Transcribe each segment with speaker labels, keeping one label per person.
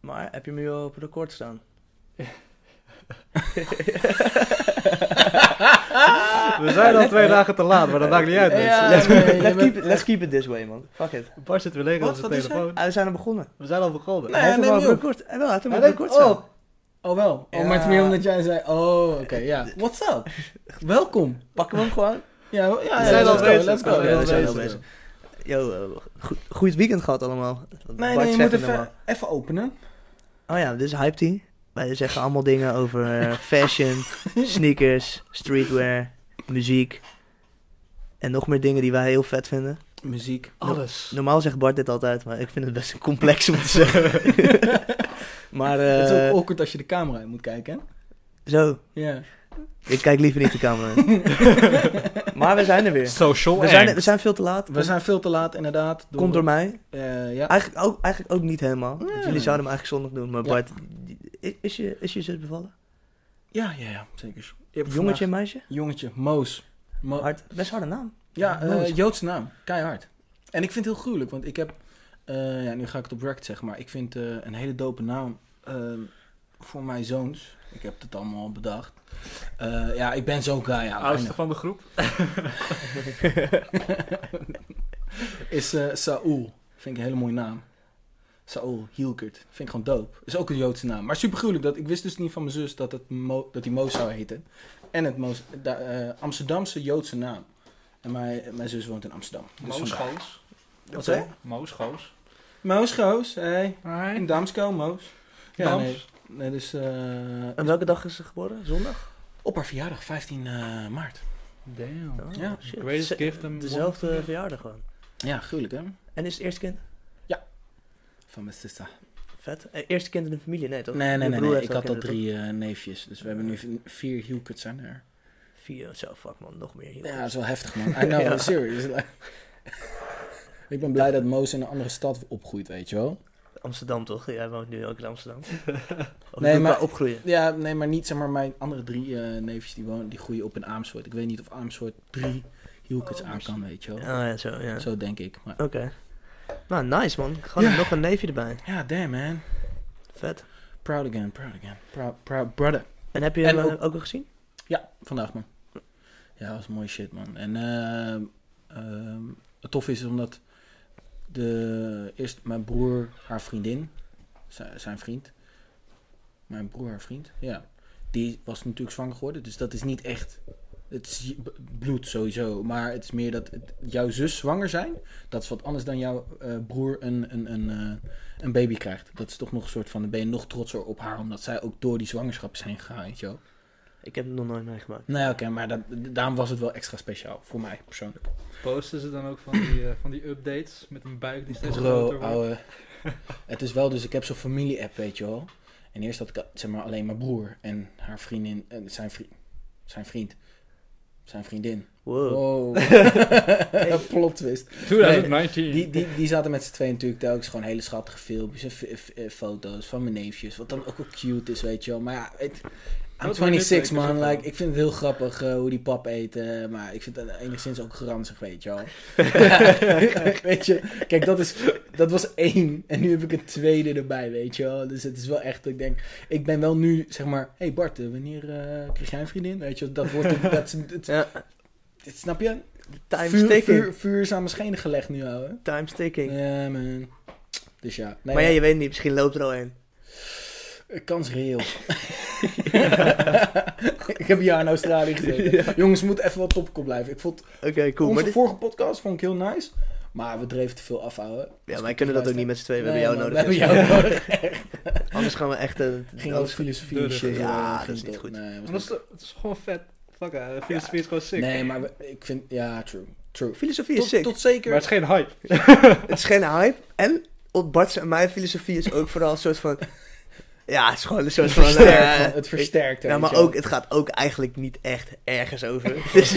Speaker 1: Maar heb je hem nu al op het record staan?
Speaker 2: We zijn al twee dagen te laat, maar dat maakt niet uit, mensen.
Speaker 1: let's,
Speaker 3: nee, je
Speaker 1: let's
Speaker 3: bent-
Speaker 1: keep, let's keep it this way, man. Fuck it.
Speaker 2: Bart zit weer leeg
Speaker 3: Wat?
Speaker 2: op zijn
Speaker 3: Wat is er?
Speaker 2: telefoon.
Speaker 1: Ah, we zijn al begonnen.
Speaker 2: We zijn al begonnen.
Speaker 3: Nee,
Speaker 1: hij heeft
Speaker 3: neem
Speaker 1: hem al
Speaker 3: je
Speaker 1: op
Speaker 3: op.
Speaker 1: record. Hij wel, hij heeft hem
Speaker 3: Hij
Speaker 1: op
Speaker 3: neemt
Speaker 1: record staan.
Speaker 3: op. Oh wel. Oh, maar het
Speaker 1: Ja.
Speaker 3: meer omdat jij zei. Oh, oké, ja. What's up? Welkom.
Speaker 1: Pakken we hem gewoon.
Speaker 3: Ja, ja, ja,
Speaker 2: We zijn al
Speaker 3: let's go,
Speaker 2: bezig.
Speaker 3: let's
Speaker 2: We
Speaker 3: go.
Speaker 2: zijn
Speaker 1: Ja,
Speaker 2: al
Speaker 1: we zijn al
Speaker 2: bezig.
Speaker 1: bezig. Yo, eh, goed, goed weekend gehad allemaal.
Speaker 3: Nee,
Speaker 1: Bart
Speaker 3: nee, je
Speaker 1: zegt
Speaker 3: moet
Speaker 1: het normaal.
Speaker 3: even, even openen.
Speaker 1: Oh ja, dit is Hype Team. Wij zeggen allemaal dingen over eh, fashion, sneakers, streetwear, muziek. En nog meer dingen die wij heel vet vinden.
Speaker 3: Muziek.
Speaker 2: Alles.
Speaker 1: Normaal zegt Bart dit altijd, maar ik vind het best complex om te zeggen. maar eh,
Speaker 3: het is ook awkward als je de camera in moet kijken, hè?
Speaker 1: zo,
Speaker 3: Ja.
Speaker 1: ik kijk liever niet de camera in. maar we zijn er weer.
Speaker 2: Social
Speaker 1: We zijn, er- we zijn veel te laat.
Speaker 3: We zijn veel te laat, inderdaad.
Speaker 1: Komt door mij.
Speaker 3: Eh, ja.
Speaker 1: Eigenlijk ook, eigenlijk ook niet helemaal. Want
Speaker 3: Nee.
Speaker 1: jullie zouden hem eigenlijk zondag doen, maar
Speaker 3: Ja.
Speaker 1: Bart, i- is je, is je zus bevallen?
Speaker 3: ja, ja, ja, zeker. Je hebt
Speaker 1: Jongetje en meisje?
Speaker 3: vandaag- Oh. Jongetje, Moos. Mo-
Speaker 1: Hard, best harde naam.
Speaker 3: Ja, eh,
Speaker 1: Moos.
Speaker 3: Joodse naam. Keihard. En ik vind het heel gruwelijk, want ik heb... eh, ja, nu ga ik het op record zeggen, maar ik vind eh, een hele dope naam eh, voor mijn zoons. Ik heb het allemaal al bedacht. Eh, ja, ik ben zo'n guy. Ja, I
Speaker 2: Oudste
Speaker 3: know.
Speaker 2: van de groep.
Speaker 3: is eh Saul. Vind ik een hele mooie naam. Saul Hielkert. Vind ik gewoon dope. Is ook een Joodse naam. Maar super gruwelijk. Dat, ik wist dus niet van mijn zus dat, het Mo, dat die Moos zou heten. En het Moos, da- eh, Amsterdamse Joodse naam. En mijn, mijn zus woont in Amsterdam. Dus
Speaker 4: Moos
Speaker 3: vandaar.
Speaker 4: Goos.
Speaker 3: Wat zei je?
Speaker 4: Moos Goos.
Speaker 3: Moos Goos. Hey.
Speaker 4: Nee.
Speaker 3: In Damsko, Moos. Ja,
Speaker 4: Dams.
Speaker 3: nee. Nee, dus eh,
Speaker 1: En welke dag is ze geboren? Zondag?
Speaker 3: op haar verjaardag, 15 eh, maart.
Speaker 4: Damn.
Speaker 1: Oh,
Speaker 3: Ja.
Speaker 1: shit.
Speaker 4: Greatest
Speaker 1: Ze-
Speaker 4: gift and
Speaker 1: Dezelfde
Speaker 4: wonder.
Speaker 1: verjaardag gewoon.
Speaker 3: Ja, gruwelijk hè?
Speaker 1: En is het eerste kind?
Speaker 3: Van mijn zus.
Speaker 1: Vet. Eh, Eerste kind in de familie? Nee, toch?
Speaker 3: Nee, nee,
Speaker 1: Je
Speaker 3: nee.
Speaker 1: broer
Speaker 3: nee.
Speaker 1: heeft
Speaker 3: Ik had al
Speaker 1: kinderen,
Speaker 3: drie eh, neefjes. Dus we hebben nu v- vier Hielkerts zijn er.
Speaker 1: toch? Vier, zo, fuck man, nog meer hier.
Speaker 3: Ja, dat is wel heftig, man. I know,
Speaker 1: Ja.
Speaker 3: serious. Like- ik ben blij dat Moos in een andere stad opgroeit, weet je wel.
Speaker 1: Amsterdam toch? Jij woont nu ook in Amsterdam. Of
Speaker 3: Nee,
Speaker 1: nee,
Speaker 3: maar-
Speaker 1: maar... opgroeien.
Speaker 3: Ja, nee, maar niet, zeg maar, mijn andere drie eh, neefjes die, wonen, die groeien op in Amersfoort. Ik weet niet of Amersfoort drie hielkens aan kan, weet je
Speaker 1: Oh
Speaker 3: wel.
Speaker 1: ja, zo, ja.
Speaker 3: Zo denk ik. Maar...
Speaker 1: Oké. Nou, nice man. Gewoon
Speaker 3: Ja.
Speaker 1: nog een neefje erbij.
Speaker 3: Ja, damn, man.
Speaker 1: Vet.
Speaker 3: Proud again, proud again. Proud, proud brother.
Speaker 1: En heb je
Speaker 3: En
Speaker 1: hem eh,
Speaker 3: ook-
Speaker 1: ook... al gezien?
Speaker 3: Ja, vandaag, man. Ja, dat was mooie shit, man. En ehm, ehm, het tof is omdat de, eerst mijn broer, haar vriendin, zijn, zijn vriend, mijn broer, haar vriend, ja, die was natuurlijk zwanger geworden. Dus dat is niet echt, het is je- b- bloed sowieso, maar het is meer dat het- jouw zus zwanger zijn, dat is wat anders dan jouw eh, broer een, een, een, eh, een baby krijgt. Dat is toch nog een soort van, dan ben je nog trotser op haar, omdat zij ook door die zwangerschap zijn gegaan, weet je wel.
Speaker 1: Ik heb hem nog nooit meegemaakt.
Speaker 3: Nee, oké, maar dat, daarom was het wel extra speciaal voor mij persoonlijk.
Speaker 4: Posten ze dan ook van die, eh, van die updates met een buik die steeds
Speaker 3: Bro,
Speaker 4: groter wordt?
Speaker 3: ouwe. Het is wel, dus ik heb zo'n familie-app, weet je wel. En eerst had ik zeg maar, alleen mijn broer en haar vriendin, en zijn, vri zijn vriend, zijn vriendin.
Speaker 1: Wow.
Speaker 3: Wow, plot twist.
Speaker 4: 2019.
Speaker 3: Die, die, die zaten met z'n tweeën natuurlijk telkens gewoon hele schattige filmpjes en f- f- eh, foto's van mijn neefjes. Wat dan ook wel cute is, weet je wel. Maar ja, het, I'm
Speaker 4: Dat
Speaker 3: 26
Speaker 4: wordt
Speaker 3: man,
Speaker 4: dit
Speaker 3: like, ik vind het heel grappig eh, hoe die pap eet. eh, maar ik vind het enigszins ook granzig, weet je wel. weet je, kijk, dat, is, dat was één. En nu heb ik een tweede erbij, weet je wel. Dus het is wel echt, dat ik denk, ik ben wel nu, zeg maar, hé hey Bart, eh, wanneer eh krijg jij een vriendin? Weet je, wel, dat wordt, het- dat, is- het-
Speaker 1: Ja,
Speaker 3: het- snap je?
Speaker 1: time's
Speaker 3: vuur,
Speaker 1: ticking.
Speaker 3: vuur, vuur is aan mijn schenen gelegd nu, ouwe.
Speaker 1: Time's ticking.
Speaker 3: Ja, man. Dus ja. Nee,
Speaker 1: maar ja, je weet niet, misschien loopt er al een.
Speaker 3: Kans reëel. ik heb een jaar in Australië gezeten. Jongens, moet even wat topkop blijven. Ik vond
Speaker 1: Oké, cool.
Speaker 3: onze
Speaker 1: Maar, dit-
Speaker 3: vorige podcast vond ik heel nice. Maar we dreven te veel afhouden.
Speaker 1: ja, wij kunnen dat ook niet met z'n tweeën. We hebben jou nodig.
Speaker 3: We hebben jou nodig.
Speaker 1: Anders gaan we echt... eh, een
Speaker 3: Ging over filosofie en
Speaker 4: Deurig.
Speaker 3: shit.
Speaker 1: Ja,
Speaker 3: ging
Speaker 1: dat is niet
Speaker 3: door.
Speaker 1: goed.
Speaker 3: Nee, was
Speaker 4: Want dat is, het is gewoon vet. Fuck, eh, filosofie is gewoon sick.
Speaker 3: niet- nee, maar we- ik vind... Ja, true. True.
Speaker 1: Filosofie is
Speaker 3: Tot,
Speaker 1: sick.
Speaker 3: tot zeker...
Speaker 4: Maar het is geen hype.
Speaker 1: Het is geen hype. En op Bart's en mijn filosofie is ook vooral een soort van... Ja, het is gewoon een soort
Speaker 3: het
Speaker 1: van... eh,
Speaker 3: versterkt, man. het versterkt.
Speaker 1: Ja,
Speaker 3: weet
Speaker 1: maar
Speaker 3: je wel.
Speaker 1: ook, het gaat ook eigenlijk niet echt ergens over. Het is,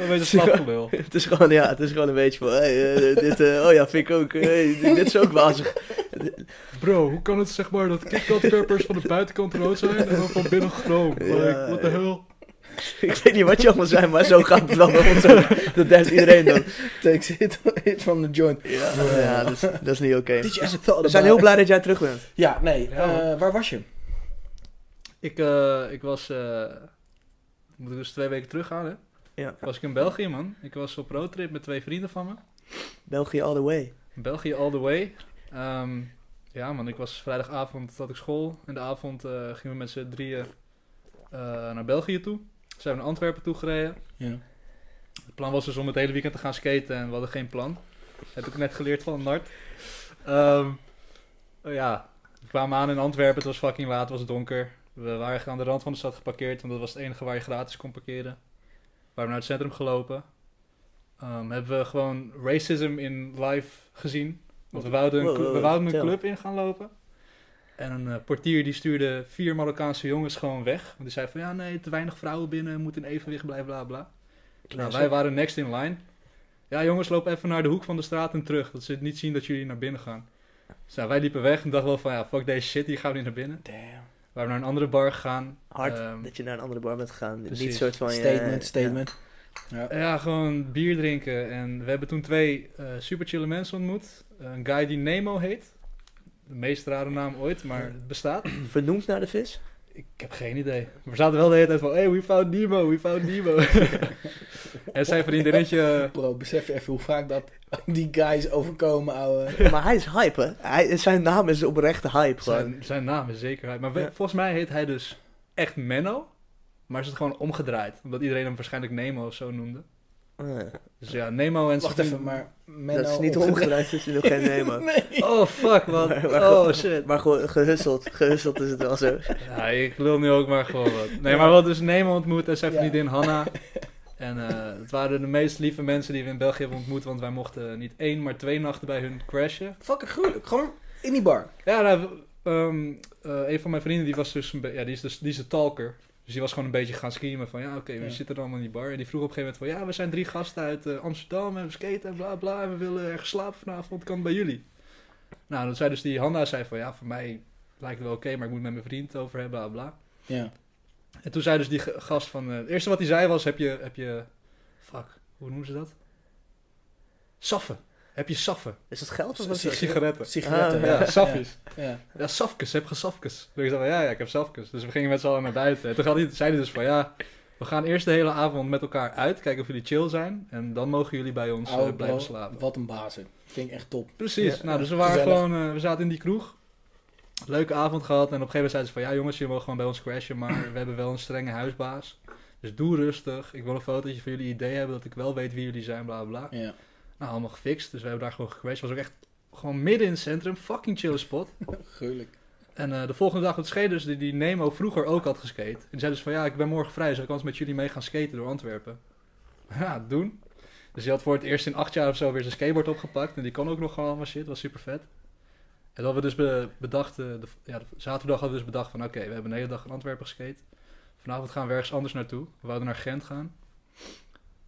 Speaker 1: gewoon,
Speaker 4: Een beetje slapgelul.
Speaker 1: het is gewoon, ja, het is gewoon een beetje van... hey, eh, dit, eh, oh ja, vind ik ook. eh, dit dit is ook wazig.
Speaker 4: Bro, hoe kan het zeg maar dat KitKat peppers van de buitenkant rood zijn en dan van binnen groen?
Speaker 1: Ja.
Speaker 4: Like, what the hell?
Speaker 1: ik weet niet wat je allemaal zijn, maar zo gaat het wel bij ons. ook. Dat heeft iedereen dan.
Speaker 3: Takes hit, hit from the joint.
Speaker 1: Ja, ja dat, is, dat is niet oké.
Speaker 3: Did you ever thought
Speaker 1: We zijn heel
Speaker 3: about-
Speaker 1: blij dat jij terug bent.
Speaker 3: Ja, nee.
Speaker 4: Ja,
Speaker 3: eh, waar was je?
Speaker 4: Ik, eh, ik was, eh, moet ik dus twee weken terug gaan, hè?
Speaker 1: Ja.
Speaker 4: Was ik in België, man. Ik was op roadtrip met twee vrienden van me.
Speaker 1: België all the way.
Speaker 4: België all the way. Ehm, ja, man, ik was vrijdagavond had ik school. In de avond eh, gingen we met z'n drieën eh, naar België toe. Zijn we naar Antwerpen toe gereden.
Speaker 3: Ja.
Speaker 4: Het plan was dus om het hele weekend te gaan skaten en we hadden geen plan. Heb ik net geleerd van Nart. Ehm, eh, ja, we kwamen aan in Antwerpen. Het was fucking laat, het was donker. We waren aan de rand van de stad geparkeerd, want dat was het enige waar je gratis kon parkeren. We waren naar het centrum gelopen. Ehm, hebben we gewoon racism in live gezien. Want we wouden een,
Speaker 1: Wow,
Speaker 4: cl-
Speaker 1: wow,
Speaker 4: we
Speaker 1: wow,
Speaker 4: wouden een
Speaker 1: vertel.
Speaker 4: club in gaan lopen. En een eh, portier die stuurde vier Marokkaanse jongens gewoon weg. Want die zei van ja nee, te weinig vrouwen binnen, moet in evenwicht blijven, bla bla. Nou, wij waren next in line. Ja, jongens, loop even naar de hoek van de straat en terug. Dat ze het niet zien dat jullie naar binnen gaan. Dus nou, wij liepen weg en dachten wel van, ja, fuck deze shit, hier gaan we niet naar binnen.
Speaker 3: Damn.
Speaker 4: We waren naar een andere bar gegaan.
Speaker 1: Hard
Speaker 4: Ehm,
Speaker 1: dat je naar een andere bar bent gegaan.
Speaker 4: precies.
Speaker 1: Niet soort van eh, je...
Speaker 3: Statement, statement. Eh, Ja.
Speaker 4: ja, gewoon bier drinken. En we hebben toen twee eh super chille mensen ontmoet. een guy die Nemo heet. De meest rare naam ooit, maar het bestaat.
Speaker 1: ja. Vernoemd naar de vis?
Speaker 4: Ik heb geen idee. We zaten wel de hele tijd van, hey, we found Nemo, we found Nemo. en zijn vriendinnetje...
Speaker 3: Bro, besef je even hoe vaak dat die guys overkomen, ouwe.
Speaker 1: Maar hij is hype, hè? Hij, zijn naam is oprechte hype, gewoon.
Speaker 4: Zijn, zijn naam is zeker hij. Maar we-
Speaker 1: Ja.
Speaker 4: volgens mij heet hij dus echt Menno. Maar is het gewoon omgedraaid. Omdat iedereen hem waarschijnlijk Nemo of zo noemde.
Speaker 1: Eh,
Speaker 4: Dus ja, Nemo en...
Speaker 3: Wacht
Speaker 4: zijn-
Speaker 3: even, maar Menno...
Speaker 1: dat is niet
Speaker 3: omgedraaid.
Speaker 1: omgedraaid, dat je nog geen name hebt.
Speaker 4: Oh, fuck, wat.
Speaker 1: Maar- maar
Speaker 4: Oh,
Speaker 1: goed.
Speaker 4: shit.
Speaker 1: Maar gewoon gehusteld. Gehusteld is het wel zo.
Speaker 4: Ja, ik lul nu ook maar gewoon wat. Nee, maar wat dus Nemo ontmoet en zijn
Speaker 3: Ja.
Speaker 4: vriendin Hanna. En eh, het waren de meest lieve mensen die we in België hebben ontmoet. Want wij mochten niet één, maar twee nachten bij hun crashen.
Speaker 3: Fucking gruwelijk. Gewoon in die bar.
Speaker 4: Ja, nou, ehm, eh, een van mijn vrienden die was dus een be- ja, die is dus die is een talker. Dus die was gewoon een beetje gaan schiemen van ja, oké, we
Speaker 3: Ja.
Speaker 4: zitten dan allemaal in die bar. En die vroeg op een gegeven moment van ja, we zijn drie gasten uit eh, Amsterdam en we skaten en bla bla. En we willen ergens slapen vanavond, kan het bij jullie. Nou, dat zei dus die Hanna zei van ja, voor mij lijkt het wel oké, maar ik moet het met mijn vriend over hebben, bla bla.
Speaker 3: Ja.
Speaker 4: En toen zei dus die ge- gast van... eh, het eerste wat hij zei was, heb je, heb je... Fuck, hoe noemen ze dat? Saffen. Heb je saffen?
Speaker 1: Is dat geld of
Speaker 3: C-
Speaker 1: wat?
Speaker 3: c-
Speaker 4: Sigaretten.
Speaker 3: Sigaretten.
Speaker 1: Ah,
Speaker 4: Ja, safjes.
Speaker 3: Ja.
Speaker 4: Ja, safkes. Heb je safkes? Toen ik zei van, ja, ja, ik heb safkes. Dus we gingen met z'n allen naar buiten. En toen had hij, zei hij dus van, ja... We gaan eerst de hele avond met elkaar uit. Kijken of jullie chill zijn. En dan mogen jullie bij ons eh,
Speaker 3: Oude
Speaker 4: blijven
Speaker 3: bro,
Speaker 4: slapen.
Speaker 3: Wat een bazen. Vind ik echt top.
Speaker 4: Precies.
Speaker 1: Ja,
Speaker 4: nou, dus we
Speaker 3: ja,
Speaker 4: waren
Speaker 3: gezellig.
Speaker 4: gewoon, eh, we zaten in die kroeg. Leuke avond gehad. En op een gegeven moment zeiden ze van, ja jongens, jullie mogen gewoon bij ons crashen, maar we hebben wel een strenge huisbaas. Dus doe rustig. Ik wil een fotootje van jullie idee hebben, dat ik wel weet wie jullie zijn, bla bla. bla.
Speaker 3: Ja.
Speaker 4: Nou, allemaal gefixt. Dus we hebben daar gewoon gecrashed. Was ook echt gewoon midden in het centrum. Fucking chill spot.
Speaker 3: Gruwelijk.
Speaker 4: En eh, de volgende dag, het scheen dus die, die Nemo vroeger ook had geskate. En die zei dus van, ja, ik ben morgen vrij, zou ik anders met jullie mee gaan skaten door Antwerpen? Ja, doen. Dus die had voor het eerst in acht jaar of zo weer zijn skateboard opgepakt. En die kon ook nog gewoon allemaal shit, was super vet. En dat we dus be- bedacht, eh, de, ja, de- zaterdag hadden we dus bedacht van, oké, we hebben een hele dag in Antwerpen geskate. Vanavond gaan we ergens anders naartoe. We wilden naar Gent gaan.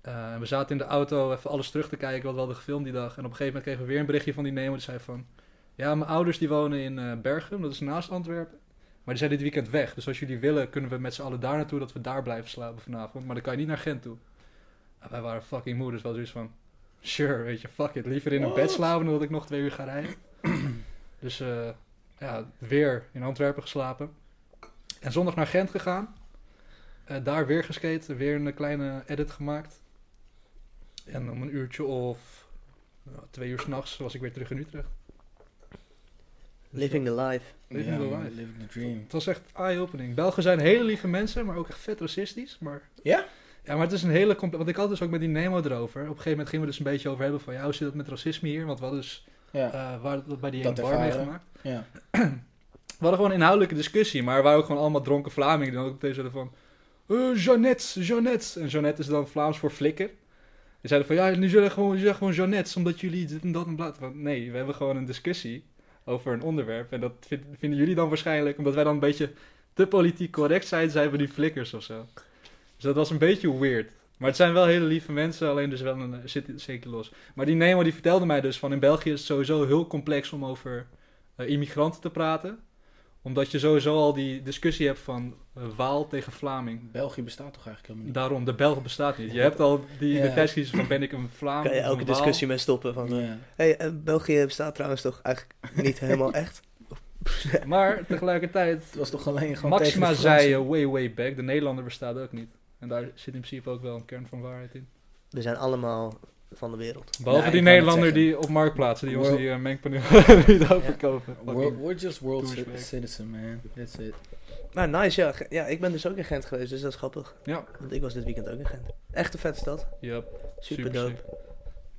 Speaker 4: Eh, en we zaten in de auto even alles terug te kijken wat we hadden gefilmd die dag. En op een gegeven moment kregen we weer een berichtje van die Nemo. Die zei van, ja, mijn ouders die wonen in eh, Bergen, dat is naast Antwerpen. Maar die zijn dit weekend weg. Dus als jullie willen, kunnen we met z'n allen daar naartoe dat we daar blijven slapen vanavond. Maar dan kan je niet naar Gent toe. En wij waren fucking moe, dus wel zoiets van... Sure, weet je, fuck it. Liever in een bed slapen dan dat ik nog twee uur ga rijden. dus eh, ja, weer in Antwerpen geslapen. En zondag naar Gent gegaan. Eh, daar weer geskate, weer een kleine edit gemaakt. En om een uurtje of nou, twee uur s'nachts was ik weer terug in Utrecht.
Speaker 1: Living the life.
Speaker 4: Living the
Speaker 3: Ja,
Speaker 4: life.
Speaker 3: Living the dream.
Speaker 4: Het was echt eye-opening. Belgen zijn hele lieve mensen, maar ook echt vet racistisch. Maar...
Speaker 3: Ja?
Speaker 4: Ja, maar het is een hele... compl- Want ik had dus ook met die Nemo erover. Op een gegeven moment gingen we dus een beetje over hebben van... Ja, hoe zit het met racisme hier? Want we hadden dus
Speaker 3: Ja.
Speaker 4: eh, we hadden dat bij die
Speaker 3: Dat
Speaker 4: bar
Speaker 3: ervaren.
Speaker 4: meegemaakt.
Speaker 3: Ja.
Speaker 4: We hadden gewoon een inhoudelijke discussie, maar we waren ook gewoon allemaal dronken Vlamingen. Die dan ook meteen zeiden van... eh Jeannette, Jeannette. En Jeannette is dan Vlaams voor flikker. Die zeiden van, ja, nu zullen we gewoon, jullie zeggen gewoon Jeannette, omdat jullie dit en dat en bla... Van, nee, we hebben gewoon een discussie over een onderwerp. En dat vind- vinden jullie dan waarschijnlijk, omdat wij dan een beetje te politiek correct zijn, zijn we die flikkers of zo. Dus dat was een beetje weird. Maar het zijn wel hele lieve mensen, alleen dus wel een eh, zit zeker los. Maar die Nemo die vertelde mij dus van in België is het sowieso heel complex om over eh, immigranten te praten. Omdat je sowieso al die discussie hebt van Eh, Waal tegen Vlaming.
Speaker 3: België bestaat toch eigenlijk helemaal niet?
Speaker 4: Daarom, de Belg bestaat niet. Je hebt al die
Speaker 3: Ja.
Speaker 4: de kwesties van ben ik een Vlaam
Speaker 1: Kan je
Speaker 4: of een
Speaker 1: elke
Speaker 4: Waal?
Speaker 1: discussie mee stoppen van...
Speaker 3: Ja.
Speaker 1: hey, eh, België bestaat trouwens toch eigenlijk niet helemaal echt?
Speaker 4: Maar tegelijkertijd,
Speaker 3: Het was toch alleen gewoon
Speaker 4: Maxima
Speaker 3: tegen de Fransen?
Speaker 4: zei eh, way way back, de Nederlander bestaat ook niet. En daar zit in principe ook wel een kern van waarheid in.
Speaker 1: We zijn allemaal van de wereld.
Speaker 4: Behalve
Speaker 3: Nee,
Speaker 4: die
Speaker 3: ik wou net
Speaker 4: Nederlander
Speaker 3: zeggen.
Speaker 4: die op marktplaatsen, die ons
Speaker 3: World-
Speaker 4: die eh, mengpaneel niet overkopen.
Speaker 3: We're, we're just world
Speaker 4: Doe eens
Speaker 3: ci-
Speaker 4: werk.
Speaker 3: citizen, man. That's it.
Speaker 1: Maar nice, ja. Ge- Ja, ik ben dus ook in Gent geweest, dus dat is grappig.
Speaker 4: Ja.
Speaker 1: Want ik was dit weekend ook in Gent. Echt een vette stad.
Speaker 4: Yep,
Speaker 1: Super dope.
Speaker 4: sick.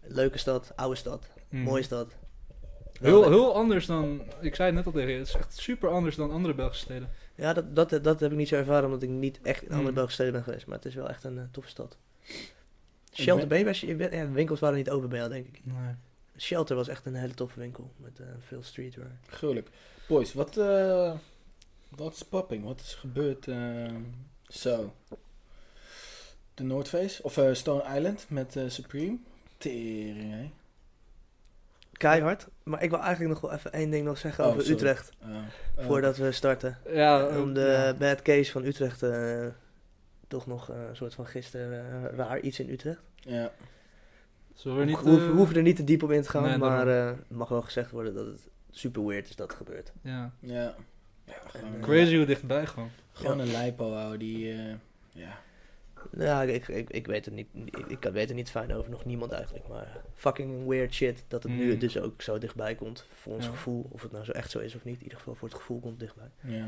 Speaker 1: Leuke stad, oude stad,
Speaker 4: Mm.
Speaker 1: mooie stad.
Speaker 4: Heel,
Speaker 1: Nou,
Speaker 4: heel anders dan, ik zei het net al tegen je, het is echt super anders dan andere Belgische steden.
Speaker 1: Ja, dat, dat, dat heb ik niet zo ervaren, omdat ik niet echt in andere
Speaker 4: Mm.
Speaker 1: Belgische steden ben geweest. Maar het is wel echt een eh, toffe stad.
Speaker 3: ben-
Speaker 1: Shelter B, was, je bent- ja, de winkels waren niet open bij jou, denk ik.
Speaker 4: Nee.
Speaker 1: Shelter was echt een hele toffe winkel, met eh, veel streetwear.
Speaker 3: Gruwelijk. Boys, wat eh, wat is popping? Wat is er gebeurd? eh, Zo. De North Face, of eh, Stone Island met eh, Supreme. Tering, hè?
Speaker 1: Keihard. Maar ik wil eigenlijk nog wel even één ding nog zeggen
Speaker 3: Oh,
Speaker 1: over
Speaker 3: sorry.
Speaker 1: Utrecht,
Speaker 3: Oh, eh,
Speaker 1: voordat we starten.
Speaker 4: Ja,
Speaker 1: Om de bad case van Utrecht eh, toch nog eh, een soort van gisteren eh, raar iets in Utrecht.
Speaker 3: Ja,
Speaker 4: Zullen we niet...
Speaker 1: we, hoeven,
Speaker 4: eh,
Speaker 1: we hoeven er niet te diep op in te gaan,
Speaker 4: nee,
Speaker 1: maar eh, het mag wel gezegd worden dat het super weird is dat het gebeurt.
Speaker 4: ja.
Speaker 3: ja. ja gewoon,
Speaker 4: Crazy hoe dichtbij gewoon.
Speaker 3: Gewoon
Speaker 1: Ja.
Speaker 3: een lipo houden die... eh, ja.
Speaker 1: Ja, ik, ik, ik weet het niet. Ik, ik weet er niet fijn over, nog niemand eigenlijk. Maar fucking weird shit dat het nu
Speaker 3: Hmm.
Speaker 4: Mm.
Speaker 1: dus ook zo dichtbij komt. Voor ons
Speaker 4: Ja.
Speaker 1: gevoel, of het nou zo echt zo is of niet. In ieder geval voor het gevoel komt het dichtbij.
Speaker 3: Ja,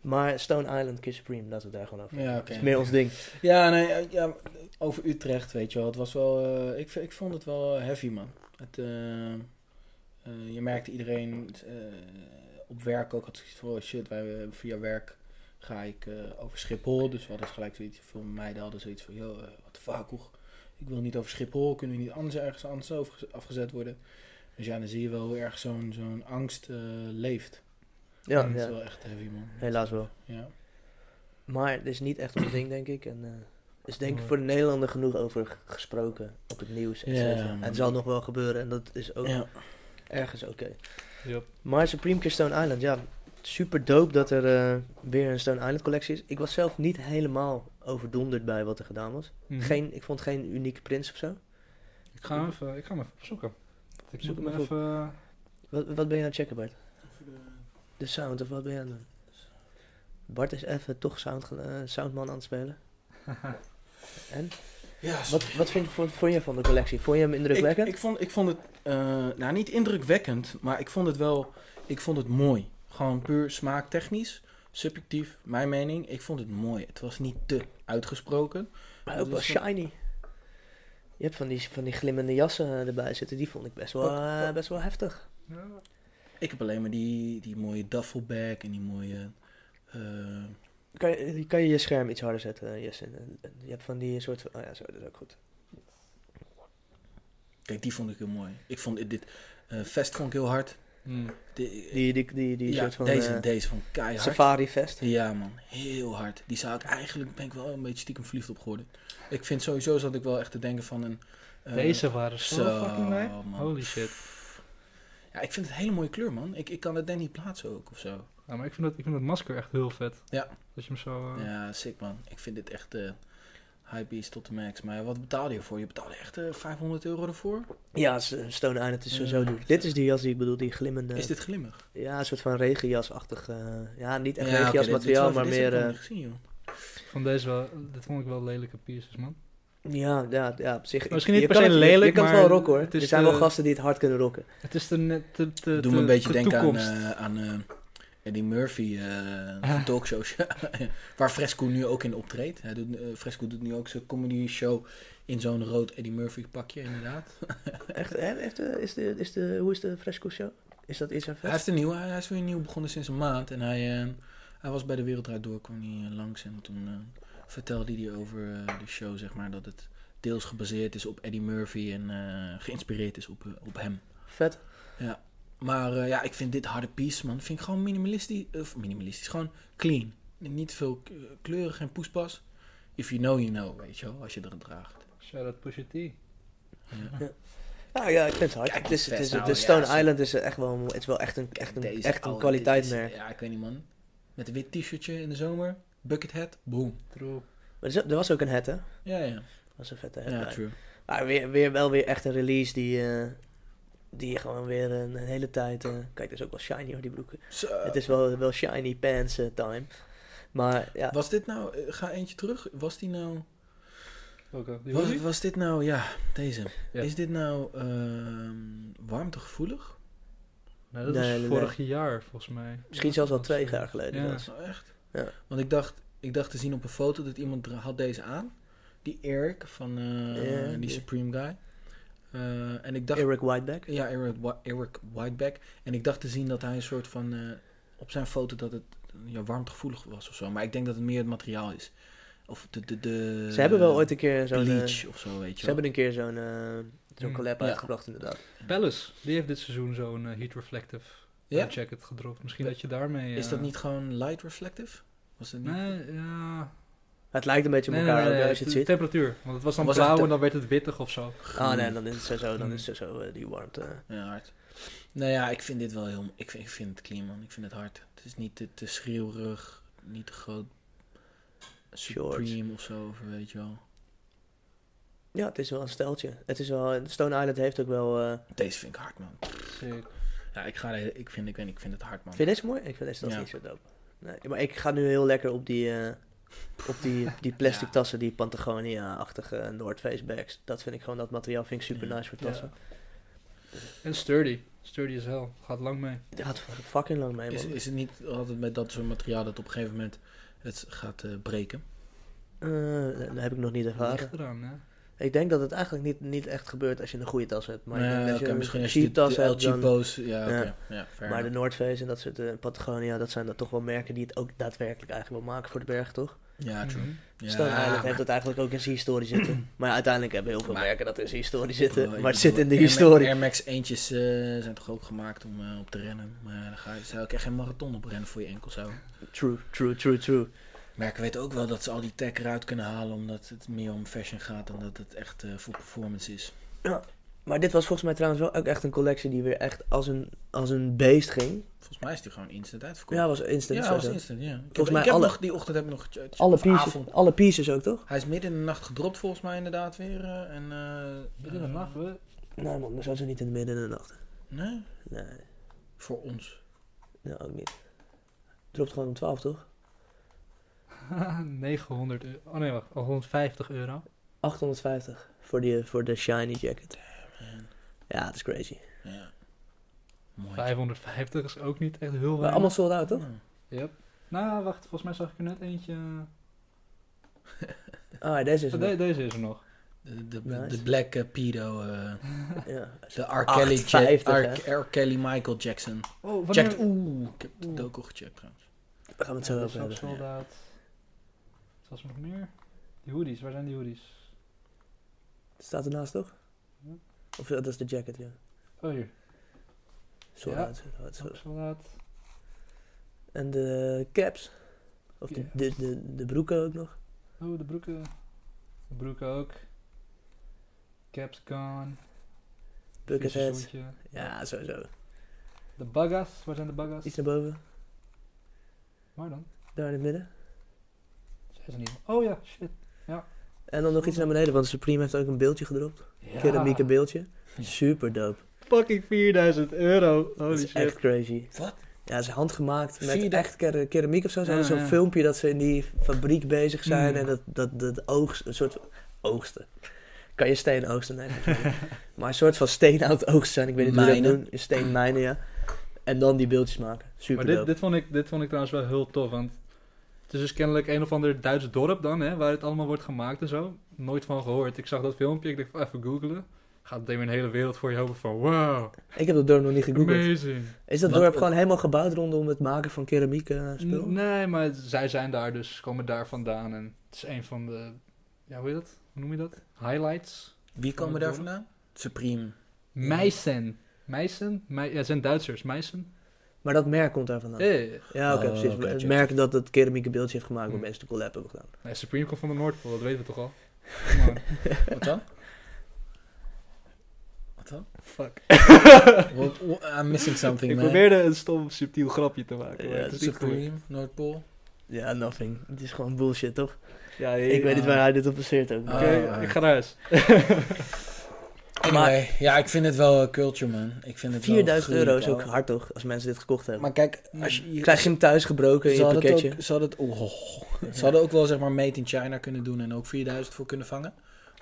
Speaker 1: Maar Stone Island, Kiss Supreme, laten we het daar gewoon over
Speaker 3: ja
Speaker 1: hebben.
Speaker 3: oké.
Speaker 1: Dat is meer ons ding.
Speaker 3: Ja, nee, eh, ja, over Utrecht, weet je wel. Het was wel, eh, ik, v- ik vond het wel heavy, man. Het, eh, eh, je merkte iedereen eh, op werk ook had zoiets van, oh shit, wij, eh, via werk ga ik eh, over Schiphol. Dus we hadden gelijk zoiets, veel meiden hadden zoiets van, joh, wat de fuck, hoe- ik wil niet over Schiphol. Kunnen we niet anders ergens anders over- afgezet worden? Dus ja, dan zie je wel hoe erg zo'n zo'n angst eh, leeft.
Speaker 1: Ja,
Speaker 3: Dat is
Speaker 1: ja.
Speaker 3: wel echt heavy, man.
Speaker 1: helaas wel.
Speaker 3: Ja.
Speaker 1: Maar het is niet echt ons ding, denk ik. En eh, er is denk ik
Speaker 3: Hmm.
Speaker 4: Nee.
Speaker 1: voor de Nederlander genoeg over g- gesproken op het nieuws. et
Speaker 3: Ja,
Speaker 1: cetera. en
Speaker 3: man.
Speaker 1: het zal nog wel gebeuren en dat is ook
Speaker 3: ja.
Speaker 1: ergens oké.
Speaker 4: Yep.
Speaker 1: Maar Supreme Kiss Stone Island, ja, super dope dat er eh, weer een Stone Island collectie is. Ik was zelf niet helemaal overdonderd bij wat er gedaan was.
Speaker 4: Mhm.
Speaker 1: Geen, ik vond geen unieke prins of zo.
Speaker 4: Ik ga hem even, ik ga hem even opzoeken. Ik
Speaker 1: Zoek
Speaker 4: zoek
Speaker 1: hem
Speaker 4: hem
Speaker 1: even op.
Speaker 4: even...
Speaker 1: Wat, wat ben je aan het checken, Bart? De sound of wat ben je aan het doen? Bart is even toch sound, ge- eh, soundman aan het spelen. En?
Speaker 3: Ja,
Speaker 1: Wat, wat vind, vond, vond je van de collectie? Vond je hem indrukwekkend?
Speaker 3: Ik, ik, vond, ik vond het, eh, nou niet indrukwekkend, maar ik vond het wel, ik vond het mooi. Gewoon puur smaaktechnisch, subjectief, mijn mening. Ik vond het mooi. Het was niet te uitgesproken.
Speaker 1: Maar ook wel
Speaker 3: Dus
Speaker 1: shiny. Je hebt van die, van die glimmende jassen eh, erbij zitten, die vond ik best wel,
Speaker 3: Wat-
Speaker 1: eh,
Speaker 3: wat-
Speaker 1: best wel heftig.
Speaker 4: Ja.
Speaker 3: Ik heb alleen maar die, die mooie duffelbag en die mooie... eh,
Speaker 1: Kan je, kan je je scherm iets harder zetten, eh, Jesse? Eh, Je hebt van die soort van... Oh ja, zo, dat is ook goed.
Speaker 3: kijk, die vond ik heel mooi. Ik vond dit eh, vest vond ik heel hard.
Speaker 4: Mm.
Speaker 3: De-
Speaker 1: Die, die, die, die
Speaker 3: ja,
Speaker 1: soort van
Speaker 3: deze,
Speaker 1: eh,
Speaker 3: deze vond ik keihard.
Speaker 1: safari vest.
Speaker 3: Ja man, heel hard. Die zou ik eigenlijk, ben ik wel een beetje stiekem verliefd op geworden. Ik vind sowieso zat ik wel echt te denken van een... eh,
Speaker 4: Deze waren zo,
Speaker 3: Zo,
Speaker 4: fucking lijp.
Speaker 3: man.
Speaker 4: Holy shit.
Speaker 3: Ja, ik vind het een hele mooie kleur, man. Ik, ik kan het denk niet plaatsen ook of zo.
Speaker 4: Ja, maar ik vind, dat, ik vind dat masker echt heel vet.
Speaker 3: Ja.
Speaker 4: Dat je hem zo... eh,
Speaker 3: Ja, sick, man. Ik vind dit echt eh hype is tot de max. Maar wat betaalde je ervoor? Je betaalde echt eh, 500 euro ervoor?
Speaker 1: Ja, s- Stone Island is sowieso
Speaker 3: Ja.
Speaker 1: duur. Dit is die jas die ik bedoel, die glimmende...
Speaker 3: Is dit glimmig?
Speaker 1: Ja, een soort van regenjasachtig... eh, ja, niet echt
Speaker 3: oké, dit- dit is
Speaker 1: regenjasmateriaal,
Speaker 3: wel-
Speaker 1: maar
Speaker 3: dit heb
Speaker 1: meer...
Speaker 3: ik nog
Speaker 1: eh,
Speaker 3: niet gezien, joh.
Speaker 4: Van deze wel... Dit vond ik wel lelijke pieces, man.
Speaker 1: ja, ja, ja, op zich...
Speaker 4: Misschien niet
Speaker 1: je
Speaker 4: per
Speaker 1: kan
Speaker 4: se
Speaker 1: het- je- Je
Speaker 4: lelijk,
Speaker 1: kan het
Speaker 4: maar
Speaker 1: wel rocken, hoor.
Speaker 4: het is
Speaker 1: Er zijn wel
Speaker 4: de-
Speaker 1: gasten die het hard kunnen rocken.
Speaker 4: Het is de, net- de, de,
Speaker 3: Doe me een
Speaker 4: de-
Speaker 3: beetje
Speaker 4: de
Speaker 3: denken aan,
Speaker 4: toekomst.
Speaker 3: eh, aan eh, Eddie Murphy eh talkshows. waar Fresco nu ook in optreedt. Hij doet, eh, Fresco doet nu ook zijn comedy show in zo'n rood Eddie Murphy pakje, inderdaad.
Speaker 1: Echt, hè? Eh, heeft de, is de, is de, hoe is de Fresco Show? Is dat iets aan
Speaker 3: Hij,
Speaker 1: vast?
Speaker 3: heeft een nieuw, hij is weer nieuw begonnen sinds een maand. En hij, eh, hij was bij de Wereldraad Door, kwam hij eh, langs. En toen eh, vertelde hij over eh, de show, zeg maar, dat het deels gebaseerd is op Eddie Murphy en eh, geïnspireerd is op, eh, op hem.
Speaker 1: Vet.
Speaker 3: Maar eh, ja, ik vind dit harde piece, man. Vind ik gewoon minimalistisch. Of minimalistisch, gewoon clean. Niet veel eh, kleuren, geen poespas. If you know, you know, weet je wel, als je er draagt.
Speaker 4: Shout-out Pusha T.
Speaker 3: Ja.
Speaker 1: Nou Ja, ja, ik vind het hard.
Speaker 3: Kijk,
Speaker 1: het is, het is,
Speaker 3: best
Speaker 1: het
Speaker 3: oude,
Speaker 1: is Stone
Speaker 3: ja, zo.
Speaker 1: Island is echt wel, het is wel echt een, echt een,
Speaker 3: Deze
Speaker 1: echt een
Speaker 3: oude- dit is-
Speaker 1: kwaliteitsmerk.
Speaker 3: Ja, ik weet niet, man. Met een wit t-shirtje in de zomer. Buckethead, boom.
Speaker 4: True.
Speaker 1: Maar er is- er was ook een hat, hè? Dat
Speaker 3: Ja, ja.
Speaker 1: was een vette hat.
Speaker 3: Ja,
Speaker 1: bij.
Speaker 3: true.
Speaker 1: maar weer, weer, wel weer echt een release die, eh, die je gewoon weer een, een hele tijd... eh, kijk, dat is ook wel shiny hoor, die broeken.
Speaker 3: Zo.
Speaker 1: Het is wel, wel shiny pants eh, time. Maar ja,
Speaker 3: Was dit nou, eh, ga eentje terug, was die nou,
Speaker 4: Oké. Die
Speaker 3: was,
Speaker 4: hoodie?
Speaker 3: was dit nou, ja, deze.
Speaker 4: Ja.
Speaker 3: Is dit nou ehm, warmtegevoelig?
Speaker 4: Nee, dat
Speaker 1: Nee,
Speaker 4: was
Speaker 1: nee,
Speaker 4: vorig jaar volgens mij.
Speaker 1: misschien zelfs al twee jaar geleden.
Speaker 4: Ja.
Speaker 1: Dat is-
Speaker 3: Oh, echt?
Speaker 1: Ja.
Speaker 3: Want ik dacht, ik dacht te zien op een foto dat iemand dra- had deze aan. Die Eric van eh,
Speaker 1: Ja,
Speaker 3: die
Speaker 1: die-
Speaker 3: Supreme Guy. Eh, en ik dacht,
Speaker 1: Eric Whiteback.
Speaker 3: ja, Eric, Wa- Eric Whiteback. En ik dacht te zien dat hij een soort van, eh, op zijn foto dat het ja, warmtegevoelig was of zo. Maar ik denk dat het meer het materiaal is. Of de, de, de
Speaker 1: Ze hebben wel ooit een keer zo'n... eh,
Speaker 3: Eh, bleach of zo, weet je
Speaker 1: ze
Speaker 3: wel.
Speaker 1: hebben een keer zo'n eh, zo'n
Speaker 4: Hmm.
Speaker 1: collab
Speaker 3: Ja.
Speaker 1: uitgebracht, inderdaad.
Speaker 4: Palace, die heeft dit seizoen zo'n eh, heat reflective
Speaker 3: Ja?
Speaker 4: eh, jacket gedropt. Misschien dat je daarmee...
Speaker 3: Is
Speaker 4: eh,
Speaker 3: dat niet gewoon light reflective? Was dat niet?
Speaker 4: Nee, ja...
Speaker 1: Het lijkt een beetje op elkaar ook, als je het
Speaker 4: de
Speaker 1: ziet.
Speaker 4: temperatuur. Want het was dan
Speaker 3: Was het
Speaker 4: blauw
Speaker 3: te-
Speaker 4: en dan werd het wittig of zo.
Speaker 1: Ah nee, dan is het sowieso, dan
Speaker 4: Hmm.
Speaker 1: is het sowieso eh, die warmte.
Speaker 3: Ja, hard. Nou ja, ik vind dit wel heel... Ik vind, ik vind het clean, man. Ik vind het hard. Het is niet te, te schreeuwerig, niet te groot. Supreme of zo, of weet je wel.
Speaker 1: Ja, het is wel een steltje. Het is wel, Stone Island heeft ook wel... eh,
Speaker 3: Deze vind ik hard, man.
Speaker 4: Sick.
Speaker 3: Ja, ik ga... er- Ik vind, ik, weet niet, ik vind het hard, man.
Speaker 1: Vind je deze mooi? Ik vind deze tas
Speaker 3: Ja.
Speaker 1: niet zo dope. Nee, maar ik ga nu heel lekker op die, eh, op die, die plastic
Speaker 3: Ja.
Speaker 1: tassen, die Patagonia-achtige eh, North Face bags. Dat vind ik gewoon, dat materiaal vind ik super
Speaker 3: Ja.
Speaker 1: nice voor tassen.
Speaker 4: En sturdy. Sturdy as hell. Gaat lang mee.
Speaker 1: Het gaat fucking lang mee,
Speaker 3: Is,
Speaker 1: man.
Speaker 3: is het niet altijd met dat soort materiaal dat op een gegeven moment het gaat eh, breken?
Speaker 1: Eh, dat heb ik nog niet ervaren.
Speaker 4: Ligt eraan, hè?
Speaker 1: Ik denk dat het eigenlijk niet, niet echt gebeurt als je een goede tas hebt. Maar ik
Speaker 3: Nee,
Speaker 1: denk dat
Speaker 3: Nou oké,
Speaker 1: je
Speaker 3: misschien
Speaker 1: een
Speaker 3: als je
Speaker 1: cheap
Speaker 3: de,
Speaker 1: tas
Speaker 3: de El
Speaker 1: hebt, dan-
Speaker 3: Cheapo's... Ja, oké.
Speaker 1: Ja.
Speaker 3: Ja, fair
Speaker 1: Maar de
Speaker 3: enough.
Speaker 1: North Face en dat soort eh, Patagonia, dat zijn dan toch wel merken die het ook daadwerkelijk eigenlijk wel maken voor de berg, toch?
Speaker 3: Ja, true.
Speaker 4: Mhm.
Speaker 3: Ja,
Speaker 1: Stone Island
Speaker 3: maar-
Speaker 1: heeft dat eigenlijk ook in zijn historie zitten. Maar ja, uiteindelijk hebben heel veel
Speaker 3: Maar-
Speaker 1: merken dat in zijn historie
Speaker 3: Oh,
Speaker 1: zitten.
Speaker 3: ik
Speaker 1: maar het
Speaker 3: bedoel,
Speaker 1: zit in de
Speaker 3: Air Ma-
Speaker 1: historie.
Speaker 3: Air Max eentjes eh, zijn toch ook gemaakt om eh, op te rennen. Maar dan ga je, zou ik echt geen marathon op rennen voor je enkel zo.
Speaker 1: True, true, true, true.
Speaker 3: Maar ik weet ook wel dat ze al die tech eruit kunnen halen omdat het meer om fashion gaat dan dat het echt eh, voor performance is.
Speaker 1: Maar dit was volgens mij trouwens wel ook echt een collectie die weer echt als een, als een beest ging.
Speaker 3: Volgens mij is die gewoon instant uitverkoord.
Speaker 1: Ja, was instant.
Speaker 3: ja,
Speaker 1: zo
Speaker 3: was
Speaker 1: zo.
Speaker 3: instant, ja. Ik heb,
Speaker 1: Volgens mij
Speaker 3: ik heb
Speaker 1: alle-
Speaker 3: nog, die ochtend heb ik nog gecheckt.
Speaker 1: Alle
Speaker 3: Of
Speaker 1: pieces,
Speaker 3: avond.
Speaker 1: alle pieces ook, toch?
Speaker 3: Hij is midden in de nacht gedropt volgens mij inderdaad weer. eh, en, eh,
Speaker 4: Midden in de
Speaker 3: eh,
Speaker 4: nacht, hè?
Speaker 1: Nee man, maar zo is het niet in de midden in de nacht.
Speaker 3: Nee,
Speaker 1: Nee,
Speaker 3: voor ons.
Speaker 1: nou ook niet. Dropt gewoon om 12, toch?
Speaker 4: 900 euro. Oh nee, wacht. Oh, 150 euro.
Speaker 1: 850 voor, die, voor de shiny jacket.
Speaker 3: Man,
Speaker 1: Ja, het is crazy.
Speaker 3: Oh, ja. Mooi.
Speaker 4: 550 is ook niet echt heel weinig.
Speaker 1: Maar allemaal sold out, toch?
Speaker 3: Ja.
Speaker 4: Yep. Nou, wacht. Volgens mij zag ik er net eentje...
Speaker 1: Ah, deze is
Speaker 4: Oh,
Speaker 1: hem.
Speaker 4: de- deze is er nog.
Speaker 3: De, de,
Speaker 1: Nice.
Speaker 3: de Black eh, Pedo. eh,
Speaker 1: Ja.
Speaker 3: De R. Kelly, Ja-
Speaker 1: 8,50,
Speaker 3: R. R. Kelly Michael Jackson.
Speaker 4: Oh,
Speaker 3: Checkt. Oeh, ik heb de
Speaker 4: Oeh.
Speaker 3: doco gecheckt trouwens.
Speaker 1: Daar gaan we het zo over hebben.
Speaker 4: soldaat. Wat was er nog meer? Die hoodies. Waar zijn die hoodies?
Speaker 1: Staat ernaast, toch?
Speaker 4: Ja.
Speaker 1: Of eh, dat is de jacket, ja.
Speaker 4: Oh, hier.
Speaker 1: Sold
Speaker 4: Ja.
Speaker 1: out. sold out, sold
Speaker 4: Ook
Speaker 1: out.
Speaker 4: soldaat.
Speaker 1: En de caps. Of de,
Speaker 4: Ja.
Speaker 1: de, de, de broeken ook nog.
Speaker 4: Oh, de broeken. De broeken ook. Caps gone.
Speaker 1: Buckethead.
Speaker 4: vissenzoentje.
Speaker 1: Ja, sowieso.
Speaker 4: De bagas. Waar zijn de bagas?
Speaker 1: Iets naar boven.
Speaker 4: Waar dan?
Speaker 1: Daar in het midden.
Speaker 4: Zijn ze niet. Oh ja, shit.
Speaker 1: En dan nog iets naar beneden, want Supreme heeft ook een beeldje gedropt.
Speaker 4: Ja.
Speaker 1: Keramieke beeldje. Super dope.
Speaker 4: Fucking 4000 euro.
Speaker 1: dat
Speaker 4: Holy
Speaker 1: is
Speaker 4: shit.
Speaker 1: echt crazy.
Speaker 3: Wat?
Speaker 1: Ja, het is handgemaakt met
Speaker 3: Vierde-
Speaker 1: echt kera- keramiek of zo. Ze
Speaker 4: Ja,
Speaker 1: hadden zo'n
Speaker 4: ja.
Speaker 1: filmpje dat ze in die fabriek bezig zijn.
Speaker 4: Mm.
Speaker 1: En dat, dat, dat oogst, een soort oogsten. Kan je steen oogsten? Nee, dat kan niet. maar een soort van steen uit oogst zijn. Ik weet niet hoe
Speaker 3: Mijnen.
Speaker 1: dat doen. Steenmijnen, ja. En dan die beeldjes maken. Super
Speaker 4: Maar dit,
Speaker 1: dope.
Speaker 4: dit, vond ik, dit vond ik trouwens wel heel tof, want het is dus kennelijk een of ander Duits dorp dan, hè, waar het allemaal wordt gemaakt en zo. Nooit van gehoord. Ik zag dat filmpje, ik dacht van, even googlen. Gaat meteen weer een hele wereld voor je open van wow,
Speaker 1: Ik heb dat dorp nog niet gegoogeld.
Speaker 4: amazing.
Speaker 1: Is dat
Speaker 3: Wat-
Speaker 1: dorp gewoon helemaal gebouwd rondom het maken van keramiek eh, spul?
Speaker 4: N- Nee, maar zij zijn daar dus, komen daar vandaan en het is een van de, ja hoe heet dat? Hoe noem je dat? Highlights?
Speaker 3: Wie
Speaker 4: Van
Speaker 3: komen
Speaker 4: de
Speaker 3: daar
Speaker 4: doelen?
Speaker 3: vandaan? Supreme.
Speaker 4: Meissen. Meissen? Mei- ja, het zijn Duitsers. Meissen?
Speaker 1: Maar dat merk komt daar vandaan.
Speaker 4: Ja, ja, ja.
Speaker 1: Ja, oké,
Speaker 3: Oh,
Speaker 1: precies.
Speaker 3: oké,
Speaker 1: het
Speaker 3: check,
Speaker 1: merk dat het keramieke beeldje heeft gemaakt waar
Speaker 4: Mm.
Speaker 1: mensen de collab hebben gedaan.
Speaker 4: Nee, Supreme komt van de Noordpool, dat weten we toch al? Come on.
Speaker 3: Wat dan? Wat dan?
Speaker 4: Fuck.
Speaker 3: What- what- I'm missing something,
Speaker 4: Ik
Speaker 3: man.
Speaker 4: probeerde een stom, subtiel grapje te maken. maar
Speaker 1: Ja,
Speaker 4: het is niet gelukt.
Speaker 3: Supreme, Noordpool.
Speaker 1: Ja, nothing. Het is gewoon bullshit, toch?
Speaker 4: Ja,
Speaker 1: Ik weet Oh, niet waar hij dit op baseert ook.
Speaker 3: Ah.
Speaker 4: Oké, ik ga naar huis.
Speaker 3: Anyway, ja, ik vind het wel eh, culture, man. Ik vind het wel
Speaker 1: 4000 euro is ook
Speaker 3: gruwelijk,
Speaker 1: hard toch, als mensen dit gekocht hebben.
Speaker 3: ouwe. Maar kijk, als je... je-
Speaker 1: Krijg je hem thuis gebroken in
Speaker 3: ze
Speaker 1: je
Speaker 3: hadden, het
Speaker 1: pakketje?
Speaker 3: ook, ze, hadden het, oh, ze hadden ook wel zeg maar made in China kunnen doen en ook 4000 voor kunnen vangen.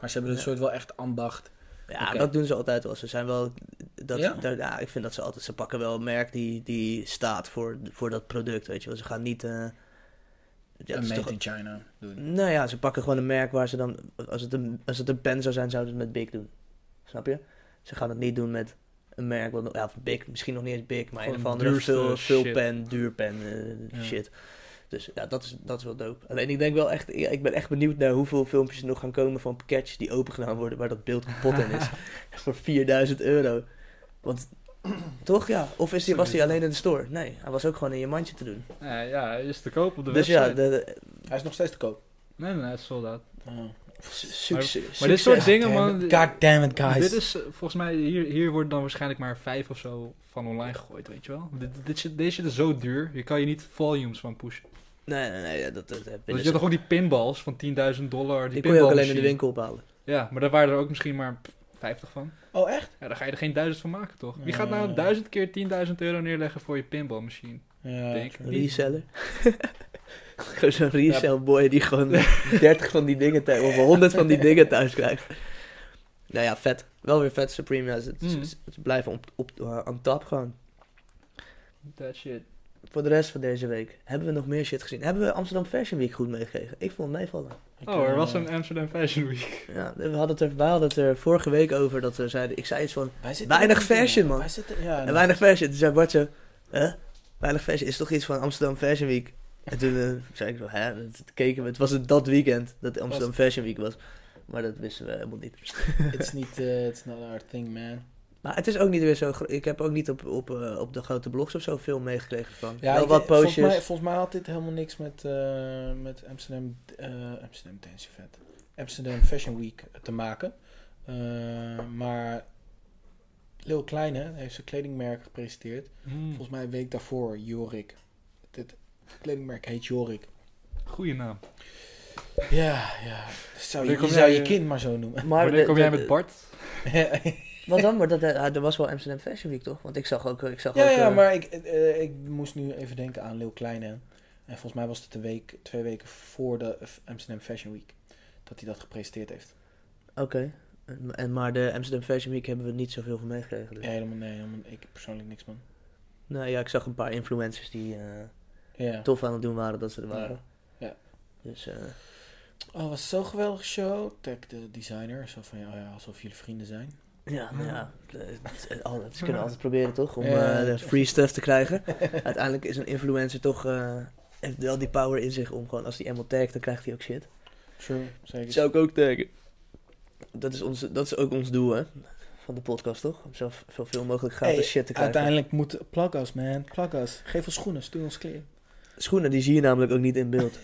Speaker 3: Maar ze hebben het
Speaker 1: Ja.
Speaker 3: soort wel echt ambacht.
Speaker 1: Ja,
Speaker 3: Oké.
Speaker 1: dat doen ze altijd wel. Ze zijn wel... Dat,
Speaker 3: Ja?
Speaker 1: daar- ja, ik vind dat ze altijd... Ze pakken wel een merk die, die staat voor, voor dat product, weet je wel. Ze gaan niet... eh, ja, het
Speaker 3: een
Speaker 1: is
Speaker 3: made
Speaker 1: toch,
Speaker 3: in China doen.
Speaker 1: nou ja, ze pakken gewoon een merk waar ze dan... Als het een, als het een pen zou zijn, zouden ze het met Big doen. Snap je? Ze gaan het niet doen met een merk... Wat, ja, of Big, misschien nog niet eens Big, maar in
Speaker 4: Gewoon
Speaker 1: ieder geval andere
Speaker 4: duurste
Speaker 1: veel, veel
Speaker 4: shit.
Speaker 1: pen, duur pen, eh,
Speaker 3: Ja.
Speaker 1: shit. Dus ja, dat is, dat is wel dope. Alleen ik denk wel echt... ja, ik ben echt benieuwd naar hoeveel filmpjes er nog gaan komen van pakketjes die opengedaan worden... waar dat beeld kapot in is. voor 4000 euro. Want toch ja, of is die, was hij alleen in de store? Nee, hij was ook gewoon in je mandje te doen.
Speaker 4: Eh, ja, hij is te koop op de
Speaker 1: dus ja,
Speaker 4: website.
Speaker 1: de, de-
Speaker 3: Hij is nog steeds te koop.
Speaker 4: Nee, nee, nee, het is sold out.
Speaker 1: su- succes.
Speaker 4: Maar dit soort
Speaker 1: succes.
Speaker 4: dingen, man...
Speaker 3: God Oh. damn it, guys.
Speaker 4: Dit is eh, volgens mij, hier, hier worden dan waarschijnlijk maar vijf of zo van online gegooid, weet je wel. Dit, dit shit, deze shit is zo duur, je kan je niet volumes van pushen.
Speaker 1: Nee, nee, nee, ja, dat, dat, dat
Speaker 4: Want je had toch ook die pinballs van 10.000 dollar, die
Speaker 1: Ik kon je ook alleen in de
Speaker 4: pinballmachine.
Speaker 1: winkel ophalen.
Speaker 4: Ja, maar daar waren er ook misschien maar pff, 50 van.
Speaker 3: Oh, echt?
Speaker 4: Ja, daar ga je er geen duizend van maken, toch? Wie gaat
Speaker 2: Eh.
Speaker 3: Nee.
Speaker 4: nou duizend keer 10.000 euro neerleggen voor je pinballmachine?
Speaker 3: Ja.
Speaker 4: Denk.
Speaker 1: Een reseller. Gewoon zo'n resell boy die gewoon 30 van die dingen thuis, of 100 van die dingen thuis krijgt. Nou ja, vet. Wel weer vet. Supreme, ja, ze, ze-
Speaker 4: Mm.
Speaker 1: ze- ze blijven op, op, eh, on top gaan.
Speaker 4: That shit.
Speaker 1: Voor de rest van deze week hebben we nog meer shit gezien. Hebben we Amsterdam Fashion Week goed meegekregen? Ik vond het meevallen.
Speaker 3: Ik,
Speaker 4: Oh, er
Speaker 3: eh,
Speaker 4: was een Amsterdam Fashion Week.
Speaker 1: Ja, we hadden het er, wij hadden het er vorige week over dat we zeiden, ik zei iets van,
Speaker 3: wij zitten
Speaker 1: weinig
Speaker 3: niet in,
Speaker 1: fashion, man.
Speaker 3: Wij zitten, ja,
Speaker 1: en weinig fashion. Toen zei Bart zo, hè? Weinig fashion is toch iets van Amsterdam Fashion Week? En toen eh, zei ik zo, hè? En Toen keken we, het was het dat weekend dat Amsterdam Fashion Week was. Maar dat wisten we helemaal niet.
Speaker 3: It's, niet, eh, it's not our thing, man.
Speaker 1: Maar het is ook niet weer zo, gro- ik heb ook niet op, op, eh, op de grote blogs of zo veel meegekregen van. Ja,
Speaker 3: Ja,
Speaker 1: Wel
Speaker 3: ik-
Speaker 1: wat
Speaker 3: volgens
Speaker 1: postjes.
Speaker 3: mij- Volgens mij had dit helemaal niks met, eh, met Amsterdam, eh, Amsterdam Dance Event. Amsterdam Fashion Week te maken. Eh, maar Lil Kleine heeft zijn kledingmerk gepresenteerd.
Speaker 4: Hmm.
Speaker 3: Volgens mij een week daarvoor, Jorik. Dit kledingmerk heet Jorik.
Speaker 4: Goeie naam.
Speaker 3: Ja, ja. Zou je,
Speaker 4: Wanneer kom
Speaker 3: je zou
Speaker 4: jij,
Speaker 3: je
Speaker 4: eh,
Speaker 3: kind maar zo noemen.
Speaker 1: Maar
Speaker 4: Wanneer
Speaker 1: de-
Speaker 4: kom jij
Speaker 1: de-
Speaker 4: met Bart?
Speaker 1: Wat dan? Maar dat, eh, ah, er was wel Amsterdam Fashion Week toch? Want ik zag ook, ik zag
Speaker 3: Ja,
Speaker 1: ook...
Speaker 3: ja,
Speaker 1: eh,
Speaker 3: maar ik, eh, ik moest nu even denken aan Leeuw Kleine. En volgens mij was het een week, twee weken voor de F- Amsterdam Fashion Week. Dat hij dat gepresenteerd heeft.
Speaker 1: Oké. En- En, maar de Amsterdam Fashion Week hebben we niet zoveel van meegekregen. dus.
Speaker 3: Ja, helemaal nee, helemaal, ik persoonlijk niks man.
Speaker 1: Nou ja, ik zag een paar influencers die eh,
Speaker 3: Ja.
Speaker 1: tof aan het doen waren dat ze er
Speaker 3: Ja.
Speaker 1: waren.
Speaker 3: Ja.
Speaker 1: Dus eh,
Speaker 3: Oh, was zo'n geweldige show. Tag de designer. Zo van, ja, oh ja, alsof jullie vrienden zijn.
Speaker 1: ja, nou ja. eh, het- het- al- ze kunnen
Speaker 4: Ja.
Speaker 1: altijd proberen toch, om
Speaker 3: Ja.
Speaker 1: eh, de free stuff te krijgen. Uiteindelijk is een influencer toch, eh, heeft wel die power in zich om gewoon, als hij eenmaal tagt, dan krijgt hij ook shit.
Speaker 3: True, zeker.
Speaker 1: Zou ik ook taggen. Dat is, ons, dat is ook ons doel, hè. Van de podcast, toch? Om zo zoveel mogelijk gratis
Speaker 3: Hey,
Speaker 1: shit te krijgen.
Speaker 3: Uiteindelijk moet... Plak us, man. Plak us. Geef ons schoenen. Stuur ons kleren.
Speaker 1: Schoenen, die zie je namelijk ook niet in beeld.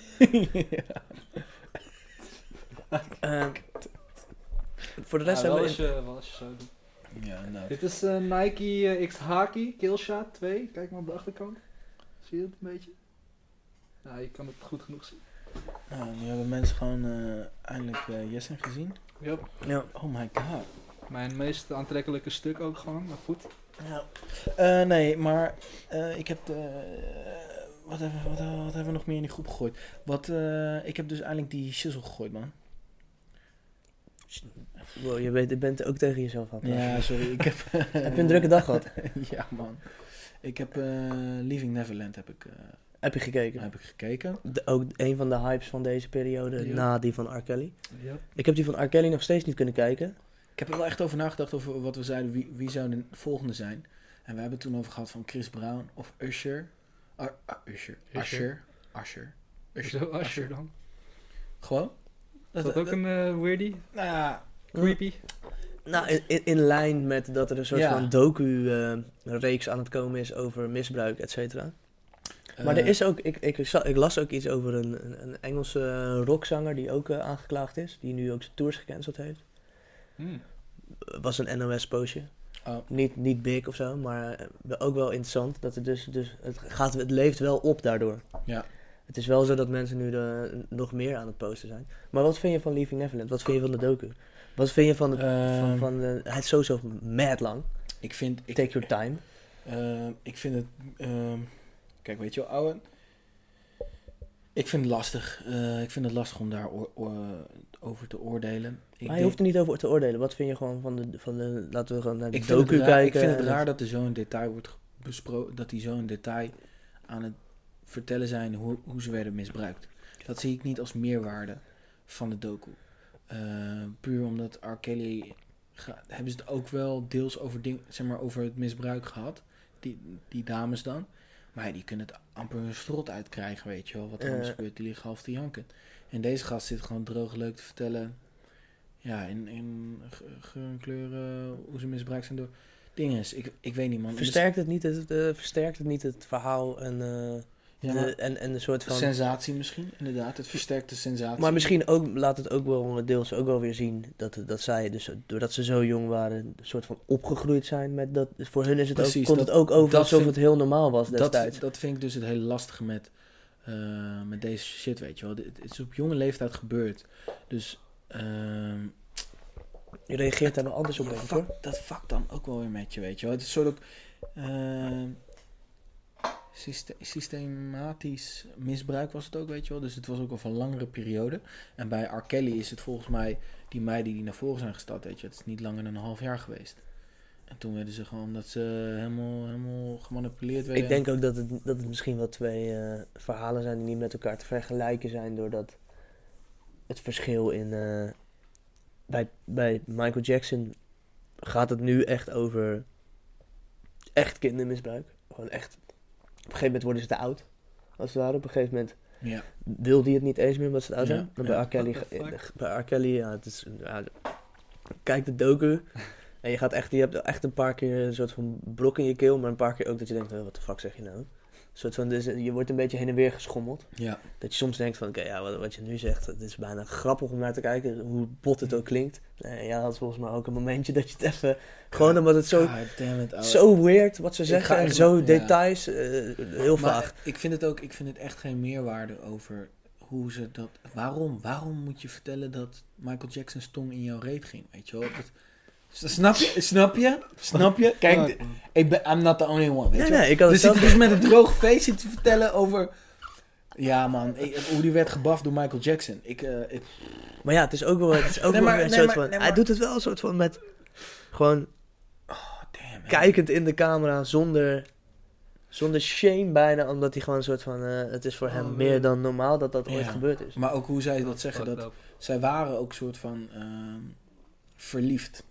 Speaker 1: Eh, voor de rest hebben we... in-
Speaker 4: zo doet.
Speaker 3: Ja, nou. inderdaad.
Speaker 4: Dit is eh, Nike eh, X Haki Killshot 2. Kijk maar op de achterkant. Zie je het een beetje? Nou, je kan het goed genoeg zien.
Speaker 3: Nou, nu hebben mensen gewoon eh, eindelijk eh Jessen gezien.
Speaker 4: Yep.
Speaker 1: Ja.
Speaker 3: Oh my god.
Speaker 4: Mijn meest aantrekkelijke stuk ook gewoon, maar goed.
Speaker 3: Ja. Eh, nee, maar eh, ik heb. eh, wat, hebben, wat, wat hebben we nog meer in die groep gegooid? Wat, eh, ik heb dus eindelijk die shizzle gegooid, man.
Speaker 1: Wow, je bent, je bent ook tegen jezelf aan het praten.
Speaker 3: Ja, sorry. Ik eh, heb,
Speaker 1: Heb je een drukke dag gehad?
Speaker 3: ja, man. Ik heb eh, Leaving Neverland heb ik, eh,
Speaker 1: Heb je gekeken?
Speaker 3: heb ik gekeken.
Speaker 1: De- ook een van de hypes van deze periode,
Speaker 4: Ja.
Speaker 1: na die van R. Kelly.
Speaker 4: Yep.
Speaker 1: Ik heb die van R. Kelly nog steeds niet kunnen kijken.
Speaker 3: Ik heb er wel echt over nagedacht over wat we zeiden. Wie, wie zou de volgende zijn? En we hebben het toen over gehad van Chris Brown of Usher. Ar- ah, Usher.
Speaker 4: Usher.
Speaker 3: Usher. Usher.
Speaker 4: Zo, Asher dan.
Speaker 3: Gewoon?
Speaker 4: Is dat ook een eh, weirdie?
Speaker 3: Nou ja,
Speaker 4: Creepy?
Speaker 1: Nou, in, in, in lijn met dat er een soort
Speaker 3: Ja.
Speaker 1: van docu-reeks aan het komen is over misbruik, et cetera. Maar er
Speaker 3: eh,
Speaker 1: is ook, ik, ik, za- ik las ook iets over een, een, een Engelse eh, rockzanger die ook eh, aangeklaagd is. Die nu ook zijn tours gecanceld heeft.
Speaker 4: Hmm.
Speaker 1: Was een NOS-postje.
Speaker 3: oh.
Speaker 1: Niet, niet big of zo, maar eh, ook wel interessant. Dat het dus, dus het, gaat, het leeft wel op daardoor.
Speaker 3: Ja.
Speaker 1: Het is wel zo dat mensen nu de, nog meer aan het posten zijn. Maar wat vind je van Leaving Neverland? Wat vind je van de docu? Wat vind je van de... van,
Speaker 3: Ehm,
Speaker 1: van de hij is sowieso mad lang.
Speaker 3: ik vind, ik,
Speaker 1: Take your time.
Speaker 3: ehm, ik vind het, ehm, kijk, weet je wel, ouwe, ik vind het lastig. Eh, ik vind het lastig om daar oor- oor- over te oordelen. Ik
Speaker 1: maar
Speaker 3: denk-
Speaker 1: je hoeft er niet over te oordelen. Wat vind je gewoon van de... Van de laten we gewoon naar de
Speaker 3: ik vind, het
Speaker 1: docu
Speaker 3: raar,
Speaker 1: kijken.
Speaker 3: ik vind
Speaker 1: en
Speaker 3: het raar dat er zo'n detail wordt ge- besproken, dat die zo'n detail aan het vertellen zijn hoe, hoe ze werden misbruikt. Dat zie ik niet als meerwaarde van de docu. Eh, puur omdat R. Kelly, ga- hebben ze het ook wel deels over, ding, zeg maar, over het misbruik gehad, die, die dames dan. Maar ja, die kunnen het amper hun strot uitkrijgen, weet je wel, wat er anders
Speaker 1: Ja.
Speaker 3: gebeurt, die liggen half te janken. En deze gast zit gewoon droog leuk te vertellen, ja, in, in ge- geur en kleuren, hoe ze misbruikt zijn door... Ding is, ik, ik weet niet man. En de-
Speaker 1: Versterkt het, niet het, eh, versterkt het niet het verhaal en, eh,
Speaker 3: Ja, maar-
Speaker 1: de, en, en de soort van...
Speaker 3: Sensatie misschien, inderdaad. Het versterkt de sensatie.
Speaker 1: Maar misschien ook, laat het ook wel deels ook wel weer zien dat, dat zij, dus, doordat ze zo jong waren, een soort van opgegroeid zijn met dat. dus voor hun is het ook,
Speaker 3: Precies,
Speaker 1: komt
Speaker 3: dat-
Speaker 1: het ook over
Speaker 3: dat
Speaker 1: alsof
Speaker 3: vind-
Speaker 1: het heel normaal was
Speaker 3: dat,
Speaker 1: destijds.
Speaker 3: dat vind ik dus het hele lastige met, eh, met deze shit, weet je wel. Dit- Het is op jonge leeftijd gebeurd. Dus ehm,
Speaker 1: Je reageert daar wel anders op,
Speaker 3: ja,
Speaker 1: denk ik,
Speaker 3: fuck-
Speaker 1: hoor.
Speaker 3: dat fuck dan ook wel weer met je, weet je wel. Het is soort ook ehm, syste- systematisch misbruik was het ook, weet je wel. Dus het was ook over een langere periode. En bij R. Kelly is het volgens mij die meiden die naar voren zijn gestapt, weet je. Het is niet langer dan een half jaar geweest. En toen werden ze gewoon omdat ze helemaal, helemaal gemanipuleerd werden.
Speaker 1: Ik denk ook dat het, dat het misschien wel twee eh, verhalen zijn die niet met elkaar te vergelijken zijn, doordat het verschil in. eh, bij, bij Michael Jackson gaat het nu echt over echt kindermisbruik. Gewoon echt. Op een gegeven moment worden ze te oud. Als het ware, op een gegeven moment
Speaker 3: Ja.
Speaker 1: wil die het niet eens meer omdat ze het oud
Speaker 3: Ja,
Speaker 1: zijn. Maar
Speaker 3: ja.
Speaker 1: bij R. Kelly,
Speaker 4: What the
Speaker 1: eh, bij R. Kelly, ja, het is, ja, kijk de docu en je gaat echt, je hebt echt een paar keer een soort van blok in je keel, maar een paar keer ook dat je denkt, wat de fuck zeg je nou? Een soort van, dus je wordt een beetje heen en weer geschommeld.
Speaker 3: Ja,
Speaker 1: Dat je soms denkt van, oké, ja, wat, wat je nu zegt, het is bijna grappig om naar te kijken, hoe bot het ook klinkt. Nee, ja, had volgens mij ook een momentje dat je het even, gewoon omdat het zo,
Speaker 3: God damn it, ouwe.
Speaker 1: zo weird wat ze
Speaker 3: Ik
Speaker 1: zeggen
Speaker 3: ga
Speaker 1: en
Speaker 3: echt-
Speaker 1: zo
Speaker 3: ja.
Speaker 1: details, eh, heel
Speaker 3: Maar
Speaker 1: vaag.
Speaker 3: Ik vind het ook, ik vind het echt geen meerwaarde over hoe ze dat. Waarom? Waarom moet je vertellen dat Michael Jackson's tong in jouw reet ging? Weet je wel? Dat, snap je? Snap je? Snap je? Kijk, d- ik ben, I'm not the only one. Weet
Speaker 1: Nee,
Speaker 3: je wel?
Speaker 1: nee, ik had
Speaker 3: dus ik
Speaker 1: hetzelfde.
Speaker 3: dus met een droog feest zit te vertellen over. Ja, man, ik- hoe die werd gebaft door Michael Jackson. Ik, eh, ik,
Speaker 1: Maar ja, het is ook wel, het is ook
Speaker 3: Nee,
Speaker 1: wel
Speaker 3: maar-
Speaker 1: een
Speaker 3: nee,
Speaker 1: soort
Speaker 3: maar-
Speaker 1: van... Hij
Speaker 3: nee, maar-
Speaker 1: doet het wel een soort van met... Gewoon
Speaker 3: oh, damn. man.
Speaker 1: kijkend in de camera zonder... Zonder shame bijna, omdat hij gewoon een soort van... eh, het is voor hem
Speaker 4: Oh,
Speaker 1: meer
Speaker 4: man.
Speaker 1: dan normaal dat dat ooit
Speaker 3: Ja.
Speaker 1: gebeurd is.
Speaker 3: Maar ook hoe zij dat zeggen,
Speaker 4: Fucked
Speaker 3: dat
Speaker 4: up.
Speaker 3: zij waren ook soort van ehm, verliefd.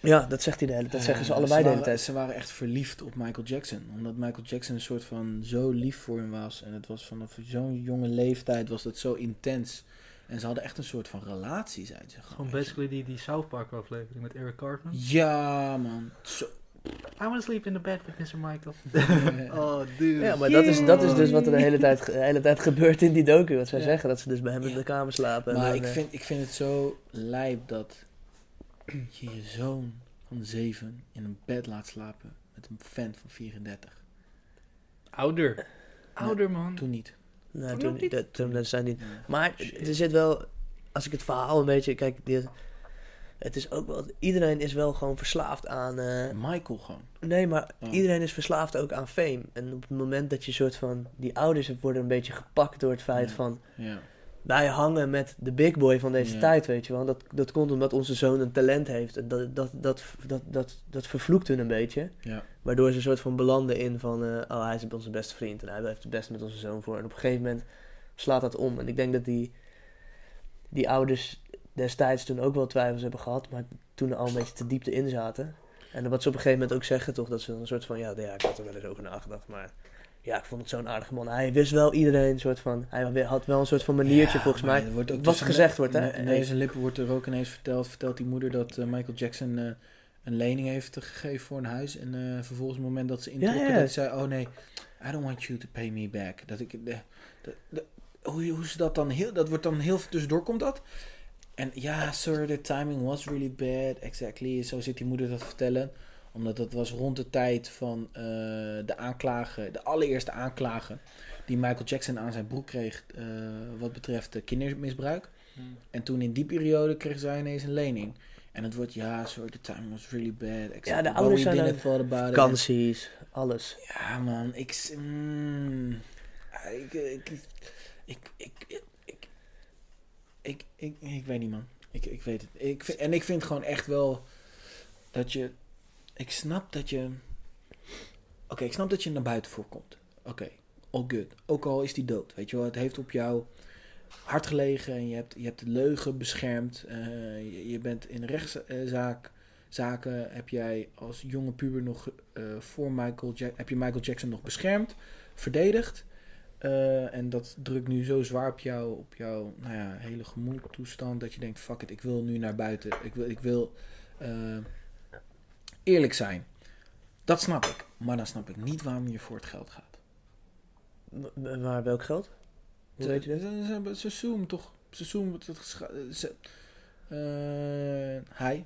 Speaker 1: Ja, dat zegt hij de hele tijd. Dat zeggen ze
Speaker 3: Eh,
Speaker 1: allebei de hele
Speaker 3: waren,
Speaker 1: tijd.
Speaker 3: Ze waren echt verliefd op Michael Jackson. Omdat Michael Jackson een soort van zo lief voor hem was. En het was vanaf zo'n jonge leeftijd was dat zo intens. En ze hadden echt een soort van relatie, zeiden ze.
Speaker 4: Gewoon basically die, die South Park aflevering met Eric Cartman.
Speaker 3: Ja, man. Zo.
Speaker 4: I want to sleep in the bed with Mr. Michael.
Speaker 3: Eh,
Speaker 4: Oh, dude.
Speaker 1: Ja, maar dat is, dat is dus wat er de hele
Speaker 3: Yay.
Speaker 1: tijd, ge- de hele tijd gebeurt in die docu. Wat zij
Speaker 3: Ja.
Speaker 1: zeggen, dat ze dus bij hem in
Speaker 3: Ja.
Speaker 1: de kamer slapen. en
Speaker 3: maar
Speaker 1: dan,
Speaker 3: ik
Speaker 1: eh,
Speaker 3: vind, ik vind het zo lijp dat je je zoon van 7 in een bed laat slapen met een fan van 34.
Speaker 4: Ouder. Ouder, man.
Speaker 3: Toen niet.
Speaker 1: nou,
Speaker 4: Toen
Speaker 1: toen,
Speaker 4: ook niet.
Speaker 1: dat- toen, dat zijn die
Speaker 3: Ja.
Speaker 1: Maar er zit wel, als ik het verhaal een beetje kijk, dit- het is ook wel, iedereen is wel gewoon verslaafd aan. eh,
Speaker 3: Michael gewoon.
Speaker 1: nee, maar
Speaker 3: Ja.
Speaker 1: iedereen is verslaafd ook aan fame. En op het moment dat je soort van, die ouders worden een beetje gepakt door het feit
Speaker 3: Ja.
Speaker 1: van,
Speaker 3: Ja.
Speaker 1: wij hangen met de big boy van deze
Speaker 3: Ja.
Speaker 1: tijd, weet je wel. Dat, dat komt omdat onze zoon een talent heeft. En dat, dat, dat, dat, dat, dat vervloekt hun een beetje.
Speaker 3: Ja.
Speaker 1: Waardoor ze een soort van belanden in van, eh, oh hij is onze beste vriend en hij heeft het beste met onze zoon voor. En op een gegeven moment slaat dat om. En ik denk dat die, die ouders destijds toen ook wel twijfels hebben gehad, maar toen er al een beetje te diepte in zaten. En wat ze op een gegeven moment ook zeggen toch, dat ze dan een soort van, ja, ja ik had er wel eens over nagedacht, maar ja, ik vond het zo'n aardige man. Hij wist wel iedereen een soort van, hij had wel een soort van maniertje
Speaker 3: Ja,
Speaker 1: volgens
Speaker 3: maar
Speaker 1: mij.
Speaker 3: er wordt ook dus
Speaker 1: wat
Speaker 3: tussen
Speaker 1: gezegd
Speaker 3: ne-
Speaker 1: wordt, hè?
Speaker 3: ne- Neus en lippen wordt er ook ineens verteld. Vertelt die moeder dat eh, Michael Jackson eh, een lening heeft gegeven voor een huis. En eh, vervolgens op het moment dat ze introkken,
Speaker 1: ja.
Speaker 3: dat hij zei... Oh nee, I don't want you to pay me back. Dat ik... eh, dat- dat- hoe, hoe ze dat dan heel... Dat wordt dan heel tussendoor, komt dat? En ja, sir, the timing was really bad. Exactly. Zo zit die moeder dat te vertellen. Omdat dat was rond de tijd van eh, de aanklagen, de allereerste aanklagen die Michael Jackson aan zijn broek kreeg eh, wat betreft eh, kindermisbruik. En toen in die periode kreeg zij ineens een lening. En het wordt, ja, sorry, the time was really bad. Except
Speaker 1: Ja, de
Speaker 3: what
Speaker 1: ouders
Speaker 3: we
Speaker 1: zijn
Speaker 3: didn't
Speaker 1: ook
Speaker 3: thought about it.
Speaker 1: Vakanties, alles.
Speaker 3: Ja, man, ik. s- mm, ah, ik, ik, ik, ik, ik, ik, ik, ik, ik, ik weet niet, man. Ik, ik weet het. Ik, vind- en ik vind gewoon echt wel dat je. Ik snap dat je. Oké, ik snap dat je naar buiten voorkomt. Oké, all good. Ook al is die dood. Weet je wel, het heeft op jou hard gelegen en je hebt, je hebt de leugen beschermd. Eh, je, je bent in rechtszaak zaken heb jij als jonge puber nog eh, voor Michael Ja- heb je Michael Jackson nog beschermd, verdedigd. Eh, en dat drukt nu zo zwaar op jou, op jouw nou ja, hele gemoedstoestand dat je denkt, fuck it, ik wil nu naar buiten. Ik wil, ik wil eh, eerlijk zijn. Dat snap ik. Maar dan snap ik niet waarom je voor het geld gaat.
Speaker 1: M- maar welk geld? Hoe weet je dat?
Speaker 3: Ze- Ze, ze, ze zoomen toch. Ze zoomen. het- het gescha- Ze, eh, hij.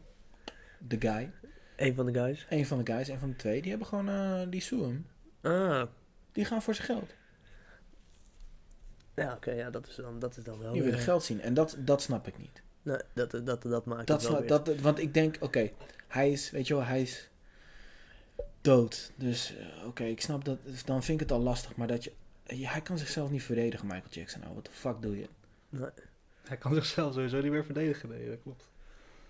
Speaker 3: De guy.
Speaker 1: Een van de guys.
Speaker 3: Een van de guys, een van de twee, die hebben gewoon, eh, die suwen. hem.
Speaker 1: Ah,
Speaker 3: Die gaan voor zijn geld.
Speaker 1: ja, oké, ja, dat is dan, dat is dan wel.
Speaker 3: Die willen
Speaker 1: eh,
Speaker 3: geld zien. En dat, dat snap ik niet.
Speaker 1: Nee, dat, dat, dat, dat maakt
Speaker 3: Dat
Speaker 1: het wel
Speaker 3: snap,
Speaker 1: weer.
Speaker 3: dat, want ik denk, oké, hij is, weet je wel, hij is dood. Dus, eh, oké, ik snap dat, dus dan vind ik het al lastig. Maar dat je, eh, hij kan zichzelf niet verdedigen, Michael Jackson. Nou, wat de fuck doe je?
Speaker 4: Hij kan zichzelf sowieso niet meer verdedigen, nee, dat klopt.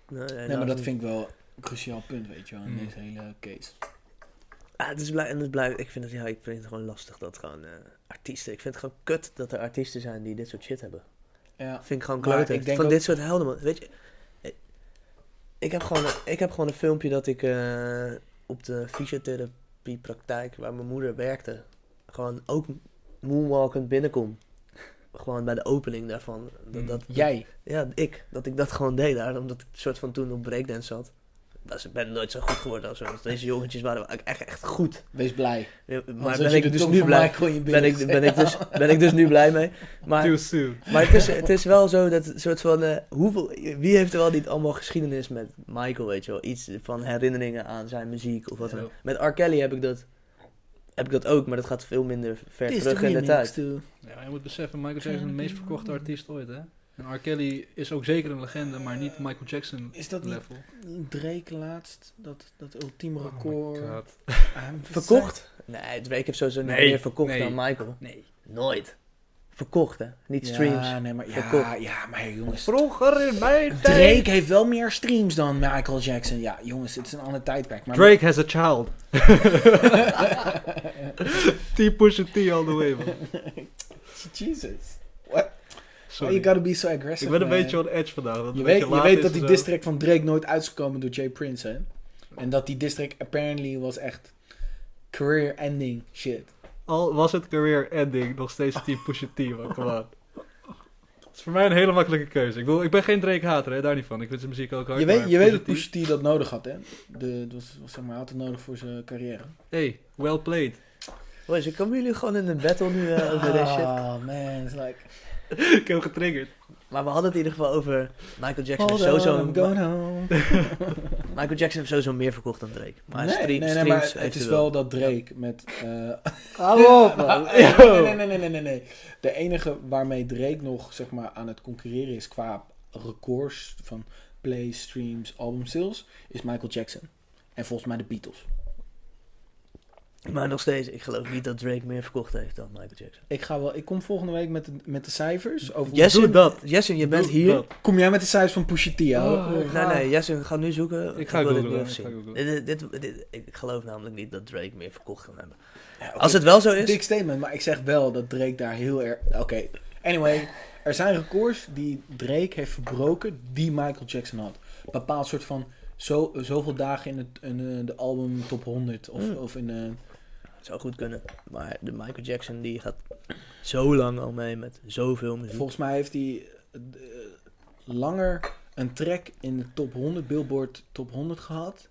Speaker 1: Nee, nou, nee,
Speaker 3: Nee, maar dat
Speaker 1: is-
Speaker 3: vind ik wel een cruciaal punt, weet je wel, in
Speaker 4: Hmm.
Speaker 3: deze hele case.
Speaker 1: Ah, het is blij, en het blijft, ik, vind het, ja, ik vind het gewoon lastig dat gewoon eh, artiesten. Ik vind het gewoon kut dat er artiesten zijn die dit soort shit hebben.
Speaker 3: Ja,
Speaker 1: Dat vind ik gewoon
Speaker 3: Maar
Speaker 1: klote.
Speaker 3: ik denk
Speaker 1: Van
Speaker 3: ook-
Speaker 1: dit soort helden, man. Weet je, eh, ik heb gewoon, ik heb gewoon een filmpje dat ik eh, op de fysiotherapiepraktijk waar mijn moeder werkte, gewoon ook moonwalkend binnenkom. Gewoon bij de opening daarvan. Dat,
Speaker 4: Mm.
Speaker 1: dat,
Speaker 3: jij.
Speaker 1: Ja, ik. Dat ik dat gewoon deed daar, omdat ik soort van toen op breakdance zat. Dus ik ben nooit zo goed geworden als want deze jongetjes waren wel echt, echt goed.
Speaker 3: Wees blij.
Speaker 1: Ja, Maar
Speaker 3: Anders
Speaker 1: ben
Speaker 3: had je
Speaker 1: ik
Speaker 3: de
Speaker 1: dus
Speaker 3: tong
Speaker 1: nu
Speaker 3: van
Speaker 1: blij.
Speaker 3: Michael in je
Speaker 1: Ben
Speaker 3: binnen.
Speaker 1: ik, ben, ik dus, ben ik dus nu blij mee. Maar,
Speaker 4: Too soon.
Speaker 1: maar het, is, het is wel zo dat het soort van... eh, hoeveel, wie heeft er wel niet allemaal geschiedenis met Michael, weet je wel? Iets van herinneringen aan zijn muziek of wat dan ook. Met R. Kelly heb ik dat, heb ik dat ook, maar dat gaat veel minder ver
Speaker 3: Is
Speaker 1: terug
Speaker 3: de
Speaker 1: in de
Speaker 3: remix
Speaker 1: tijd.
Speaker 3: to-
Speaker 4: Ja, maar je moet beseffen, Michael Jackson is de meest verkochte artiest ooit, hè? En R. Kelly is ook zeker een legende, maar niet Michael Jackson
Speaker 3: Is dat niet
Speaker 4: level.
Speaker 3: Drake laatst, dat, dat
Speaker 4: Oh
Speaker 3: ultieme record. I'm
Speaker 1: Verkocht? Nee, Drake heeft sowieso niet
Speaker 4: Nee,
Speaker 1: meer verkocht
Speaker 4: nee.
Speaker 1: dan Michael.
Speaker 4: Nee.
Speaker 1: Nooit. Verkocht, hè? Niet
Speaker 3: Ja,
Speaker 1: streams.
Speaker 3: nee, maar, ja,
Speaker 1: Verkocht.
Speaker 3: ja, maar jongens.
Speaker 4: Vroeger in mijn
Speaker 3: Drake heeft wel meer streams dan Michael Jackson. Ja, jongens, het is een ander tijdperk. Maar
Speaker 2: Drake has a child. T push T all the
Speaker 3: Oh,
Speaker 2: way, man.
Speaker 3: Jesus. Why you
Speaker 4: Sorry.
Speaker 3: gotta be so aggressive,
Speaker 2: Ik ben een
Speaker 3: man?
Speaker 2: beetje on edge vandaag. dat het
Speaker 3: Je
Speaker 2: een
Speaker 3: weet,
Speaker 2: beetje
Speaker 3: je
Speaker 2: laat
Speaker 3: weet
Speaker 2: is
Speaker 3: dat die
Speaker 2: en zo.
Speaker 3: district van Drake nooit uit is gekomen door Jay Prince, hè? En dat die district apparently was echt career-ending shit.
Speaker 2: Al was het career ending, nog steeds Team Pusha T, man. Come on. Dat is voor mij een hele makkelijke keuze. Ik, bedoel, ik ben geen Drake-hater, hè, daar niet van. Ik vind zijn muziek ook hard.
Speaker 3: Je weet,
Speaker 2: maar
Speaker 3: je weet dat
Speaker 2: Pusha T-
Speaker 3: Pusha T dat nodig had, hè? De, dat was, was, zeg maar, hij had het nodig voor zijn carrière.
Speaker 2: Hey, well played.
Speaker 1: Boys, ik komen jullie gewoon in een battle nu eh, over deze shit.
Speaker 3: Oh, man, it's like...
Speaker 2: ik heb hem getriggerd.
Speaker 1: Maar we hadden het in ieder geval over Michael Jackson.
Speaker 3: Hold
Speaker 1: heeft
Speaker 3: on,
Speaker 1: sowieso,
Speaker 3: I'm going home.
Speaker 1: Michael Jackson heeft sowieso meer verkocht dan Drake. Maar
Speaker 3: nee,
Speaker 1: stream-
Speaker 3: nee, nee,
Speaker 1: streams
Speaker 3: maar het
Speaker 1: heeft
Speaker 3: is
Speaker 1: hij
Speaker 3: wel dat Drake met... eh,
Speaker 2: Hallo, op, man.
Speaker 3: nee, nee, nee, nee, nee, nee, nee. De enige waarmee Drake nog zeg maar, aan het concurreren is qua records van plays, streams, album sales, is Michael Jackson. En volgens mij de Beatles.
Speaker 1: Maar nog steeds, ik geloof niet dat Drake meer verkocht heeft dan Michael Jackson.
Speaker 3: Ik, ga wel, ik kom volgende week met de, met de cijfers. Over,
Speaker 1: Jessen,
Speaker 2: doe dat.
Speaker 1: Jessen, je bent
Speaker 2: Doe
Speaker 1: hier.
Speaker 2: dat.
Speaker 3: Kom jij met de cijfers van Pusha T? hè?
Speaker 2: Oh, ik
Speaker 1: Nee,
Speaker 2: ga-
Speaker 1: nee, Jessen, ga nu zoeken.
Speaker 4: Ik ga
Speaker 1: wil dit
Speaker 4: googlen,
Speaker 1: nu
Speaker 4: ik
Speaker 1: even
Speaker 4: ga
Speaker 1: zien.
Speaker 4: googlen.
Speaker 1: Dit, dit, dit- dit- ik geloof namelijk niet dat Drake meer verkocht kan hebben.
Speaker 3: Ja, oké.
Speaker 1: Als het wel zo is,
Speaker 3: Dik statement, maar ik zeg wel dat Drake daar heel erg... Oké, anyway. Er zijn records die Drake heeft verbroken die Michael Jackson had. Bepaald soort van zo, zoveel dagen in, het, in eh, de album top 100 of,
Speaker 1: Hmm.
Speaker 3: of in... eh,
Speaker 1: het zou goed kunnen. Maar de Michael Jackson die gaat zo lang al mee met zoveel muziek.
Speaker 3: Volgens mij heeft hij eh, langer een track in de top 100, Billboard top 100 gehad.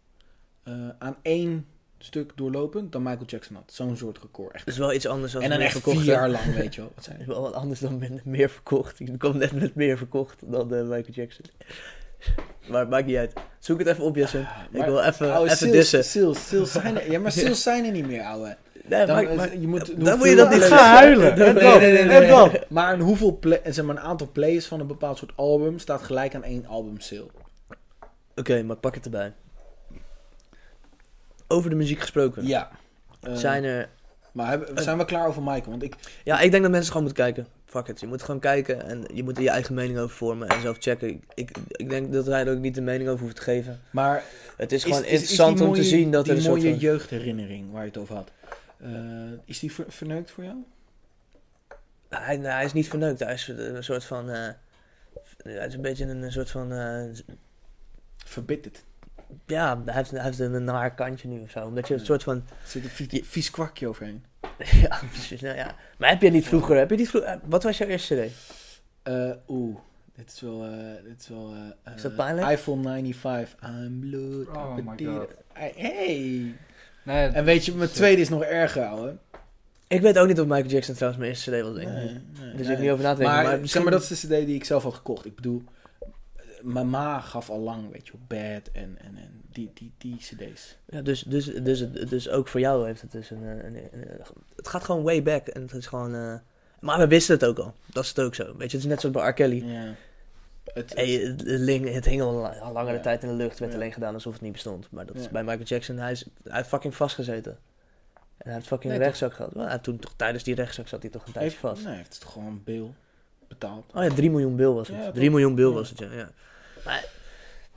Speaker 3: eh, aan één stuk doorlopend dan Michael Jackson had. Zo'n soort record. Echt.
Speaker 1: Dat is wel iets anders dan
Speaker 3: En dan
Speaker 1: meer
Speaker 3: echt
Speaker 1: verkocht.
Speaker 3: vier
Speaker 1: hè?
Speaker 3: jaar lang, weet je wel. Wat
Speaker 1: Dat
Speaker 3: zijn
Speaker 1: is wel wat anders dan min- meer verkocht. Ik kwam net met meer verkocht dan eh, Michael Jackson. Maar het maakt niet uit. Het Zoek het even op, Jesse. ik
Speaker 3: Maar-
Speaker 1: wil eh, even,
Speaker 3: Oude
Speaker 1: even
Speaker 3: Seals-
Speaker 1: dissen.
Speaker 3: Seals, Seals zijn er. Ja, maar Seals zijn er niet meer, ouwe.
Speaker 1: Nee,
Speaker 3: Dan,
Speaker 1: maar,
Speaker 3: eh,
Speaker 1: maar-
Speaker 3: je moet,
Speaker 1: dan moet je dat niet
Speaker 3: hoeveel-
Speaker 1: gaan
Speaker 2: huilen. En dan? En dan?
Speaker 3: Maar een, hoeveel pla- zeg maar, een aantal plays van een bepaald soort album staat gelijk aan één album sale.
Speaker 1: Oké, maar pak het erbij. Over de muziek gesproken.
Speaker 3: Ja. Eh,
Speaker 1: Zijn er...
Speaker 3: maar hebben, zijn we klaar over Michael? Want ik,
Speaker 1: Ja, ik denk dat mensen gewoon moeten kijken. Fuck it. Je moet gewoon kijken en je moet er je eigen mening over vormen en zelf checken. Ik, ik, ik denk dat wij er ook niet de mening over hoeft te geven.
Speaker 3: maar
Speaker 1: Het is
Speaker 3: Is-
Speaker 1: gewoon
Speaker 3: is- is
Speaker 1: interessant
Speaker 3: die
Speaker 1: om te
Speaker 3: mooie-
Speaker 1: zien dat
Speaker 3: die
Speaker 1: er een soort
Speaker 3: mooie
Speaker 1: van...
Speaker 3: jeugdherinnering waar je het over had. eh, is die ver- verneukt voor jou?
Speaker 1: Hij, nou, hij is niet verneukt. Hij is een soort van... eh, hij is een beetje een, een soort van... eh,
Speaker 3: Verbitterd.
Speaker 1: ja, hij heeft, hij heeft een naar kantje nu of zo. Omdat je een soort van...
Speaker 3: Er zit een vies, vies kwakje overheen.
Speaker 1: ja, precies. Nou ja. Maar heb je niet vroeger... Heb je niet vroeger eh, wat was jouw eerste CD?
Speaker 3: Eh, Oeh, dit is wel... eh, dit is wel eh,
Speaker 1: Is dat
Speaker 3: eh,
Speaker 1: pijnlijk?
Speaker 3: iPhone 95. I'm bloed.
Speaker 4: Oh
Speaker 3: I'm
Speaker 4: my
Speaker 3: bloed.
Speaker 4: God.
Speaker 3: I- Hey.
Speaker 4: Nee,
Speaker 3: En weet je, mijn tweede is nog erger, ouwe.
Speaker 1: Ik weet ook niet of Michael Jackson trouwens mijn eerste CD was, denk ik.
Speaker 3: nee,
Speaker 1: Dus
Speaker 3: nee.
Speaker 1: ik niet over na te denken.
Speaker 3: Maar, eh,
Speaker 1: Maar,
Speaker 3: zeg
Speaker 1: misschien-
Speaker 3: maar, dat is de CD die ik zelf had gekocht. Ik bedoel, eh, mijn ma gaf al lang, weet je, wel, Bad en, en, en die, die, die CD's.
Speaker 1: Ja, dus, dus, dus, het- dus ook voor jou heeft het dus een, eh, een- een- Het gaat gewoon way back en het is gewoon... eh, maar we wisten het ook al. Dat is het ook zo. Weet je, het is net zoals bij R. Kelly.
Speaker 3: Ja. Het,
Speaker 1: Hey, het, het ling- het hing al, la- al langere
Speaker 3: Ja.
Speaker 1: tijd in de lucht. werd
Speaker 3: Ja.
Speaker 1: alleen gedaan alsof het niet bestond. Maar dat is
Speaker 3: Ja.
Speaker 1: bij Michael Jackson. Hij, is, hij heeft fucking vastgezeten. En hij heeft fucking
Speaker 3: Nee,
Speaker 1: een rechtszaak gehad. Wel, hij heeft toen toch, tijdens die rechtszaak zat hij toch een tijdje
Speaker 3: heeft,
Speaker 1: vast.
Speaker 3: nee, heeft het gewoon bil betaald.
Speaker 1: Oh ja, 3 miljoen bil was het.
Speaker 3: Ja,
Speaker 1: 3
Speaker 3: toch?
Speaker 1: miljoen bil
Speaker 3: Ja.
Speaker 1: was het, ja. ja.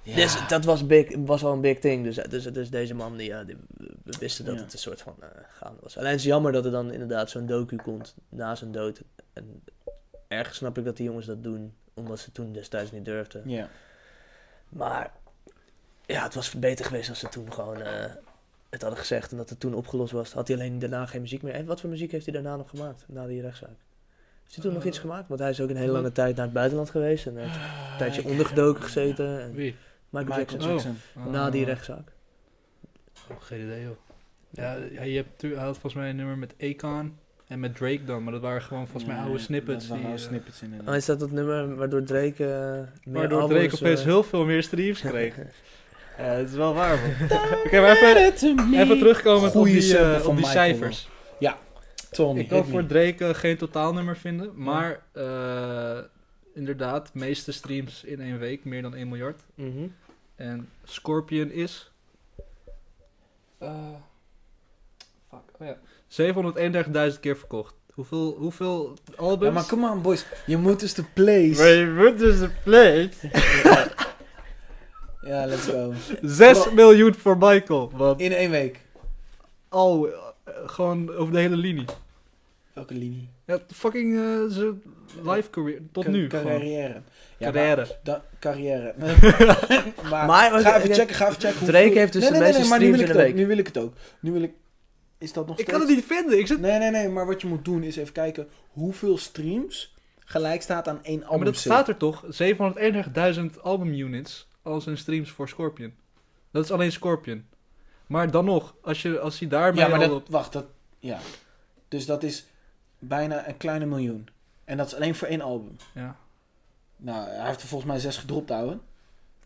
Speaker 3: Ja.
Speaker 1: Dus dat was, big, was al een big thing. Dus, dus, dus deze man, die, eh, die, we wisten dat
Speaker 3: Ja.
Speaker 1: het een soort van eh, gaande was. Alleen het is jammer dat er dan inderdaad zo'n docu komt na zijn dood. En ergens snap ik dat die jongens dat doen, omdat ze toen destijds niet durfden.
Speaker 3: Ja.
Speaker 1: Maar ja, het was beter geweest als ze toen gewoon eh, het hadden gezegd en dat het toen opgelost was. Had hij alleen daarna geen muziek meer. En wat voor muziek heeft hij daarna nog gemaakt, na die rechtszaak? Heeft hij toen nog
Speaker 4: Eh,
Speaker 1: iets gemaakt? Want hij is ook een hele lange tijd naar het buitenland geweest en hij heeft
Speaker 3: Ah,
Speaker 1: een tijdje ondergedoken gezeten. En
Speaker 4: Wie?
Speaker 1: Michael Jackson.
Speaker 4: Jackson.
Speaker 1: Na die
Speaker 4: Ah.
Speaker 1: rechtszaak.
Speaker 4: Oh, geen idee, joh. Ja, ja, je hebt, tu- hij had volgens mij een nummer met Akon en met Drake dan, maar dat waren gewoon volgens mij oude snippets.
Speaker 3: Die,
Speaker 4: die,
Speaker 3: oude
Speaker 4: eh,
Speaker 3: snippets in.
Speaker 1: Oh, is dat dat nummer waardoor Drake eh meer
Speaker 4: waardoor
Speaker 1: albums,
Speaker 4: Drake opeens
Speaker 1: eh,
Speaker 4: heel veel meer streams kreeg. Ja, dat is wel waar, man. Oké, maar even, even terugkomen op
Speaker 3: Goeie
Speaker 4: die, eh,
Speaker 3: sample
Speaker 4: op
Speaker 3: van
Speaker 4: die
Speaker 3: Michael,
Speaker 4: cijfers.
Speaker 3: Tommy.
Speaker 4: Ik kan voor Drake eh, geen totaalnummer vinden, maar eh, inderdaad, meeste streams in één week, meer dan 1 miljard.
Speaker 1: Mhm.
Speaker 4: En Scorpion is. eh, fuck, oh ja. 731.000 keer verkocht. Hoeveel, hoeveel albums?
Speaker 3: Ja, maar come on boys, je moet dus de plays.
Speaker 4: Maar je moet dus de plate.
Speaker 3: Ja, let's go.
Speaker 4: 6 miljoen voor Michael. Want
Speaker 3: In één week.
Speaker 4: al, eh, gewoon over de hele linie.
Speaker 3: Welke linie?
Speaker 4: Ja, fucking eh, zijn live career. Tot
Speaker 3: Ca-
Speaker 4: nu. gewoon.
Speaker 3: Carrière. Ja, maar-
Speaker 4: Carrière.
Speaker 3: da- carrière. maar,
Speaker 1: Maar-
Speaker 3: ga even
Speaker 1: eh,
Speaker 3: checken, ga even checken.
Speaker 1: Drake heeft dus de meeste
Speaker 3: maar nu wil
Speaker 1: streams
Speaker 3: ik
Speaker 1: in de
Speaker 3: het ook, Nu wil ik het ook. Nu wil ik... Is dat nog
Speaker 4: Ik
Speaker 3: steeds?
Speaker 4: kan het niet vinden. Ik zit...
Speaker 3: Nee, nee, nee. Maar wat je moet doen is even kijken hoeveel streams gelijk staat aan één album.
Speaker 4: maar dat staat er toch? 731.000 albumunits als een streams voor Scorpion. Dat is alleen Scorpion. Maar dan nog, als, je, als hij daarmee
Speaker 3: Ja, maar
Speaker 4: al
Speaker 3: dat...
Speaker 4: op...
Speaker 3: Wacht, dat... Ja. Dus dat is bijna een kleine miljoen. En dat is alleen voor één album.
Speaker 4: Ja.
Speaker 3: Nou, hij heeft er volgens mij zes gedropt, ouwe.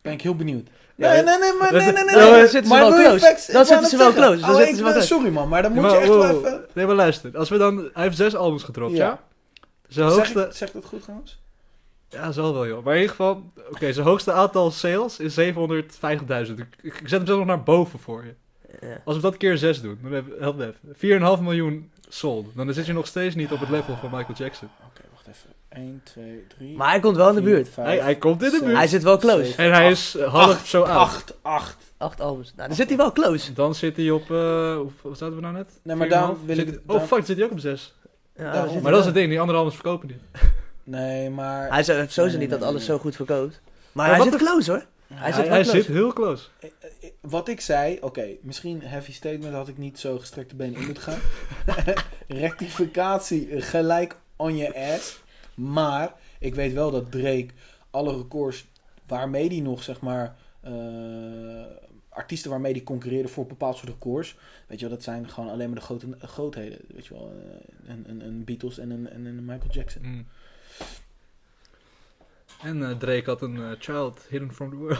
Speaker 3: Ben ik heel benieuwd.
Speaker 4: Ja,
Speaker 3: nee,
Speaker 4: dat-
Speaker 3: nee, nee, maar
Speaker 4: dat-
Speaker 3: nee, nee, nee.
Speaker 1: Ja, maar
Speaker 3: nee.
Speaker 1: dan zitten ze
Speaker 3: Maar
Speaker 1: wel
Speaker 3: wil je
Speaker 1: close.
Speaker 3: facts? Ik
Speaker 1: Dan
Speaker 3: wou
Speaker 1: zitten
Speaker 3: net
Speaker 1: ze wel
Speaker 3: zeggen.
Speaker 1: close. Dan
Speaker 3: Oh,
Speaker 1: zitten
Speaker 3: ik
Speaker 1: ze wel
Speaker 3: ben-
Speaker 1: close.
Speaker 3: Sorry man, maar dan moet
Speaker 4: Ja,
Speaker 3: je
Speaker 4: maar-
Speaker 3: echt wel
Speaker 4: wow.
Speaker 3: even...
Speaker 4: Nee, maar luister. Als we dan... Hij heeft zes albums gedropt,
Speaker 3: Ja.
Speaker 4: ja? Zijn
Speaker 3: Zeg,
Speaker 4: hoogste...
Speaker 3: ik, zeg dat goed trouwens?
Speaker 4: Ja, zal wel, joh. Maar in ieder geval... Oké, zijn hoogste aantal sales is 750.000. dus Ik, ik zet hem zelf nog naar boven voor je.
Speaker 1: Ja.
Speaker 4: Als we dat keer 6 doen, dan heb- help me even. 4,5 miljoen sold. Dan zit je nog steeds niet op het level van Michael Jackson.
Speaker 3: Oké, wacht even. 1, 2, 3.
Speaker 1: Maar hij komt wel in de buurt.
Speaker 4: Hij, hij komt in de
Speaker 3: zes.
Speaker 4: buurt.
Speaker 1: Hij zit wel close.
Speaker 3: Zeven.
Speaker 4: En hij is eh, half zo oud.
Speaker 3: 8, 8.
Speaker 1: Acht albums. Nou, dan zit hij wel close.
Speaker 4: Dan zit hij op. eh hoe- wat zaten we nou net?
Speaker 3: Nee, maar
Speaker 4: 4,5?
Speaker 3: daarom wil
Speaker 4: Zit-
Speaker 3: ik het.
Speaker 4: Oh
Speaker 3: daarom-
Speaker 4: fuck, zit hij ook op 6.
Speaker 1: Ja,
Speaker 3: Daarom.
Speaker 1: dan zit
Speaker 4: Maar
Speaker 1: hij
Speaker 4: dat is het ding, die andere albums verkopen niet.
Speaker 3: Nee, maar.
Speaker 1: wel. Hij zegt sowieso
Speaker 3: Nee,
Speaker 1: niet dat
Speaker 3: nee,
Speaker 1: alles
Speaker 3: nee.
Speaker 1: zo goed verkoopt. Maar
Speaker 4: Maar
Speaker 1: hij
Speaker 4: wat
Speaker 1: zit
Speaker 4: er-
Speaker 1: close hoor. Hij zit
Speaker 4: Hij,
Speaker 1: wel
Speaker 4: hij
Speaker 1: close.
Speaker 4: zit heel close.
Speaker 3: Eh, eh, Wat ik zei, oké, misschien heavy statement had ik niet zo gestrekte benen in moeten gaan. Rectificatie eh, gelijk on je ass. Maar ik weet wel dat Drake alle records waarmee die nog, zeg maar, eh, artiesten waarmee die concurreerde voor bepaald soort records. Weet je wel, dat zijn gewoon alleen maar de grote, grootheden. Weet je wel, eh, een, een, een Beatles en een, en een Michael Jackson.
Speaker 4: Mm. En eh, Drake had een eh, child hidden from the world.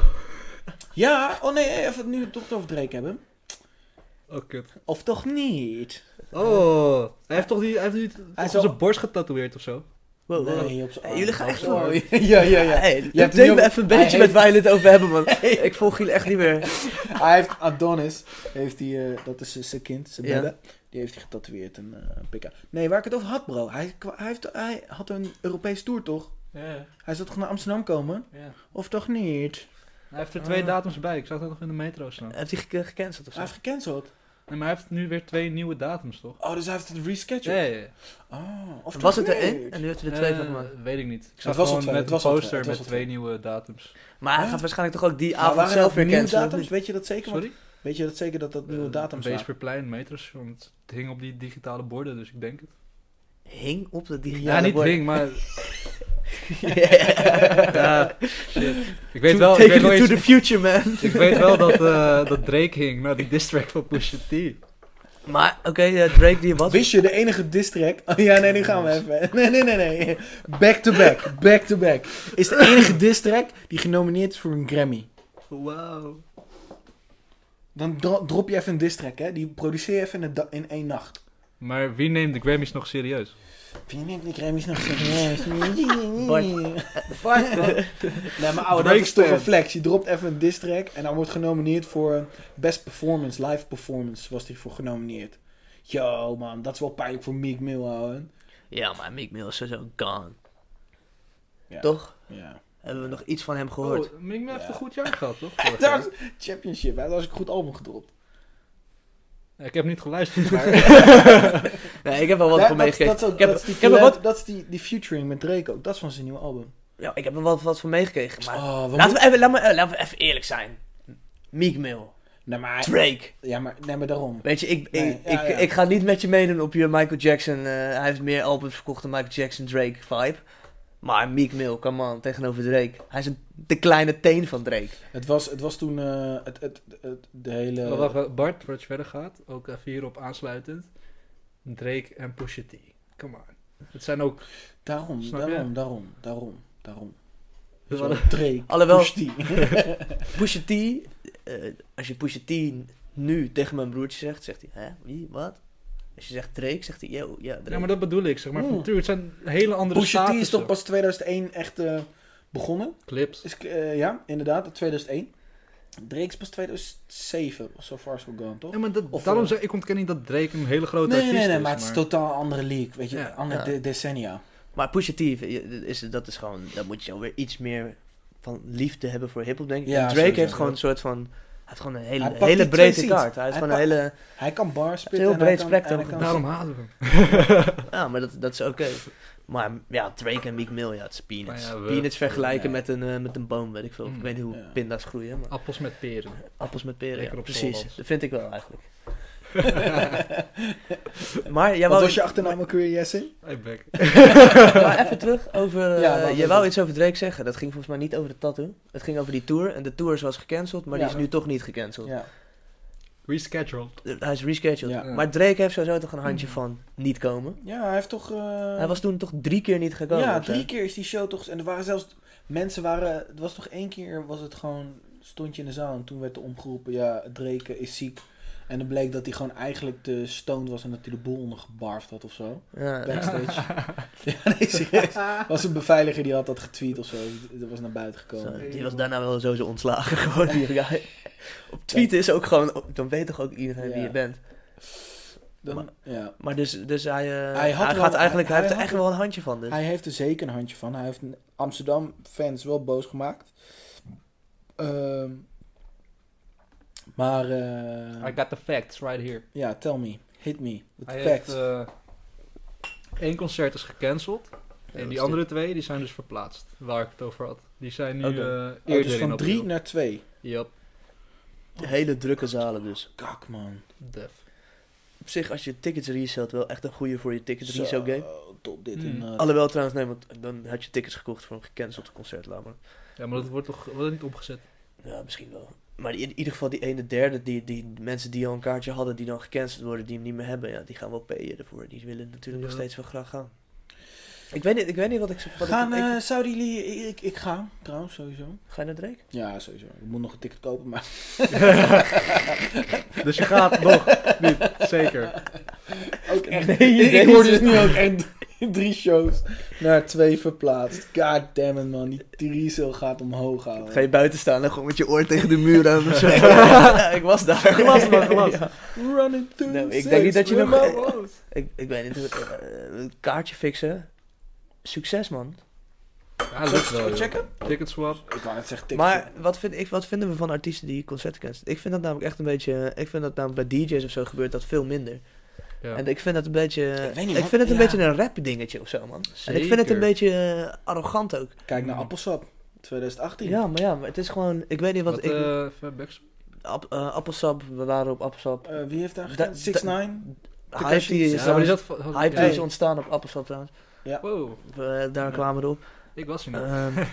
Speaker 3: Ja, oh nee, even nu toch het over Drake hebben.
Speaker 4: Oh, kut.
Speaker 3: Of toch niet?
Speaker 4: Oh, hij heeft toch die, hij heeft die toch
Speaker 3: is
Speaker 4: op
Speaker 3: wel-
Speaker 4: zijn borst getatoeëerd of zo?
Speaker 1: Wow, wow.
Speaker 3: Nee, op z'n
Speaker 1: Hey,
Speaker 3: arm.
Speaker 1: jullie gaan echt
Speaker 3: Oh,
Speaker 1: door.
Speaker 3: Ja, ja, ja.
Speaker 1: Hey,
Speaker 3: Je hebt
Speaker 1: het deed
Speaker 3: nu
Speaker 1: me
Speaker 3: ook-
Speaker 1: even een
Speaker 3: Hij
Speaker 1: beetje met
Speaker 3: heeft-
Speaker 1: waar jullie het over hebben, man. Ik volg jullie echt niet meer.
Speaker 3: Hij heeft Adonis, heeft hij, eh, dat is z- zijn kind, zijn
Speaker 1: Ja.
Speaker 3: Bella, die heeft hij getatoeëerd en eh pik aan. Nee, waar ik het over had, bro. Hij, kwa- hij, heeft, hij had een Europees tour, toch?
Speaker 4: Ja,
Speaker 3: Hij zou toch naar Amsterdam komen?
Speaker 4: ja.
Speaker 3: Of toch niet?
Speaker 4: Hij heeft er
Speaker 1: Ah.
Speaker 4: twee datums bij. Ik zag dat nog in de metro staan.
Speaker 1: Heeft hij ge- gecanceld of
Speaker 3: Hij
Speaker 1: zo?
Speaker 3: heeft gecanceld.
Speaker 4: Nee, maar hij heeft nu weer twee nieuwe datums, toch?
Speaker 3: Oh, dus hij heeft het rescheduled.
Speaker 4: Ja, ja, ja.
Speaker 3: Oh, of toch
Speaker 1: Was het er
Speaker 3: niet?
Speaker 1: één en nu heeft hij er twee van
Speaker 4: Eh,
Speaker 1: gemaakt.
Speaker 4: Weet ik niet. Ik
Speaker 3: Het
Speaker 4: zag
Speaker 3: was al
Speaker 4: gewoon
Speaker 3: twee,
Speaker 4: net
Speaker 3: het
Speaker 4: een
Speaker 3: was al twee,
Speaker 4: poster
Speaker 3: het was
Speaker 4: met
Speaker 3: al
Speaker 4: twee nieuwe datums.
Speaker 1: Maar hij
Speaker 3: Huh?
Speaker 1: gaat waarschijnlijk toch ook die
Speaker 3: Maar
Speaker 1: avond
Speaker 3: waren
Speaker 1: zelf
Speaker 3: dat
Speaker 1: weer
Speaker 3: nieuwe
Speaker 1: cancelen? of
Speaker 3: datums?
Speaker 1: niet?
Speaker 3: Weet je dat zeker? Want-
Speaker 4: Sorry?
Speaker 3: Weet je dat zeker dat dat
Speaker 2: Eh,
Speaker 3: nieuwe datum staat?
Speaker 4: Weesperplein, metrostation. Het hing op die digitale borden, dus ik denk het.
Speaker 1: Hing op de
Speaker 4: Ja,
Speaker 1: digitale
Speaker 4: niet
Speaker 1: borden.
Speaker 4: hing, maar...
Speaker 1: Yeah.
Speaker 4: Ja, shit. Ik weet
Speaker 1: To-
Speaker 4: wel, ik
Speaker 1: Take
Speaker 4: weet wel,
Speaker 1: it to
Speaker 4: iets-
Speaker 1: the future, man.
Speaker 4: ik weet wel dat, eh, dat Drake hing naar die distrack van Pusha T.
Speaker 1: Maar, oké, eh, Drake die wat?
Speaker 3: Wist je de enige distrack? Oh ja, nee, nu gaan we even. Nee, nee, nee, nee. Back to back, back to back. Is de enige distrack die genomineerd is voor een Grammy.
Speaker 4: Wauw.
Speaker 3: Dan dro- drop je even een distrack, hè? Die produceer je even in, een da- in één nacht.
Speaker 4: Maar wie neemt de Grammys nog serieus?
Speaker 3: Vind je niet die Grammys nog serieus?
Speaker 1: Bart.
Speaker 3: Nee, maar ouwe, dat
Speaker 4: Break
Speaker 3: is toch
Speaker 4: stand.
Speaker 3: een flex. Je dropt even een distrack en dan wordt genomineerd voor Best Performance, Live Performance was die voor genomineerd. Yo, man, dat is wel pijnlijk voor Meek Mill, ouwe.
Speaker 1: Ja, maar Meek Mill is sowieso gone.
Speaker 3: Ja.
Speaker 1: Toch?
Speaker 3: Ja.
Speaker 1: Hebben we nog iets van hem
Speaker 4: Oh,
Speaker 1: gehoord?
Speaker 4: Ming heeft
Speaker 3: Ja.
Speaker 4: een goed jaar gehad, toch?
Speaker 3: Dat
Speaker 4: Vorig jaar.
Speaker 3: was championship, hè? Dat was een goed album gedropt.
Speaker 4: Ja, Ik heb niet geluisterd, maar...
Speaker 1: Nee, ik heb wel wat
Speaker 3: Ja,
Speaker 1: voor
Speaker 3: dat,
Speaker 1: meegekregen.
Speaker 3: dat, is ook-
Speaker 1: Ik heb-
Speaker 3: dat is die,
Speaker 1: ik heb er
Speaker 3: collab-
Speaker 1: wat-
Speaker 3: dat is die, die featuring met Drake ook. Dat is van zijn nieuwe album.
Speaker 1: Ja, ik heb er wel wat van meegekregen. Maar
Speaker 3: oh, we
Speaker 1: laten,
Speaker 3: moeten-
Speaker 1: we even, laten, we, laten we even eerlijk zijn. Meek Mill.
Speaker 3: Nee, maar,
Speaker 1: Drake.
Speaker 3: ja, maar, nee, maar daarom.
Speaker 1: Weet je, ik,
Speaker 3: Nee,
Speaker 1: ik,
Speaker 3: ja,
Speaker 1: ik,
Speaker 3: ja.
Speaker 1: ik ga niet met je meedoen op je Michael Jackson. eh, hij heeft meer albums verkocht dan Michael Jackson Drake vibe. Maar Meek Mill, come on, tegenover Drake. Hij is een, de kleine teen van Drake.
Speaker 3: Het was, het was toen eh, het, het, het- de hele...
Speaker 4: Maar wacht, Bart, voordat je verder gaat, ook even hierop aansluitend. Drake en Pusha T. Come on. Het zijn ook...
Speaker 3: daarom,
Speaker 4: Snap je?
Speaker 3: daarom, daarom, daarom, daarom.
Speaker 4: We
Speaker 3: Zo,
Speaker 4: hadden-
Speaker 3: Drake,
Speaker 1: Alhoewel-
Speaker 3: Pusha T.
Speaker 1: Pusha T, eh, als je Pusha T nu tegen mijn broertje zegt, zegt hij, hè, wie, wat? Als je zegt Drake, zegt hij, yo, ja, Drake.
Speaker 4: Ja, maar dat bedoel ik, zeg maar.
Speaker 3: Mm.
Speaker 4: Natuurlijk, het zijn hele andere
Speaker 3: Pusha T is
Speaker 4: statussen.
Speaker 3: toch pas 2001 echt eh, begonnen?
Speaker 4: Clips.
Speaker 3: Is, eh, ja, inderdaad, 2001. Drake is pas 2007, so far so gone, toch?
Speaker 4: Ja, maar dat,
Speaker 3: Of,
Speaker 4: daarom
Speaker 3: eh,
Speaker 4: zeg ik, ontken niet dat Drake een hele grote
Speaker 3: Nee,
Speaker 4: artiest
Speaker 3: nee, nee,
Speaker 4: is.
Speaker 3: maar het is totaal een andere league, weet je,
Speaker 4: Ja.
Speaker 3: andere
Speaker 1: Ja.
Speaker 3: de- decennia.
Speaker 1: Maar Pusha T, is, dat is gewoon, daar moet je alweer iets meer van liefde hebben voor hip-hop, denk ik.
Speaker 3: Ja,
Speaker 1: en Drake
Speaker 3: sowieso.
Speaker 1: heeft gewoon een soort van, hij heeft gewoon een
Speaker 3: Hij
Speaker 1: hele,
Speaker 3: pakt
Speaker 1: hele
Speaker 3: die
Speaker 1: brede
Speaker 3: twee seats.
Speaker 1: kaart. Hij heeft
Speaker 3: Hij
Speaker 1: gewoon een hele,
Speaker 3: Hij kan bars spitten.
Speaker 1: Heel
Speaker 3: en hij
Speaker 1: breed
Speaker 3: kan-
Speaker 1: spectrum.
Speaker 3: en hij kan-
Speaker 4: Daarom haten we hem.
Speaker 1: ja, maar dat, dat is oké. Maar ja, Drake en Meek Mill, ja, het is peanuts.
Speaker 4: Maar ja, we-
Speaker 1: peanuts vergelijken
Speaker 3: nee.
Speaker 1: met, een, eh, met een boom, weet ik veel.
Speaker 4: Mm.
Speaker 1: Ik weet niet hoe
Speaker 3: Ja.
Speaker 1: pinda's groeien, maar
Speaker 4: Appels met peren.
Speaker 1: appels met peren,
Speaker 4: Lekker
Speaker 1: ja,
Speaker 4: op
Speaker 1: precies.
Speaker 4: Zolderlands.
Speaker 1: Dat vind ik wel eigenlijk. maar jij
Speaker 3: Wat
Speaker 1: wou
Speaker 3: was je achternaam ook weer, Jesse?
Speaker 4: Hey, Beck.
Speaker 1: Maar even terug over... eh,
Speaker 3: Ja, maar-
Speaker 1: je wou iets over Drake zeggen. Dat ging volgens mij niet over de tattoo. Het ging over die tour. En de tour is was gecanceld, maar die
Speaker 3: Ja.
Speaker 1: is nu toch niet gecanceld.
Speaker 3: Ja.
Speaker 4: Rescheduled.
Speaker 1: Eh, Hij is rescheduled.
Speaker 3: Ja. Mm.
Speaker 1: Maar Drake heeft sowieso toch een handje van niet komen.
Speaker 3: ja, hij heeft toch... eh,
Speaker 1: Hij was toen toch drie keer niet gekomen.
Speaker 3: ja,
Speaker 1: of zo?
Speaker 3: drie keer is die show toch... En er waren zelfs... Mensen waren... Het was toch één keer was het gewoon... Stond je in de zaal en toen werd er omgeroepen... Ja, Drake eh, is ziek. En dan bleek dat hij gewoon eigenlijk te stoned was... En dat hij de boel ondergebarfd had of zo.
Speaker 1: Ja.
Speaker 3: Backstage. ja, nee, serieus. was een beveiliger die had dat getweet of zo. Dat was naar buiten gekomen.
Speaker 1: Zo, die was daarna wel sowieso ontslagen gewoon, die guy. Op tweet is ook gewoon... Dan weet toch ook iedereen wie
Speaker 3: Ja.
Speaker 1: je bent.
Speaker 3: Dan, ja.
Speaker 1: Maar dus, dus hij, eh,
Speaker 3: Hij
Speaker 1: hij,
Speaker 3: had wel-
Speaker 1: gaat eigenlijk, hij,
Speaker 3: hij-
Speaker 1: heeft er
Speaker 3: hij had-
Speaker 1: eigenlijk wel een handje van. Dus.
Speaker 3: Hij heeft er zeker een handje van. Hij heeft Amsterdam-fans wel boos gemaakt. Ehm, maar, eh,
Speaker 4: I got the facts right here.
Speaker 3: ja, tell me. Hit me. With
Speaker 4: Hij
Speaker 3: the facts.
Speaker 4: heeft... eh, Eén concert is gecanceld.
Speaker 3: dat
Speaker 4: en
Speaker 3: is
Speaker 4: die andere twee, die zijn dus verplaatst. Waar ik het over had. Die zijn nu
Speaker 1: Oké.
Speaker 4: eh
Speaker 3: Oh,
Speaker 4: eerder
Speaker 3: dus
Speaker 4: in
Speaker 3: van
Speaker 4: april.
Speaker 3: drie naar twee.
Speaker 4: Yup.
Speaker 1: Hele drukke zalen dus.
Speaker 3: Kak, man.
Speaker 4: Def.
Speaker 1: Op zich, als je tickets reselt, wel echt een goede voor je tickets
Speaker 3: Zo,
Speaker 1: resale game.
Speaker 3: Top dit
Speaker 4: Hmm.
Speaker 3: en eh, dat.
Speaker 1: Alhoewel trouwens, nee, want dan had je tickets gekocht voor een gecanceld concert, laat maar.
Speaker 4: Ja, maar dat wordt toch wordt dat niet opgezet?
Speaker 1: Ja, misschien wel. Maar in ieder geval die ene derde, die, die mensen die al een kaartje hadden, die dan gecanceld worden, die hem niet meer hebben, ja, die gaan wel payen ervoor. Die willen natuurlijk nog
Speaker 4: Ja.
Speaker 1: steeds wel graag gaan. Ik weet niet, ik weet niet wat ik... zo- Wat
Speaker 3: Gaan,
Speaker 1: ik, ik-
Speaker 3: eh, zouden jullie... Ik, ik ga, trouwens, sowieso.
Speaker 1: Ga je naar Drake?
Speaker 3: Ja, sowieso. Ik moet nog een ticket kopen, maar...
Speaker 2: Dus je gaat nog niet, zeker.
Speaker 3: Ook echt.
Speaker 1: Nee,
Speaker 3: ik, ik
Speaker 1: deze-
Speaker 3: word dus nu ook echt drie shows naar twee verplaatst. God damn it, man. Die Tiriso gaat omhoog houden.
Speaker 1: Ga je buiten staan en gewoon met je oor tegen de muur aan of zo. Ja, ik was daar.
Speaker 2: Glas, man, glas.
Speaker 1: Ja.
Speaker 3: Running through
Speaker 1: Nou,
Speaker 3: the
Speaker 1: ik denk niet
Speaker 3: six
Speaker 1: dat je nog-
Speaker 3: remote.
Speaker 1: Ik, ik weet niet, eh, eh, kaartje fixen. Succes, man.
Speaker 4: Ja, lukt wel.
Speaker 3: Zullen we
Speaker 4: joh.
Speaker 3: checken?
Speaker 4: Ticket swap.
Speaker 3: Ik wou net zeggen, ticket.
Speaker 1: Maar wat, vind ik, wat vinden we van artiesten die concerten cancelen? Ik vind dat namelijk echt een beetje... Ik vind dat namelijk bij DJ's of zo gebeurt dat veel minder.
Speaker 4: Ja.
Speaker 1: En ik vind dat een beetje...
Speaker 3: Ik
Speaker 1: Ik,
Speaker 3: weet niet, man.
Speaker 1: vind het een
Speaker 3: Ja.
Speaker 1: beetje een rap dingetje of zo, man. En ik vind het
Speaker 4: Zeker.
Speaker 1: een beetje eh, arrogant ook.
Speaker 3: Kijk naar Appelsap 2018.
Speaker 1: Ja, maar ja, maar het is gewoon... Ik weet niet wat...
Speaker 4: Wat,
Speaker 1: ik,
Speaker 4: eh, even backs-
Speaker 1: App- eh, appelsap, we waren op appelsap.
Speaker 3: Eh, wie heeft daar
Speaker 1: Da-
Speaker 3: gedaan? 6 9
Speaker 1: Hype die
Speaker 3: Ja,
Speaker 1: is,
Speaker 3: dus-
Speaker 4: Ja, maar
Speaker 1: trouwens-
Speaker 4: die zat... van- had-
Speaker 1: Hype
Speaker 4: ja.
Speaker 1: die is ontstaan op appelsap trouwens.
Speaker 4: Wow,
Speaker 1: We- daar kwamen we op.
Speaker 4: ik was er niet.
Speaker 1: Ehm,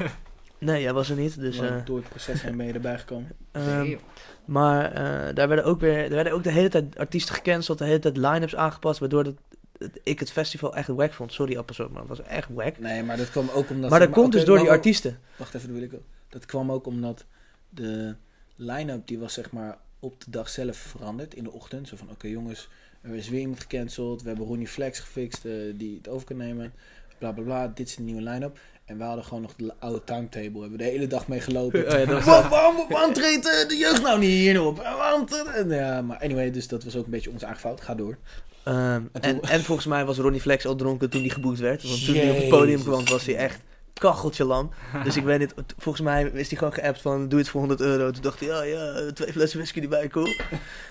Speaker 1: nee, jij was er niet. Dus,
Speaker 3: Dus,
Speaker 1: eh,
Speaker 3: Door het proces heen ben je erbij gekomen.
Speaker 1: ehm,
Speaker 4: Nee,
Speaker 1: maar eh, daar werden ook weer daar werden ook de hele tijd artiesten gecanceld, de hele tijd line-ups aangepast, waardoor dat, dat ik het festival echt wack vond. Sorry, Appelsop, maar het was echt wack.
Speaker 3: Nee, maar dat kwam ook omdat...
Speaker 1: maar dat komt dus
Speaker 3: oké,
Speaker 1: door
Speaker 3: maar
Speaker 1: die
Speaker 3: wa-
Speaker 1: artiesten.
Speaker 3: Wacht even, dat wil ik ook. Dat kwam ook omdat de line-up die was zeg maar op de dag zelf veranderd in de ochtend. Zo van, oké jongens, er is weer iemand gecanceld. We hebben Ronnie Flex gefixt eh, die het over kan nemen. Bla bla bla, dit is de nieuwe line-up. En we hadden gewoon nog de oude timetable. Hebben we de hele dag mee gelopen.
Speaker 1: Oh ja, dat was-
Speaker 3: Wa- waarom, waarom treedt eh, de jeugd nou niet hierin op? Eh, Waarom treedt- en ja, maar anyway, dus dat was ook een beetje onze eigen fout. Ga door.
Speaker 1: Ehm,
Speaker 3: En
Speaker 1: en,
Speaker 3: toen-
Speaker 1: en volgens mij was Ronnie Flex al dronken toen hij geboekt werd. Want toen hij op het podium
Speaker 3: Jezus.
Speaker 1: kwam, was hij echt kacheltje lam. Dus ik weet niet, t- volgens mij is hij gewoon geappt van doe het voor 100 euro. Toen dacht hij, ja, ja, twee flessen whisky erbij, cool.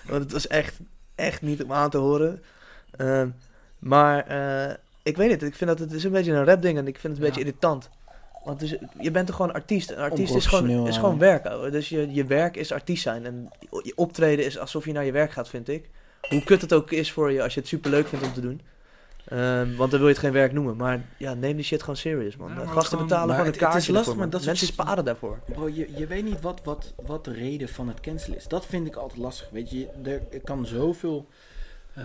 Speaker 1: Want het was echt, echt niet om aan te horen. Ehm, maar eh, ik weet niet, ik vind dat het is een beetje een rap ding en ik vind het een beetje irritant. Want dus, je bent toch gewoon artiest. Een artiest is gewoon,
Speaker 3: Onprofessioneel,
Speaker 1: is
Speaker 3: ja.
Speaker 1: gewoon werk, ouwe. Dus je, je werk is artiest zijn. En je optreden is alsof je naar je werk gaat, vind ik hoe kut het ook is voor je als je het super leuk vindt om te doen. Ehm, want dan wil je het geen werk noemen. Maar ja, neem die shit gewoon serious, man.
Speaker 4: Ja,
Speaker 1: De
Speaker 4: maar
Speaker 1: gasten
Speaker 4: gewoon-
Speaker 1: betalen
Speaker 3: Maar
Speaker 1: gewoon een
Speaker 3: het- het is
Speaker 1: kaartje.
Speaker 3: lastig,
Speaker 1: ervoor, man.
Speaker 3: maar dat soort
Speaker 1: Mensen
Speaker 3: shit-
Speaker 1: sparen daarvoor.
Speaker 3: Bro, je, je weet niet wat, wat, wat, de reden van het cancelen is. Dat vind ik altijd lastig. Weet je, er kan zoveel, eh,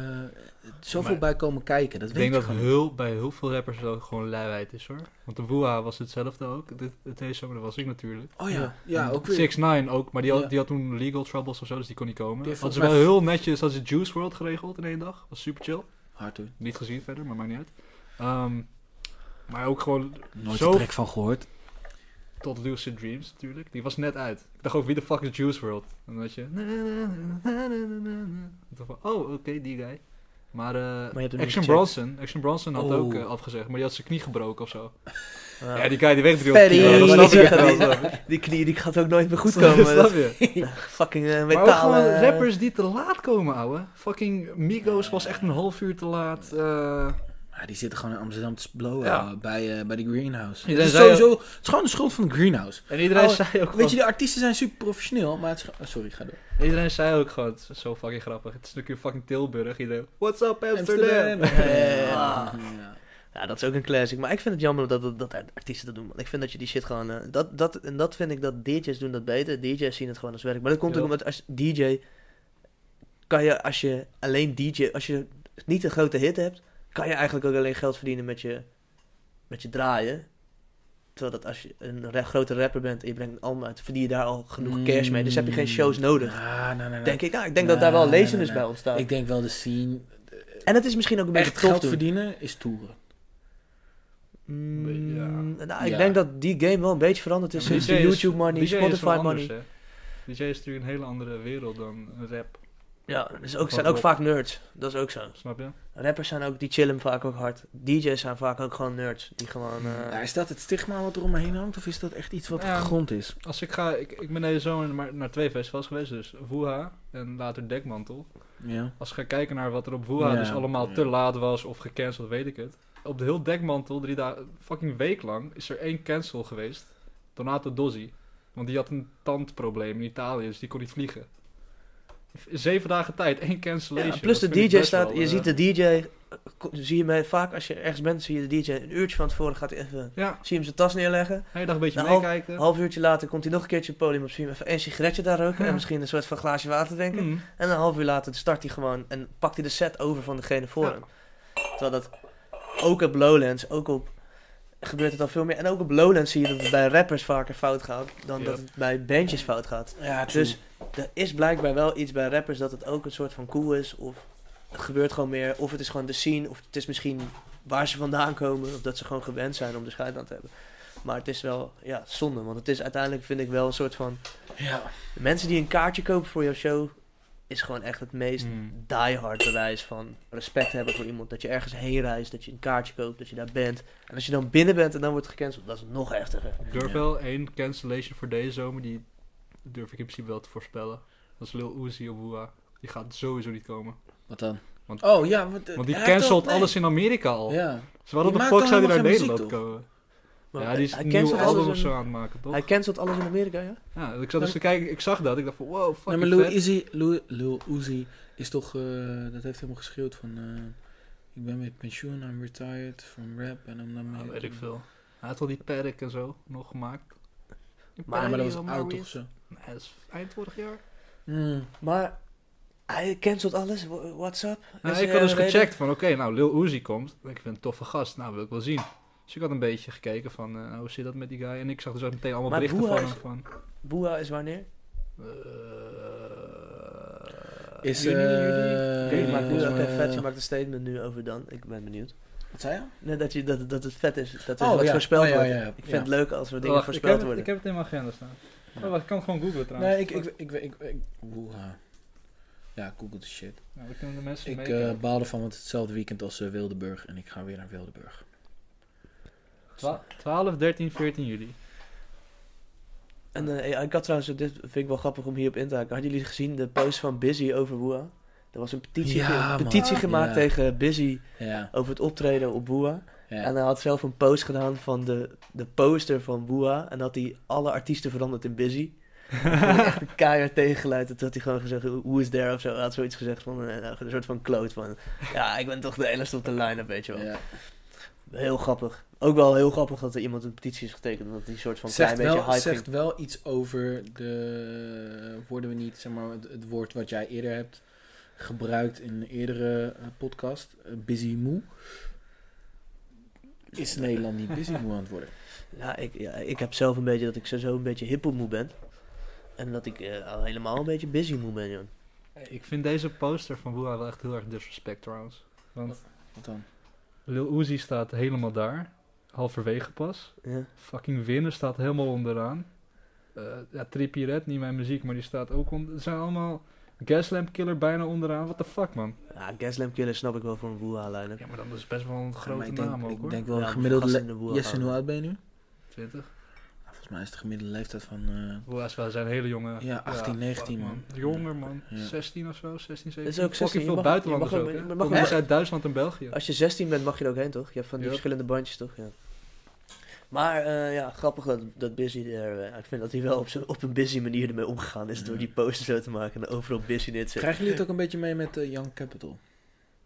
Speaker 3: zoveel
Speaker 4: Maar-
Speaker 3: bij komen kijken. Dat
Speaker 4: Ik
Speaker 3: weet
Speaker 4: denk
Speaker 3: je
Speaker 4: dat
Speaker 3: gewoon.
Speaker 4: heel, bij heel veel rappers dat ook gewoon luiheid is hoor. Want de Woeha was hetzelfde ook. Dit, het hele zomer, dat was ik natuurlijk.
Speaker 3: Oh ja, ja, ook weer.
Speaker 4: 6 9 ook, maar die had,
Speaker 3: Ja.
Speaker 4: die had toen legal troubles of zo, dus die kon niet komen.
Speaker 3: Die heeft
Speaker 4: Had ze wel
Speaker 3: volgens mij-
Speaker 4: heel netjes, had ze Juice World geregeld in één dag. Was super chill.
Speaker 3: Hard hoor.
Speaker 4: Niet gezien verder, maar maakt niet uit. Ehm, maar ook gewoon
Speaker 3: Nooit
Speaker 4: Zo-
Speaker 3: een trek van gehoord.
Speaker 4: tot Lucid Dreams natuurlijk. Die was net uit. Ik dacht ook, wie de fuck is Juice World? En dan had je... Ik dacht van, oh, oké, die guy. Maar, eh,
Speaker 1: hem niet
Speaker 4: Action
Speaker 1: gecheckt.
Speaker 4: Bronson, Action Bronson had
Speaker 3: Oh.
Speaker 4: ook eh, afgezegd, maar die had zijn knie gebroken of zo.
Speaker 1: Ja.
Speaker 4: Ja, die guy die weegt
Speaker 3: Ferry.
Speaker 1: Ja,
Speaker 4: kilo.
Speaker 1: dat
Speaker 4: Dat
Speaker 1: snap
Speaker 4: snap
Speaker 1: ik
Speaker 4: je
Speaker 1: wel.
Speaker 4: wel.
Speaker 1: Die knie die gaat ook nooit meer goed
Speaker 4: Snap
Speaker 1: komen. Dat
Speaker 4: je?
Speaker 1: fucking eh,
Speaker 4: Maar ook
Speaker 1: metalen.
Speaker 4: gewoon rappers die te laat komen, ouwe. Fucking Migos was echt een half uur te laat. eh.
Speaker 3: Maar die zitten gewoon in Amsterdam te blowen
Speaker 4: Ja.
Speaker 3: ouwe, bij, eh, bij de Greenhouse. Het
Speaker 4: Iedereen
Speaker 3: is,
Speaker 4: zei
Speaker 3: sowieso, het is gewoon de schuld van de Greenhouse.
Speaker 4: En iedereen
Speaker 3: Oh,
Speaker 4: zei ook
Speaker 3: Weet
Speaker 4: gewoon...
Speaker 3: je, de artiesten zijn super professioneel, maar het is ge- oh, Sorry, ga door.
Speaker 4: Iedereen zei ook gewoon, het is zo fucking grappig. Het is natuurlijk fucking Tilburg. Iedereen, what's up
Speaker 3: Amsterdam.
Speaker 4: Amsterdam?
Speaker 3: Ah. Ja.
Speaker 1: Ah. Ja, dat is ook een classic. Maar ik vind het jammer dat, dat, dat artiesten dat doen. man. Ik vind dat je die shit gewoon... eh, dat, dat, en dat vind ik dat DJ's doen dat beter. DJ's zien het gewoon als werk. Maar dat komt
Speaker 4: Ja.
Speaker 1: ook omdat als DJ... Kan je als je alleen DJ... Als je niet een grote hit hebt... Kan je eigenlijk ook alleen geld verdienen met je, met je draaien. Terwijl dat als je een ra- grote rapper bent... En je brengt een album uit... Verdien je daar al genoeg
Speaker 3: Mm.
Speaker 1: cash mee. Dus heb je geen shows nodig.
Speaker 3: Ah, nee, nee, nee.
Speaker 1: Denk ik, nou, ik denk dat daar wel
Speaker 3: Nee, nee,
Speaker 1: lezenis
Speaker 3: nee, nee.
Speaker 1: bij ontstaat.
Speaker 3: Ik denk wel de scene.
Speaker 1: en het is misschien ook een beetje
Speaker 3: Echt geld
Speaker 1: terugdoen.
Speaker 3: verdienen is toeren.
Speaker 1: Mm,
Speaker 4: Ja.
Speaker 1: nou, ik
Speaker 3: Ja.
Speaker 1: denk dat die game wel een beetje veranderd is
Speaker 4: Ja, maar
Speaker 1: sinds
Speaker 4: DJ
Speaker 1: de
Speaker 4: is-
Speaker 1: YouTube money,
Speaker 4: DJ is wel
Speaker 1: Spotify money.
Speaker 4: anders, hè. DJ is natuurlijk een hele andere wereld dan rap,
Speaker 1: ja, dus ook, zijn
Speaker 4: Wat
Speaker 1: ook
Speaker 4: wel.
Speaker 1: vaak nerds. Dat is ook zo.
Speaker 4: snap je?
Speaker 1: Rappers zijn ook, die chillen vaak ook hard. DJ's zijn vaak ook gewoon nerds. Die gewoon... eh,
Speaker 3: Ja, is dat het stigma wat er om me heen hangt, of is dat echt iets wat
Speaker 4: Ja.
Speaker 3: gegrond is?
Speaker 4: Als ik ga, ik, ik ben deze zomer maar naar twee festivals geweest, dus Woeha en later Dekmantel.
Speaker 3: Ja.
Speaker 4: Als ik ga kijken naar wat er op Woeha
Speaker 3: Ja,
Speaker 4: dus allemaal
Speaker 3: ja.
Speaker 4: te laat was of gecanceld, weet ik het. Op de heel dekmantel, drie dagen, fucking week lang, is er één cancel geweest. Donato Dozzi. Want die had een tandprobleem in Italië, dus die kon niet vliegen. V- Zeven dagen tijd, één cancellation.
Speaker 1: ja, plus de
Speaker 4: Dat vind ik
Speaker 1: DJ
Speaker 4: best
Speaker 1: staat...
Speaker 4: wel,
Speaker 1: je
Speaker 4: eh,
Speaker 1: ziet de DJ... eh, ko- Zie je mij vaak als je ergens bent, zie je de DJ een uurtje van tevoren gaat hij even...
Speaker 4: Ja,
Speaker 1: Zie je hem zijn tas neerleggen.
Speaker 4: hele dag een beetje
Speaker 1: Nou,
Speaker 4: meekijken.
Speaker 1: Een half uurtje later komt hij nog een keertje op het podium op. Zie je hem even één sigaretje daar roken.
Speaker 4: Ja.
Speaker 1: En misschien een soort van glaasje water drinken.
Speaker 4: Mm.
Speaker 1: En een half uur later start hij gewoon en pakt hij de set over van degene voor
Speaker 4: Ja.
Speaker 1: hem. Terwijl dat ook op Lowlands, ook op gebeurt het al veel meer. En ook op Lowlands zie je dat het bij rappers vaker fout gaat dan dat het bij bandjes fout gaat.
Speaker 3: Ja,
Speaker 1: Dus er is blijkbaar wel iets bij rappers dat het ook een soort van cool is. Of het gebeurt gewoon meer. Of het is gewoon de scene. Of het is misschien waar ze vandaan komen. Of dat ze gewoon gewend zijn om de scheiding aan te hebben. Maar het is wel ja, zonde. Want het is uiteindelijk vind ik wel een soort van...
Speaker 3: ja.
Speaker 1: De mensen die een kaartje kopen voor jouw show... Is gewoon echt het meest
Speaker 4: Mm.
Speaker 1: diehard bewijs van respect hebben voor iemand. Dat je ergens heen reist, dat je een kaartje koopt, dat je daar bent. En als je dan binnen bent en dan wordt gecanceld, dat is nog heftiger.
Speaker 4: Ik durf
Speaker 3: Ja.
Speaker 4: wel één cancellation voor deze zomer, die durf ik in principe wel te voorspellen. Dat is Lil Uzi op Woeha. Die gaat sowieso niet komen.
Speaker 3: Wat dan?
Speaker 4: Want-
Speaker 3: oh ja, want,
Speaker 4: Want die
Speaker 3: hij heeft
Speaker 4: cancelt
Speaker 3: al- nee.
Speaker 4: alles in Amerika al.
Speaker 3: Ja.
Speaker 4: Dus waarom
Speaker 3: Die
Speaker 4: de
Speaker 3: maakt
Speaker 4: fuck zou
Speaker 3: allemaal
Speaker 4: die naar
Speaker 3: geen muziek,
Speaker 4: Nederland
Speaker 3: toch?
Speaker 4: komen?
Speaker 1: Maar
Speaker 4: ja, die is
Speaker 1: hij
Speaker 4: een nieuw
Speaker 1: cancelt
Speaker 4: album
Speaker 1: alles
Speaker 4: of
Speaker 1: in-
Speaker 4: zo aan het maken, toch?
Speaker 1: Hij cancelt alles in Amerika, ja?
Speaker 4: Ja, ik zat dus te kijken, ik zag dat, ik dacht van wow, fuck
Speaker 3: Nee, maar Lil Uzi, Lil, Lil Uzi is toch, eh, dat heeft helemaal geschreeuwd van, eh, ik ben met pensioen, I'm retired from rap en I'm not
Speaker 4: Ja,
Speaker 3: making-
Speaker 4: weet ik veel. Hij had al die Paddock en zo nog gemaakt.
Speaker 1: Maar-
Speaker 3: Ja, maar dat
Speaker 4: Paddock,
Speaker 3: was
Speaker 4: maar
Speaker 3: oud
Speaker 4: weer-
Speaker 3: toch zo.
Speaker 4: Nee, dat is eind vorig jaar.
Speaker 3: Mm.
Speaker 1: Maar hij cancelt alles, Wha- what's up?
Speaker 4: Nou,
Speaker 1: Is
Speaker 4: ik
Speaker 1: er
Speaker 4: had
Speaker 1: een
Speaker 4: dus
Speaker 1: reden?
Speaker 4: gecheckt van, oké, nou Lil Uzi komt. Ik vind het een toffe gast, nou wil ik wel zien. Dus ik had een beetje gekeken van, eh, nou, hoe zit dat met die guy? En ik zag dus ook meteen allemaal
Speaker 1: Maar
Speaker 4: berichten
Speaker 1: hoe
Speaker 4: van
Speaker 1: is-
Speaker 4: hem van...
Speaker 1: Boeha is wanneer?
Speaker 4: eh,
Speaker 3: Is,
Speaker 4: juni, juli.
Speaker 3: eh,
Speaker 1: Oké, je maakt nu,
Speaker 3: eh,
Speaker 1: oké, vet, je maakt een statement nu over dan. Ik ben benieuwd.
Speaker 3: Wat zei je?
Speaker 1: Nee, dat, je, dat, dat het vet is, dat er
Speaker 3: Oh,
Speaker 1: wat
Speaker 3: ja.
Speaker 1: voorspeld
Speaker 3: Oh, ja,
Speaker 1: wordt.
Speaker 3: ja, ja.
Speaker 1: Ik vind
Speaker 3: Ja.
Speaker 1: het leuk als we dingen
Speaker 4: Wacht, Oh, ik, heb
Speaker 1: voorspeld
Speaker 4: het,
Speaker 1: worden.
Speaker 4: ik heb het in mijn agenda staan. Oh, wacht, ik kan gewoon googlen trouwens.
Speaker 3: Nee, ik, ik, ik, ik, ik- woeha. Ja, Google de shit.
Speaker 4: Nou, dan kunnen de mensen
Speaker 3: Ik
Speaker 4: meekijken.
Speaker 3: eh baal ervan, want het is hetzelfde weekend als eh, Wildeburg en ik ga weer naar Wildeburg.
Speaker 4: Twa- 12, 13, 14 juli.
Speaker 1: En eh, ja, ik had trouwens, dit vind ik wel grappig om hierop in te haken. Hadden jullie gezien de post van Busy over Woeha? Er was een petitie,
Speaker 3: Ja,
Speaker 1: ge-
Speaker 3: man.
Speaker 1: petitie gemaakt
Speaker 3: Ja.
Speaker 1: tegen Busy
Speaker 3: Ja,
Speaker 1: over het optreden op Woeha.
Speaker 3: ja.
Speaker 1: En hij had zelf een post gedaan van de, de poster van Woeha. En had hij alle artiesten veranderd in Busy. Dat vond ik echt een keihard tegengeluid. En Toen had hij gewoon gezegd, who is there of zo. Hij had zoiets gezegd van eh, nou, een soort van kloot van... Ja, ik ben toch de enigste op de line-up, weet je wel.
Speaker 3: ja.
Speaker 1: Heel grappig. Ook wel heel grappig dat er iemand een petitie is getekend. Dat die een soort van
Speaker 3: Zegt,
Speaker 1: klein
Speaker 3: wel,
Speaker 1: beetje hype
Speaker 3: zegt
Speaker 1: ging.
Speaker 3: wel iets over de. Worden we niet, zeg maar, het, het woord wat jij eerder hebt gebruikt in een eerdere eh, podcast, eh, busy moe. Is Nederland niet busy moe aan het worden?
Speaker 1: Ja ik, ja, ik heb zelf een beetje dat ik sowieso een beetje hippo moe ben. En dat ik eh, al helemaal een beetje busy moe ben, joh.
Speaker 4: Ik vind deze poster van Boeha wel echt heel erg disrespect trouwens. Want
Speaker 3: Wat dan?
Speaker 4: Lil Uzi staat helemaal daar. Halverwege pas.
Speaker 1: Ja.
Speaker 4: Fucking Winnen staat helemaal onderaan. Eh ja, Trippie Red, niet mijn muziek, maar die staat ook onder... Het zijn allemaal Gaslamp Killer bijna onderaan. What the fuck, man?
Speaker 1: ja, Gaslamp Killer snap ik wel voor een woeha line-up.
Speaker 4: Ja, maar dat is best wel een
Speaker 3: Ja, maar
Speaker 4: grote
Speaker 3: ik denk,
Speaker 4: naam ook,
Speaker 3: ik
Speaker 4: hoor.
Speaker 3: denk wel
Speaker 1: Ja,
Speaker 3: een
Speaker 1: maar
Speaker 3: gemiddelde.
Speaker 1: gasten in de
Speaker 3: le-
Speaker 1: boer
Speaker 3: Jesse,
Speaker 1: houden.
Speaker 3: hoe oud ben je nu?
Speaker 4: 20.
Speaker 3: Volgens mij is de gemiddelde leeftijd van. eh,
Speaker 4: Boeha's wel zijn hele jonge...
Speaker 3: Ja, 18, 19
Speaker 4: fuck,
Speaker 3: man.
Speaker 4: Jonger, man.
Speaker 3: Ja.
Speaker 4: 16 of zo, 16, 17.
Speaker 1: Dat is ook 16,
Speaker 4: Fucking
Speaker 1: je
Speaker 4: veel
Speaker 1: mag-
Speaker 4: buitenlanders
Speaker 1: je mag
Speaker 4: ook,
Speaker 1: ook-
Speaker 4: hè?
Speaker 1: je mag ook-
Speaker 4: Komen mensen uit Duitsland en België.
Speaker 1: Als je 16 bent mag je er ook heen, toch? Je hebt van die
Speaker 4: Ja.
Speaker 1: verschillende bandjes, toch? Ja. Maar eh, ja, grappig dat, dat Busy er... eh, ik vind dat hij wel op, zo'n- op een busy manier ermee omgegaan is... door die poster zo te maken en overal busy neer te zetten.
Speaker 3: Krijgen jullie het ook een beetje mee met eh, Young Capital?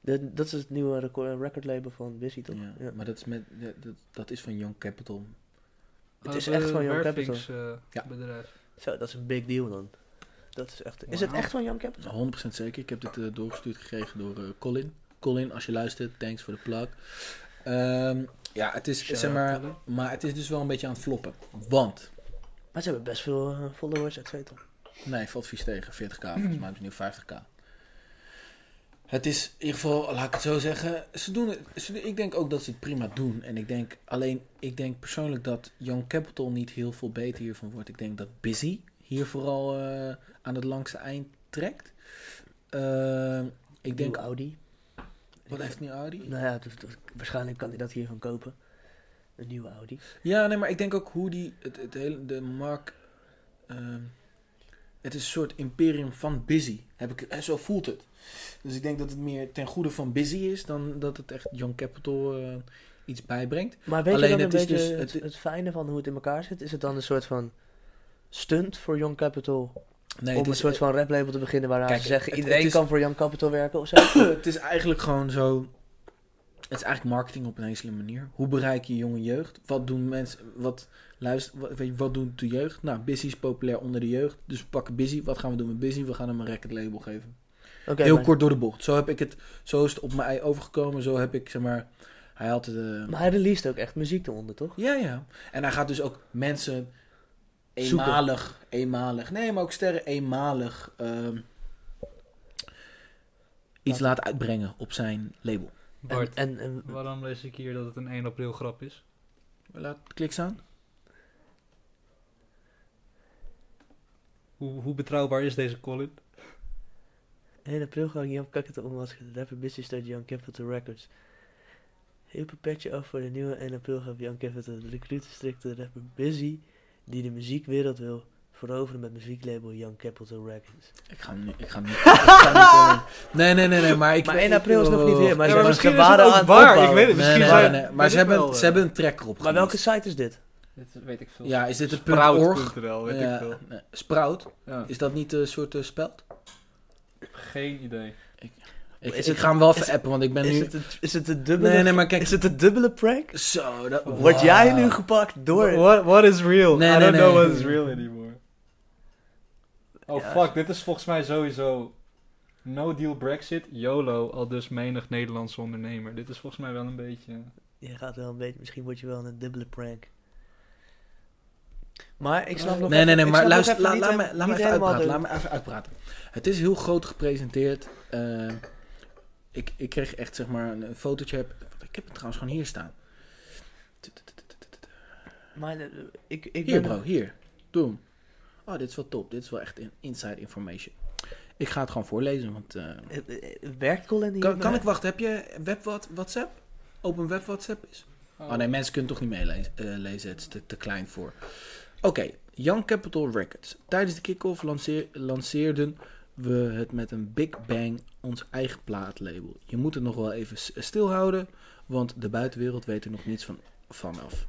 Speaker 1: Dat, dat is het nieuwe record, eh, recordlabel van Busy, toch?
Speaker 3: Ja, Maar dat is, met, ja, dat, dat is van Young Capital.
Speaker 1: Het is echt
Speaker 4: eh,
Speaker 1: van Young Capital.
Speaker 3: Ja.
Speaker 4: bedrijf.
Speaker 1: Zo, dat is een big deal dan. Dat is echt... Is het
Speaker 4: Wauw.
Speaker 1: echt van Young Capital?
Speaker 3: 100% zeker. Ik heb dit eh, doorgestuurd gekregen door eh, Colin. Colin, als je luistert, thanks voor de plug. Ehm, ja, het is, zeg maar, maar het is dus wel een beetje aan het floppen. Want,
Speaker 1: Maar ze hebben best veel eh, followers, et cetera.
Speaker 3: nee, valt vies tegen, 40k, volgens mij hebben ze nu 50k. Het is in ieder geval, laat ik het zo zeggen, ze doen het, ze- ik denk ook dat ze het prima doen. En ik denk, alleen, ik denk persoonlijk dat Young Capital niet heel veel beter hiervan wordt. Ik denk dat Busy hier vooral eh, aan het langste eind trekt. Ehm, ik denk,
Speaker 1: Nieuwe Audi.
Speaker 3: wat heeft nu Audi?
Speaker 1: Nou ja, dus- dus waarschijnlijk kan hij dat hiervan kopen. Een nieuwe Audi.
Speaker 3: Ja, nee, maar ik denk ook hoe die, het, het hele, de markt, ehm, het is een soort imperium van busy, heb ik, eh, zo voelt het. Dus ik denk dat het meer ten goede van busy is dan dat het echt Young Capital eh, iets bijbrengt.
Speaker 1: Maar weet
Speaker 3: Alleen
Speaker 1: je dan
Speaker 3: het
Speaker 1: een
Speaker 3: is
Speaker 1: beetje
Speaker 3: dus-
Speaker 1: het,
Speaker 3: het-
Speaker 1: het fijne van hoe het in elkaar zit? Is het dan een soort van stunt voor Young Capital
Speaker 3: Nee, eh,
Speaker 1: om een soort van raplabel te beginnen waarna
Speaker 3: Kijk,
Speaker 1: ze zeggen
Speaker 3: het-
Speaker 1: iedereen
Speaker 3: het is-
Speaker 1: kan voor Young Capital werken of zo?
Speaker 3: het is eigenlijk gewoon zo. Het is eigenlijk marketing op een hele slimme manier. Hoe bereik je jonge jeugd? Wat doen mensen? Wat luister, wat, weet je, wat doet de jeugd? Nou, busy is populair onder de jeugd. Dus we pakken busy. Wat gaan we doen met busy? We gaan hem een record label geven.
Speaker 1: Oké,
Speaker 3: Heel
Speaker 1: maar-
Speaker 3: kort door de bocht. Zo heb ik het, zo is het op mij overgekomen. Zo heb ik zeg maar Hij had de...
Speaker 1: Maar hij released ook echt muziek eronder, toch?
Speaker 3: Ja, ja. En hij gaat dus ook mensen
Speaker 1: Zoeken.
Speaker 3: eenmalig, eenmalig, nee, maar ook sterren eenmalig ehm, iets
Speaker 1: Laten-
Speaker 3: laten uitbrengen op zijn label.
Speaker 1: En,
Speaker 4: Bart,
Speaker 1: en, en
Speaker 4: waarom lees ik hier dat het een 1 april grap is?
Speaker 3: Laat klik staan.
Speaker 4: Hoe, hoe betrouwbaar is deze Colin?
Speaker 1: 1 april ga ik Jan Kakketen ommaskeren. Rapper Busy start Jan Capital Records. Heel patje af voor de nieuwe 1 april gaf Jan Capital de recruitenstrikte rapper Busy, die de muziekwereld wil veroveren met muzieklabel Jan Capital Records.
Speaker 3: Ik ga hem nu, ik ga hem niet. ik ga niet, eh, nee, nee, nee, nee, maar ik.
Speaker 1: maar 1 april is nog niet weer, maar
Speaker 4: Ja,
Speaker 1: ze
Speaker 4: maar
Speaker 1: waren
Speaker 4: misschien
Speaker 1: ze
Speaker 4: is het
Speaker 1: waren
Speaker 4: ook
Speaker 1: aan het
Speaker 4: waar, ik
Speaker 1: opbouwen.
Speaker 4: weet het,
Speaker 3: Nee, nee,
Speaker 4: misschien
Speaker 3: nee,
Speaker 4: zijn-
Speaker 3: nee, maar
Speaker 4: weet
Speaker 3: ze
Speaker 4: ik
Speaker 3: hebben,
Speaker 4: wel, eh.
Speaker 3: ze hebben een track erop
Speaker 1: Maar welke site is dit?
Speaker 4: Dit weet ik veel.
Speaker 3: Ja, is dit het punt org?
Speaker 4: Sprout.nl, weet ik
Speaker 3: Ja,
Speaker 4: veel.
Speaker 3: nee, Sprout?
Speaker 4: Ja.
Speaker 3: Is dat niet een soort eh, speld?
Speaker 4: Geen idee.
Speaker 3: Ik,
Speaker 1: Is
Speaker 3: ik
Speaker 1: het-
Speaker 3: ga hem wel even
Speaker 1: is-
Speaker 3: appen, want ik ben
Speaker 1: Is
Speaker 3: nu...
Speaker 1: het, een, is het een dubbele?
Speaker 3: Nee, nee, maar kijk...
Speaker 1: Is het een dubbele prank?
Speaker 3: Zo, dat...
Speaker 1: Word
Speaker 3: Wow.
Speaker 1: jij nu gepakt door?
Speaker 4: What, what is real?
Speaker 3: Nee,
Speaker 4: I
Speaker 3: nee,
Speaker 4: don't
Speaker 3: nee.
Speaker 4: know what is real anymore. Oh
Speaker 1: Ja.
Speaker 4: fuck, dit is volgens mij sowieso no deal Brexit, YOLO, al dus menig Nederlandse ondernemer. Dit is volgens mij wel een beetje...
Speaker 1: Je gaat wel een beetje, misschien word je wel een dubbele prank. Maar ik snap nog
Speaker 3: Eh, Nee, nee, nee,
Speaker 1: even- ik snap
Speaker 3: maar
Speaker 1: nog
Speaker 3: luister,
Speaker 1: even
Speaker 3: la-
Speaker 1: niet
Speaker 3: laat
Speaker 1: hem-
Speaker 3: me laat me
Speaker 1: niet
Speaker 3: even
Speaker 1: helemaal
Speaker 3: uitpraten.
Speaker 1: de-
Speaker 3: Laat me even uitpraten. Het is heel groot gepresenteerd. eh, ik, ik kreeg echt, zeg maar, een, een fotootje. Heb, ik heb het trouwens gewoon hier staan.
Speaker 1: Maar eh, ik, ik
Speaker 3: Hier,
Speaker 1: ben-
Speaker 3: bro, hier. Doe hem. Oh, dit is wel top. Dit is wel echt in- inside information. Ik ga het gewoon voorlezen, want... eh,
Speaker 1: eh, eh, Werkt Colin hier?
Speaker 3: kan, kan ik wachten? Heb je web wat, WhatsApp? Open web WhatsApp is? Oh nee, mensen kunnen toch niet meelezen. eh, lezen. het is te, te klein voor. Oké, Young Capital Records. Tijdens de kick-off lanceer- lanceerden we het met een Big Bang, ons eigen plaatlabel. Je moet het nog wel even s- stilhouden, want de buitenwereld weet er nog niets van, vanaf.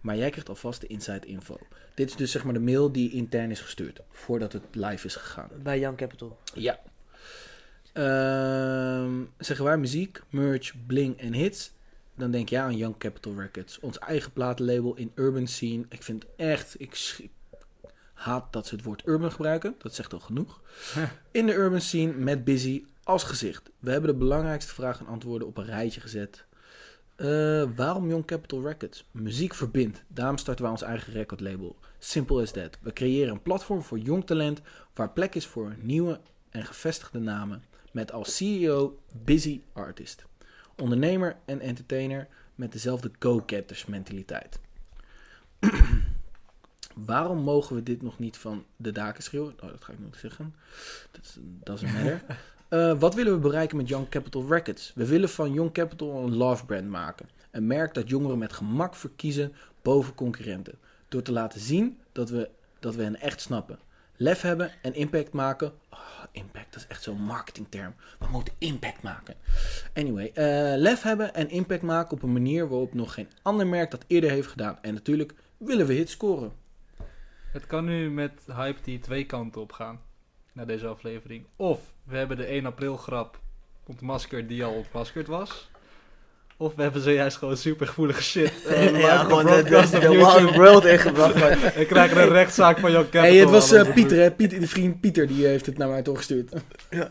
Speaker 3: Maar jij krijgt alvast de inside info. Dit is dus zeg maar de mail die intern is gestuurd, voordat het live is gegaan.
Speaker 1: Bij Young Capital.
Speaker 3: Ja. Ehm zeggen wij muziek, merch, bling en hits. Dan denk je aan Young Capital Records. Ons eigen platenlabel in urban scene. Ik vind echt, ik sch- ik haat dat ze het woord urban gebruiken. Dat zegt al genoeg. In de urban scene met Busy als gezicht. We hebben de belangrijkste vragen en antwoorden op een rijtje gezet. Eh, waarom Young Capital Records? Muziek verbindt. Daarom starten wij ons eigen recordlabel. Simple as that. We creëren een platform voor jong talent waar plek is voor nieuwe en gevestigde namen. Met als CEO Busy Artist. Ondernemer en entertainer met dezelfde go-getters mentaliteit. Waarom mogen we dit nog niet van de daken schreeuwen? Oh, dat ga ik nog zeggen. Dat is- Dat is een matter. Eh, wat willen we bereiken met Young Capital Records? We willen van Young Capital een love brand maken. Een merk dat jongeren met gemak verkiezen boven concurrenten. Door te laten zien dat we, dat we hen echt snappen. Lef hebben en impact maken. Oh, impact, dat is echt zo'n marketingterm. We moeten impact maken. Anyway, eh, lef hebben en impact maken op een manier waarop nog geen ander merk dat eerder heeft gedaan. En natuurlijk willen we hits scoren.
Speaker 4: Het kan nu met hype die twee kanten op gaan. Na deze aflevering. Of we hebben de 1 april grap ontmaskerd die al ontmaskerd was. Of we hebben zojuist gewoon supergevoelige shit. eh, live
Speaker 1: ja, gewoon de,
Speaker 4: gebroadcast
Speaker 1: de,
Speaker 4: op
Speaker 1: de
Speaker 4: YouTube.
Speaker 1: Wild World ingebracht. maar-
Speaker 4: Ik krijg een rechtszaak van jouw
Speaker 3: Hé, hey, het was eh, Pieter, hè? Pieter, de vriend Pieter, die eh, heeft het naar mij toegestuurd.
Speaker 1: Ja.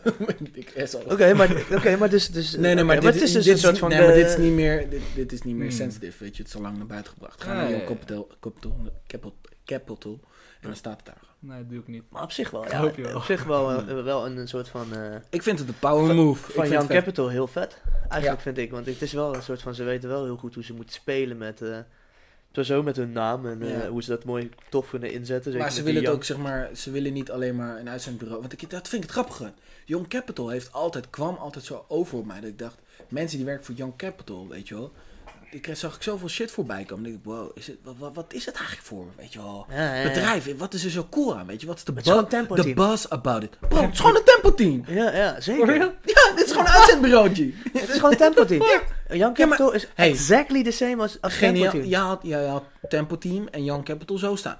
Speaker 3: Ik is al-
Speaker 1: Oké, maar, oké, maar dus... dus
Speaker 3: Nee, nee,
Speaker 1: oké,
Speaker 3: maar, dit,
Speaker 1: het is dus
Speaker 3: dit
Speaker 1: een soort van...
Speaker 3: nee, maar
Speaker 1: de-
Speaker 3: dit is niet meer, dit, dit is niet meer
Speaker 4: Hmm.
Speaker 3: sensitive, weet je. Het is al lang naar buiten gebracht. Ga
Speaker 4: Ah,
Speaker 3: naar
Speaker 4: ja,
Speaker 3: Young
Speaker 4: ja.
Speaker 3: Capital, Capital, Capital, Capital en dan staat het daar.
Speaker 4: Nee, dat doe ik niet.
Speaker 1: Maar op zich wel,
Speaker 4: Ik
Speaker 1: ja.
Speaker 4: hoop je wel.
Speaker 1: Op zich wel, eh, wel een, een soort van... eh,
Speaker 3: Ik vind het een power move.
Speaker 1: van Young
Speaker 3: ik vind het vet.
Speaker 1: Capital heel vet. Eigenlijk vind ik, want het is wel een soort van... Ze weten wel heel goed hoe ze moeten spelen met... eh, zo met hun naam en eh,
Speaker 3: Ja.
Speaker 1: hoe ze dat mooi tof kunnen inzetten. zeker
Speaker 3: Maar ze
Speaker 1: met die
Speaker 3: willen het
Speaker 1: Young-
Speaker 3: ook, zeg maar, ze willen niet alleen maar een uitzendbureau. Want ik, dat vind ik het grappige. Young Capital heeft altijd, kwam altijd zo over op mij. Dat ik dacht, mensen die werken voor Young Capital, weet je wel. Ik kreeg- zag ik zoveel shit voorbij komen. Ik dacht, wow, is het, wa- wa- wat, is het eigenlijk voor, weet je wel.
Speaker 1: Ja, ja, ja.
Speaker 3: Bedrijf, wat is er zo cool aan, weet je? Wat is de,
Speaker 1: Eh. Het is
Speaker 3: bu-
Speaker 1: gewoon tempo
Speaker 3: de
Speaker 1: team.
Speaker 3: buzz about it? Bro, het is gewoon een tempo team.
Speaker 1: Ja, ja,
Speaker 4: For
Speaker 1: zeker.
Speaker 4: real?
Speaker 3: Ja, dit is gewoon een uitzendbureautje.
Speaker 1: Het is gewoon een tempo team. Young
Speaker 3: Ja, maar-
Speaker 1: Capital is
Speaker 3: Hey.
Speaker 1: exactly the same als, als tempo
Speaker 3: Geniaal.
Speaker 1: team.
Speaker 3: Je had, je had tempo team en Young Capital zo staan.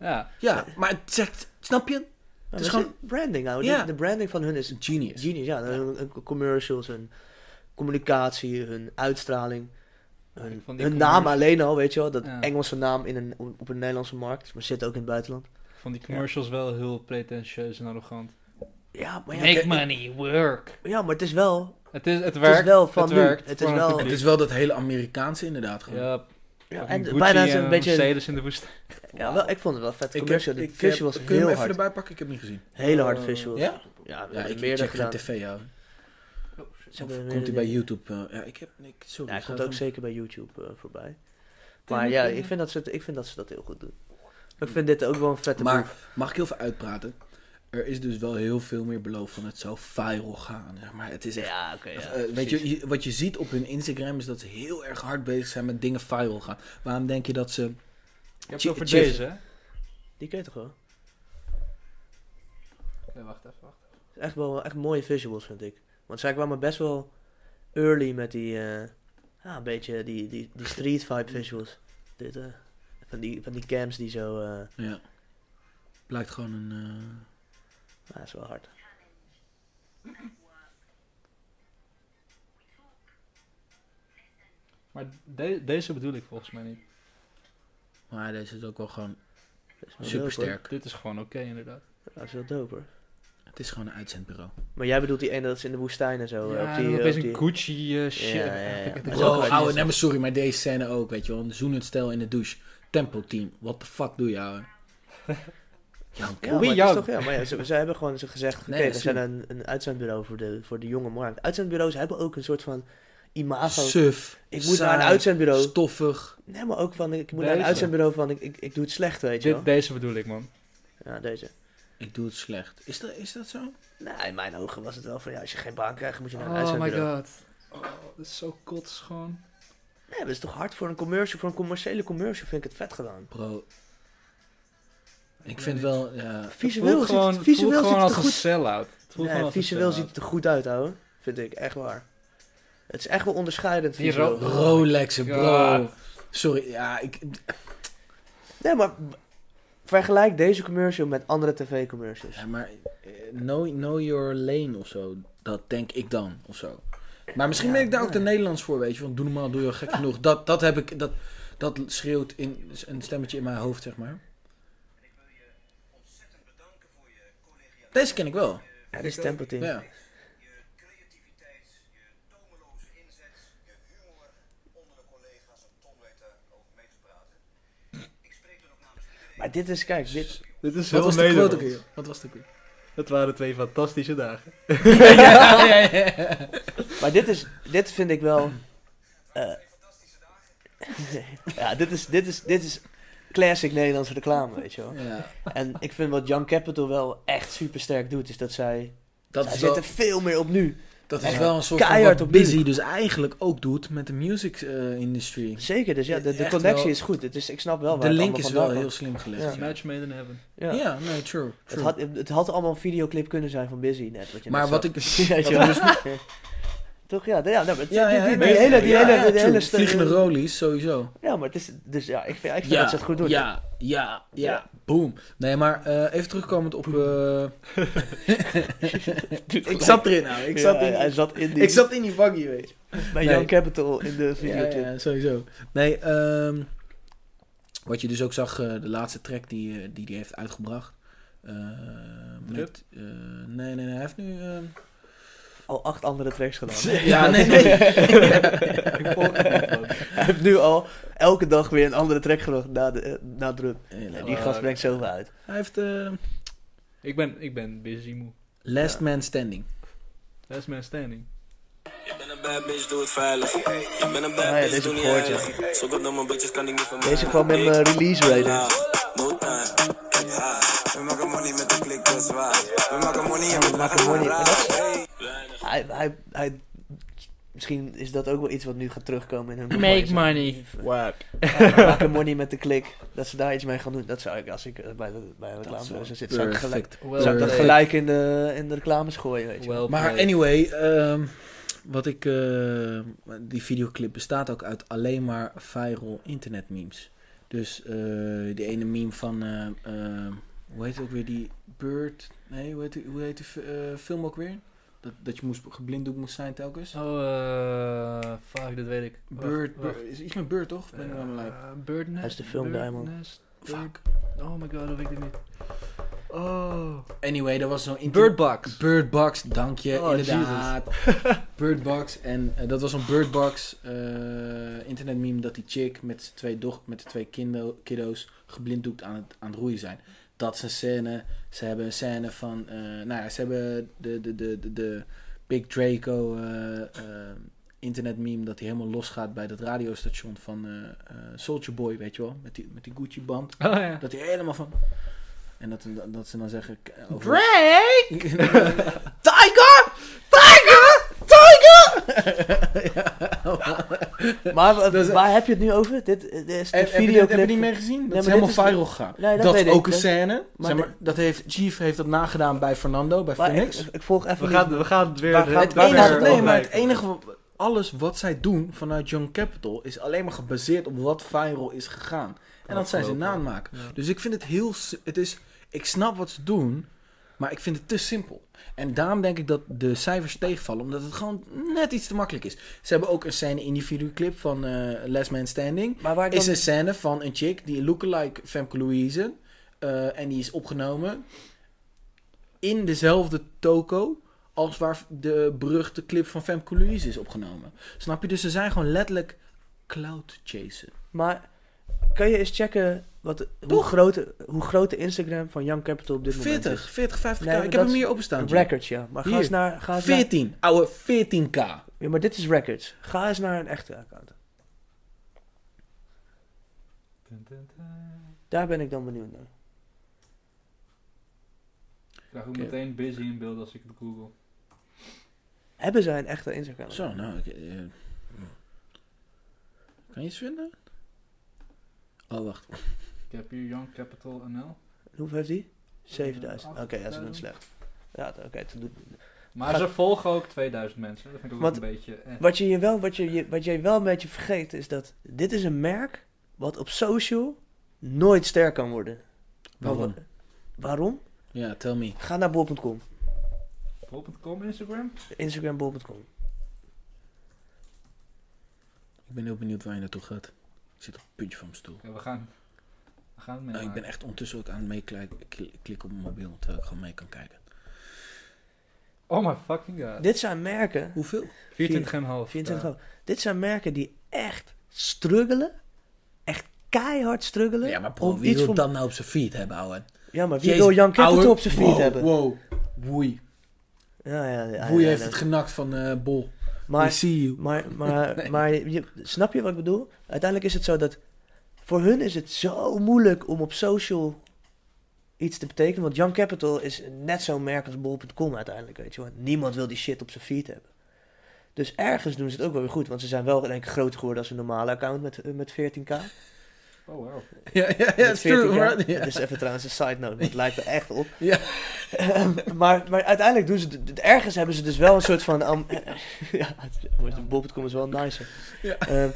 Speaker 4: Ja.
Speaker 3: Ja, maar het zegt, snap je?
Speaker 1: Het
Speaker 3: is
Speaker 1: is
Speaker 3: gewoon-
Speaker 1: gewoon branding nou. De-
Speaker 3: Ja.
Speaker 1: De, branding van hun is
Speaker 3: Genius.
Speaker 1: genius. Ja, hun, hun commercials, hun communicatie, hun uitstraling.
Speaker 4: Ik
Speaker 1: Hun,
Speaker 4: vond die
Speaker 1: hun naam
Speaker 4: commercials-
Speaker 1: alleen al, weet je wel. Dat
Speaker 4: Ja.
Speaker 1: Engelse naam in een, op een Nederlandse markt. Maar zit ook in het buitenland.
Speaker 4: Ik vond die commercials wel heel pretentieus en arrogant.
Speaker 1: Ja, maar ja,
Speaker 4: Make
Speaker 1: kijk,
Speaker 4: money, work.
Speaker 1: ja, maar het is wel...
Speaker 4: Het, is, het
Speaker 1: Het
Speaker 4: werkt.
Speaker 1: is wel van
Speaker 4: het
Speaker 1: nu.
Speaker 4: werkt.
Speaker 1: Het is
Speaker 4: voor een
Speaker 1: wel-
Speaker 3: Het
Speaker 4: publiek.
Speaker 3: is wel dat hele Amerikaanse inderdaad gewoon.
Speaker 4: Ja,
Speaker 1: Ja,
Speaker 4: en
Speaker 1: en
Speaker 4: Gucci
Speaker 1: bijna
Speaker 4: en
Speaker 1: zo'n beetje...
Speaker 4: Mercedes in de woestijn.
Speaker 1: Ja, wel, ik vond het wel vet
Speaker 3: Ik heb,
Speaker 1: commercial.
Speaker 3: ik
Speaker 1: Die visual was
Speaker 3: heb- kun je hem
Speaker 1: heel
Speaker 3: even
Speaker 1: hard.
Speaker 3: erbij pakken? Ik heb hem niet gezien.
Speaker 1: Hele hard
Speaker 4: Eh,
Speaker 1: visuals. Ja,
Speaker 3: Ja?
Speaker 1: ja we
Speaker 3: Ja,
Speaker 1: hebben
Speaker 3: ik
Speaker 1: meerdere
Speaker 3: check
Speaker 1: gedaan.
Speaker 3: geen tv, ja.
Speaker 1: Ze hebben
Speaker 3: Komt
Speaker 1: meerdere
Speaker 3: hij bij
Speaker 1: dingen.
Speaker 3: YouTube? eh, ja, ik heb... Ik, sorry,
Speaker 1: Ja, hij komt
Speaker 3: ik zou
Speaker 1: ook
Speaker 3: het
Speaker 1: zeker bij YouTube eh, voorbij. Maar ja, ik vind, dat ze, het- ik vind dat ze dat heel goed doen. Ik vind dit ook wel een vette
Speaker 3: Maar-
Speaker 1: move.
Speaker 3: Mag ik heel veel uitpraten? Er is dus wel heel veel meer beloofd van het zou viral gaan. Zeg maar het is echt...
Speaker 1: Ja, oké. ja,
Speaker 3: eh, weet
Speaker 1: precies.
Speaker 3: je, je- wat je ziet op hun Instagram is dat ze heel erg hard bezig zijn met dingen viral gaan. Waarom denk je dat ze...
Speaker 4: Je hebt
Speaker 3: Chi-
Speaker 4: het over
Speaker 3: chill.
Speaker 4: deze, hè?
Speaker 1: Die kun je toch wel?
Speaker 4: Nee, wacht even, wacht.
Speaker 1: Echt wel echt mooie visuals, vind ik. Want zij kwamen best wel early met die... eh, ja, een beetje die, die, die street vibe visuals. Dit, eh, van, die, van die cams die zo... eh,
Speaker 3: nou Ja. Blijkt gewoon een... eh,
Speaker 1: ja, dat is wel hard.
Speaker 4: Maar de- deze bedoel ik volgens mij niet.
Speaker 3: Maar deze is ook wel gewoon...
Speaker 1: Dat is wel
Speaker 3: Supersterk.
Speaker 1: dope,
Speaker 3: Werk.
Speaker 4: Dit is gewoon oké, inderdaad.
Speaker 1: hoor. Dat is wel dope, hoor.
Speaker 3: Het is gewoon een uitzendbureau.
Speaker 1: Maar jij bedoelt die ene dat is in de woestijn en zo. eh,
Speaker 4: ja,
Speaker 1: op
Speaker 4: en
Speaker 1: die,
Speaker 4: dan
Speaker 1: op
Speaker 4: opeens
Speaker 1: die-
Speaker 4: een Gucci eh, shit.
Speaker 1: Ja, ja, ja.
Speaker 4: Ik- ik-
Speaker 1: Maar
Speaker 4: ik-
Speaker 1: zo-
Speaker 4: ik-
Speaker 3: Oh,
Speaker 1: hard,
Speaker 3: ouwe,
Speaker 1: is
Speaker 3: nee, maar sorry, maar deze scène ook, weet je wel. Een zoenend stel in de douche. Tempo team. What the fuck doe je, ouwe? Jan,
Speaker 1: Ja,
Speaker 4: Hoe
Speaker 1: maar
Speaker 4: wie
Speaker 1: het is
Speaker 4: jou?
Speaker 1: toch, ja, maar ja, ze, ze hebben gewoon ze gezegd, oké,
Speaker 3: Nee,
Speaker 1: we
Speaker 3: dat is
Speaker 1: zijn een, een uitzendbureau voor de, voor de jonge markt. Uitzendbureaus hebben ook een soort van imago.
Speaker 3: suf.
Speaker 1: ik moet
Speaker 3: saai,
Speaker 1: naar een uitzendbureau.
Speaker 3: Stoffig.
Speaker 1: Nee, maar ook van, ik moet naar een
Speaker 4: Deze.
Speaker 1: uitzendbureau van, ik, ik, ik doe het slecht, weet je
Speaker 4: Dit,
Speaker 1: wel.
Speaker 4: deze bedoel ik, man.
Speaker 1: Ja, deze.
Speaker 3: Ik doe het slecht. Is dat, is dat zo?
Speaker 1: Nou, in mijn ogen was het wel van, ja, als je geen baan krijgt, moet je naar een
Speaker 4: Oh my
Speaker 1: uitzendbureau.
Speaker 4: god. Oh, dit is zo kots gewoon.
Speaker 1: Nee, dat is toch hard voor een commercial, voor een commerciële commercial vind ik het vet gedaan.
Speaker 3: Bro. Ik vind wel, ja...
Speaker 1: Visueel
Speaker 4: voelt
Speaker 1: ziet
Speaker 4: gewoon,
Speaker 1: het, visueel
Speaker 4: voelt
Speaker 1: ziet het
Speaker 4: gewoon als
Speaker 1: er
Speaker 4: een
Speaker 1: goed
Speaker 4: sell-out. Het voelt gewoon
Speaker 1: Nee,
Speaker 4: als een
Speaker 1: visueel ziet
Speaker 4: sell-out.
Speaker 1: het er goed uit, ouwe. Vind ik, echt waar. Het is echt wel onderscheidend
Speaker 4: Die
Speaker 1: visueel.
Speaker 4: ro-
Speaker 3: Rolexen, bro.
Speaker 4: God.
Speaker 3: Sorry, ja, ik...
Speaker 1: Nee, maar vergelijk deze commercial met andere tv-commercials.
Speaker 3: Ja, maar eh, know, know your lane of zo. Dat denk ik dan, of zo. Maar misschien
Speaker 1: Ja,
Speaker 3: ben ik daar ook
Speaker 1: nee.
Speaker 3: te Nederlands voor, weet je. Want doe normaal, doe je gek genoeg. Dat, dat heb ik, dat, dat schreeuwt in, een stemmetje in mijn hoofd, zeg maar. Deze ken ik wel.
Speaker 1: Ja, dit is Tempo Team.
Speaker 3: Ja.
Speaker 1: Maar dit is, kijk, dit...
Speaker 4: Dit is
Speaker 3: Wat
Speaker 4: heel
Speaker 3: was de quote ook
Speaker 4: Nederlands.
Speaker 3: weer? Wat was de quote?
Speaker 4: Het waren twee fantastische dagen.
Speaker 3: ja, ja, ja.
Speaker 1: Maar dit is, dit vind ik wel... eh, ja, dit is, dit, is, dit is classic Nederlandse reclame, weet je wel.
Speaker 3: Ja,
Speaker 1: En ik vind wat Young Capital wel echt super sterk doet, is dat zij...
Speaker 3: dat
Speaker 1: zij
Speaker 3: is wel,
Speaker 1: zitten veel meer op nu.
Speaker 3: dat is
Speaker 1: echt
Speaker 3: wel een soort van
Speaker 1: keihard
Speaker 3: wat
Speaker 1: op die-
Speaker 3: Busy dus eigenlijk ook doet met de music eh, industry.
Speaker 1: Zeker, dus ja, de, de
Speaker 3: Echt
Speaker 1: connectie
Speaker 3: wel.
Speaker 1: is goed. Het is, ik snap wel waar
Speaker 3: De
Speaker 1: het
Speaker 3: link is
Speaker 1: allemaal
Speaker 3: wel
Speaker 1: vandaan
Speaker 3: heel slim gelegd.
Speaker 1: Ja.
Speaker 3: Ja,
Speaker 4: Match made in heaven.
Speaker 1: komt. Ja.
Speaker 3: Ja, nee, true.
Speaker 1: Het,
Speaker 3: true.
Speaker 1: had, het had allemaal een videoclip kunnen zijn van Busy, net wat je
Speaker 3: Maar
Speaker 1: net
Speaker 3: wat
Speaker 1: zag.
Speaker 3: ik... dus
Speaker 1: Weet je wel? Toch, ja, ja, nou, maar het-
Speaker 3: Ja, ja,
Speaker 1: die, die,
Speaker 3: ja,
Speaker 1: die
Speaker 3: ja,
Speaker 1: hele, die
Speaker 3: ja,
Speaker 1: hele,
Speaker 3: ja,
Speaker 1: die
Speaker 3: true.
Speaker 1: hele
Speaker 3: Vliegende rollies, sowieso.
Speaker 1: Ja, maar het is, dus ja, ik vind, ik vind dat ze het goed doen.
Speaker 3: Ja, ja, ja,
Speaker 1: Ja.
Speaker 3: Boom. Nee, maar eh, even terugkomend op... eh,
Speaker 1: Doet
Speaker 3: ik
Speaker 1: gelijk.
Speaker 3: zat erin nou. Ik
Speaker 1: Ja,
Speaker 3: zat
Speaker 1: hij
Speaker 3: in,
Speaker 1: zat in die,
Speaker 3: ik zat in die buggy, weet je.
Speaker 1: bij
Speaker 3: Nee.
Speaker 1: Young Capital in de
Speaker 3: Ja,
Speaker 1: videoclip.
Speaker 3: ja, sowieso. Nee, ehm, wat je dus ook zag, eh, de laatste track die hij die die heeft uitgebracht. eh, met, eh, nee, nee, nee, hij heeft nu... ehm,
Speaker 1: Al acht andere tracks gedaan.
Speaker 3: ja, nee, nee.
Speaker 4: Ik volg het niet, man.
Speaker 1: Hij heeft nu al elke dag weer een andere track gebracht na, de, eh, na Drum.
Speaker 3: Nee, nee.
Speaker 1: Ja, die gast brengt zoveel uit.
Speaker 3: Hij heeft eh,
Speaker 4: Ik ben, ik ben busy moe.
Speaker 3: Last
Speaker 1: Ja.
Speaker 3: Man Standing.
Speaker 4: That's man standing.
Speaker 5: Ik ben een bad bitch, doe het veilig. Ik ben een bad
Speaker 1: Ah ja,
Speaker 5: bitch,
Speaker 1: deze
Speaker 5: doe niet
Speaker 1: heb ik gehoord, ja.
Speaker 5: heilig. Zo goed dan mijn bitches kan ik niet van
Speaker 1: Deze kwam in mijn release radar.
Speaker 5: We maken money met de klik, dat is waar. We maken money en we
Speaker 1: maken
Speaker 5: dragen
Speaker 1: money.
Speaker 5: money.
Speaker 1: En dat Hij, hij, hij, misschien is dat ook wel iets wat nu gaat terugkomen in hun campagne.
Speaker 4: money.
Speaker 1: Ja, Eh, Maken money met de klik. Dat ze daar iets mee gaan doen. Dat zou ik, als ik eh, bij de, bij de reclamebureau zou zitten, zou ik, gelijk,
Speaker 3: Perfect.
Speaker 4: Well
Speaker 1: zou ik dat
Speaker 3: Perfect.
Speaker 1: gelijk in de, in de reclames gooien, weet je.
Speaker 4: Well
Speaker 3: Maar
Speaker 4: played.
Speaker 3: anyway, ehm, wat ik, eh, die videoclip bestaat ook uit alleen maar viral internet memes. Dus eh, die ene meme van, eh, eh, hoe heet het ook weer, die Bird, nee, hoe heet die, hoe heet die fi- eh, film ook weer? Dat, dat je moest, geblinddoekt moest zijn telkens.
Speaker 4: Oh, eh fuck, dat weet ik. Wacht,
Speaker 3: Bird,
Speaker 4: wacht.
Speaker 3: Bird- is iets met Bird toch? Of Ben ik nou aan de lijp?
Speaker 4: Eh, Birdnest.
Speaker 1: Hij is de film Diamond.
Speaker 4: Birdnest,
Speaker 3: Fuck.
Speaker 4: Bird- Oh my god, dat weet ik niet.
Speaker 2: Oh.
Speaker 3: Anyway, dat was zo'n... inter-
Speaker 4: Bird Box.
Speaker 3: Bird Box, dank je,
Speaker 2: Oh,
Speaker 3: inderdaad. Bird Box. En eh, dat was een Bird Box eh, internetmeme dat die chick met, z'n twee doch met de twee kindo- kiddo's geblinddoekt aan het, aan het roeien zijn. Dat is een scène. Ze hebben een scène van... eh, nou ja, ze hebben de, de, de, de, de Big Draco eh, eh, internetmeme dat hij helemaal losgaat bij dat radiostation van eh eh, Soulja Boy, weet je wel? Met die, met die Gucci-band.
Speaker 4: Oh ja.
Speaker 3: Dat hij helemaal van... En dat, dat ze dan zeggen... eh, over-
Speaker 1: Drake!
Speaker 3: Tiger! Tiger! Tiger!
Speaker 1: Maar wa-
Speaker 3: Dat is-
Speaker 1: waar heb je het nu over? Dit, eh, dit is de
Speaker 3: Dus, eh, Heb, heb, je,
Speaker 1: videoclip.
Speaker 3: dit- heb je niet meer gezien? Dat
Speaker 1: maar
Speaker 3: is
Speaker 1: dit
Speaker 3: helemaal
Speaker 1: is-
Speaker 3: viral gegaan.
Speaker 1: Nee, dat
Speaker 3: dat
Speaker 1: weet
Speaker 3: is
Speaker 1: ik,
Speaker 3: ook een
Speaker 1: dat-
Speaker 3: scène.
Speaker 1: maar
Speaker 3: zeg maar, dat heeft, Chief heeft dat nagedaan bij Fernando, bij
Speaker 1: Maar eh,
Speaker 3: Phoenix.
Speaker 1: ik, ik volg even
Speaker 2: We
Speaker 1: niet.
Speaker 2: gaan, we gaan het weer...
Speaker 1: Waar gaat
Speaker 2: waar
Speaker 1: het
Speaker 2: weer
Speaker 1: enige-
Speaker 2: over
Speaker 1: nee,
Speaker 3: nee,
Speaker 1: maar
Speaker 3: maar het
Speaker 2: lijken.
Speaker 3: enige... wat- Alles wat zij doen vanuit Young Capital is alleen maar gebaseerd op wat viral is gegaan. En dat zijn ze na aan het maken.
Speaker 2: Ja.
Speaker 3: Dus ik vind het heel... si- Het is, ik snap wat ze doen, maar ik vind het te simpel. En daarom denk ik dat de cijfers tegenvallen, omdat het gewoon net iets te makkelijk is. Ze hebben ook een scène in die videoclip van eh Last Man Standing.
Speaker 1: Maar waar ik
Speaker 3: Is
Speaker 1: dan-
Speaker 3: een scène van een chick, die lookalike Femke Louise. eh, en die is opgenomen in dezelfde toko als waar de beruchte clip van Femke Louise is opgenomen. Snap je? Dus ze zijn gewoon letterlijk cloud chasen.
Speaker 1: Maar kan je eens checken wat, hoe,
Speaker 3: Toch?
Speaker 1: groot, hoe groot de Instagram van Young Capital op dit moment
Speaker 3: 40, 40, 50
Speaker 1: Nee,
Speaker 3: k.
Speaker 1: maar
Speaker 3: Ik
Speaker 1: dat
Speaker 3: heb hem
Speaker 1: is
Speaker 3: hier
Speaker 1: is?
Speaker 3: openstaan. Jim.
Speaker 1: Records, ja. Maar ga
Speaker 3: Hier.
Speaker 1: eens naar... Ga eens naar
Speaker 3: 14, ouwe 14k.
Speaker 1: ja, maar dit is records. Ga eens naar een echte account. Daar ben ik dan benieuwd naar.
Speaker 4: Ik krijg ook meteen busy in beeld als ik het google.
Speaker 1: Hebben zij een echte Instagram?
Speaker 3: Zo, nou. Ik, eh, kan je iets vinden? Oh, wacht.
Speaker 4: Ik heb hier Young Capital NL.
Speaker 1: Hoeveel heeft die? 7000. Oké, ja, ze doen het
Speaker 4: 8000.
Speaker 1: slecht. Ja, oké. toen doet-
Speaker 4: Maar
Speaker 1: Gaat-
Speaker 4: ze volgen ook 2000 mensen. Dat vind ik ook
Speaker 1: Wat-
Speaker 4: een beetje... eh.
Speaker 1: Wat je, je wel, wat, je, je- wat jij wel een beetje vergeet is dat dit is een merk wat op social nooit sterk kan worden.
Speaker 3: Waarom?
Speaker 1: Waarom?
Speaker 3: Oh, Ja, tell me.
Speaker 1: Ga naar bol.com.
Speaker 4: Bol.com, Instagram?
Speaker 1: Instagram bol.com.
Speaker 3: Ik ben heel benieuwd waar je naartoe gaat. Ik zit op het puntje van mijn stoel.
Speaker 4: Oké, we gaan... We gaan het
Speaker 3: Nou, ik ben
Speaker 4: meemaken.
Speaker 3: echt ondertussen ook aan het meeklikken kli- klikken op mijn mobiel, terwijl ik gewoon mee kan kijken.
Speaker 4: Oh my fucking god.
Speaker 1: Dit zijn merken.
Speaker 3: Hoeveel?
Speaker 4: 24,5.
Speaker 1: 24 euro. Dit zijn merken die echt struggelen. Echt keihard struggelen.
Speaker 3: Ja, maar bro,
Speaker 1: om
Speaker 3: wie
Speaker 1: iets
Speaker 3: wil
Speaker 1: van...
Speaker 3: dat nou op zijn feed hebben, ouwe?
Speaker 1: Ja, maar wie
Speaker 3: Jezus,
Speaker 1: wil Jan Capital
Speaker 3: ouwe,
Speaker 1: op zijn feed
Speaker 3: wow,
Speaker 1: hebben?
Speaker 3: Wow, woei.
Speaker 1: Ja, ja, ja,
Speaker 3: Woei
Speaker 1: ja,
Speaker 3: heeft
Speaker 1: ja.
Speaker 3: het genakt van eh, Bol. We
Speaker 1: Maar,
Speaker 3: see you.
Speaker 1: maar, maar, maar je, snap je wat ik bedoel? Uiteindelijk is het zo dat voor hun is het zo moeilijk om op social iets te betekenen. Want Young Capital is net zo'n merk als bol.com uiteindelijk, weet je wel. Niemand wil die shit op zijn feed hebben. Dus ergens doen ze het ook wel weer goed. Want ze zijn wel in één keer groter geworden als een normale account met, eh, met 14k.
Speaker 4: Oh wow.
Speaker 3: Ja, ja, ja,
Speaker 1: Met
Speaker 3: it's true,
Speaker 1: 14K.
Speaker 3: right? Ja.
Speaker 1: Dat is even trouwens een side note, want het lijkt er echt op. Ehm,
Speaker 3: Ja.
Speaker 1: maar, maar uiteindelijk doen ze... d- d- Ergens hebben ze dus wel een soort van... am- ja, het- bol.com is wel nicer.
Speaker 3: Ja.
Speaker 1: Ehm,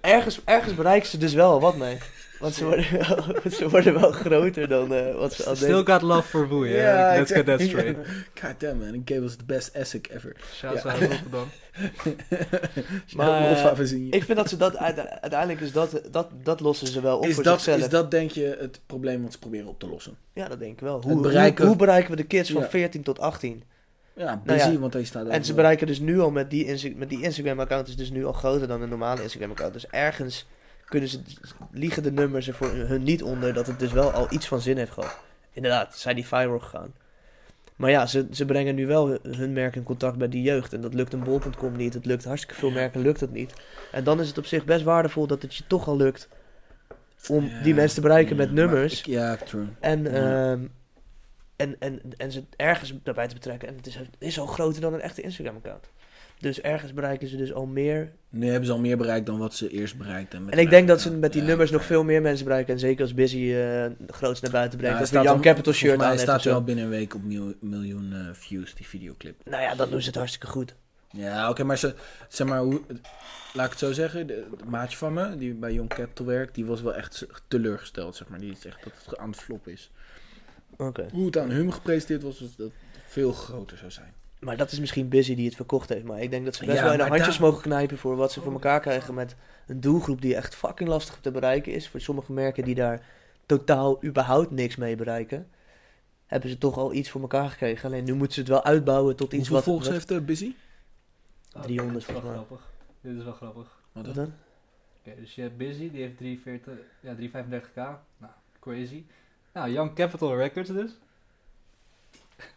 Speaker 1: ergens, ergens bereiken ze dus wel wat mee. Want ze worden wel, ze worden wel groter dan eh, wat ze al
Speaker 2: Still
Speaker 1: deden.
Speaker 2: got love for Boei, hè?
Speaker 3: Ja,
Speaker 2: Let's get that
Speaker 3: exactly.
Speaker 2: straight.
Speaker 3: God damn man, it gave us the best Essex ever.
Speaker 4: Shouts out Rotterdam.
Speaker 1: Maar, eh,
Speaker 3: Of even zien.
Speaker 1: Ik vind dat ze dat... uite- Uiteindelijk is dat... Dat, dat lossen ze wel op
Speaker 3: Is
Speaker 1: voor
Speaker 3: dat,
Speaker 1: zichzelf.
Speaker 3: is dat denk je het probleem wat ze proberen op te lossen?
Speaker 1: Ja, dat denk ik wel.
Speaker 3: Het
Speaker 1: Hoe
Speaker 3: bereiken-
Speaker 1: hoe, hoe bereiken we de kids van
Speaker 3: Ja.
Speaker 1: 14 tot 18?
Speaker 3: Ja, busy,
Speaker 1: Nou ja,
Speaker 3: want hij staat
Speaker 1: En ze
Speaker 3: overal.
Speaker 1: bereiken dus nu al met die, Insta- met die Instagram-account is dus nu al groter dan een normale Instagram-account. Dus ergens kunnen ze, liegen de nummers er voor hun niet onder dat het dus wel al iets van zin heeft gehad. Inderdaad, zijn die viral gegaan. Maar ja, ze, ze brengen nu wel hun- hun merk in contact bij die jeugd. En dat lukt een bol.com niet. Het lukt hartstikke veel merken, lukt het niet. En dan is het op zich best waardevol dat het je toch al lukt om
Speaker 3: Ja,
Speaker 1: die mensen te bereiken met
Speaker 3: ja, maar
Speaker 1: nummers.
Speaker 3: ik- ja, true.
Speaker 1: En,
Speaker 3: Ja.
Speaker 1: ehm, en, en, en ze ergens daarbij te betrekken. En het is, het is al groter dan een echte Instagram-account. Dus ergens bereiken ze dus al meer.
Speaker 3: Nu hebben ze al meer bereikt dan wat ze eerst bereikten. met
Speaker 1: En ik
Speaker 3: hun
Speaker 1: denk dat ze
Speaker 3: account.
Speaker 1: met die
Speaker 3: Ja,
Speaker 1: nummers
Speaker 3: oké.
Speaker 1: nog veel meer mensen bereiken. En zeker als Busy eh groots naar buiten
Speaker 3: Ja,
Speaker 1: brengt.
Speaker 3: hij
Speaker 1: als
Speaker 3: staat
Speaker 1: een Young
Speaker 3: al-
Speaker 1: Capital shirt
Speaker 3: volgens
Speaker 1: aan
Speaker 3: mij
Speaker 1: heeft
Speaker 3: staat
Speaker 1: of
Speaker 3: hij
Speaker 1: zo.
Speaker 3: al binnen een week op mil- miljoen eh, views, die videoclip.
Speaker 1: Nou ja, dat doen ze het hartstikke goed.
Speaker 3: Ja, oké, maar ze, zeg maar, hoe, laat ik het zo zeggen. De, de maatje van me, die bij Young Capital werkt, die was wel echt teleurgesteld, zeg maar. Die zegt dat het aan het flop is.
Speaker 1: Oké.
Speaker 3: Hoe het aan hem gepresenteerd was, was dat het veel groter zou zijn.
Speaker 1: Maar dat is misschien Busy die het verkocht heeft. Maar ik denk dat ze best
Speaker 3: Ja,
Speaker 1: wel in de
Speaker 3: maar
Speaker 1: handjes
Speaker 3: daar-
Speaker 1: mogen knijpen voor wat ze voor elkaar krijgen met een doelgroep die echt fucking lastig te bereiken is. Voor sommige merken die daar totaal überhaupt niks mee bereiken. hebben ze toch al iets voor elkaar gekregen. Alleen nu moeten ze het wel uitbouwen tot iets
Speaker 3: Hoeveel
Speaker 1: wat...
Speaker 3: volgers
Speaker 1: wat-
Speaker 3: heeft eh, Busy?
Speaker 4: Oh,
Speaker 1: 300
Speaker 4: dit is wel
Speaker 1: volgens mij.
Speaker 4: grappig. Dit is wel grappig.
Speaker 3: Wat
Speaker 1: Wat
Speaker 3: dan?
Speaker 1: dan?
Speaker 4: Oké, dus je hebt Busy, die heeft 340, ja, 335k. Nou, crazy. Nou, Young Capital Records dus.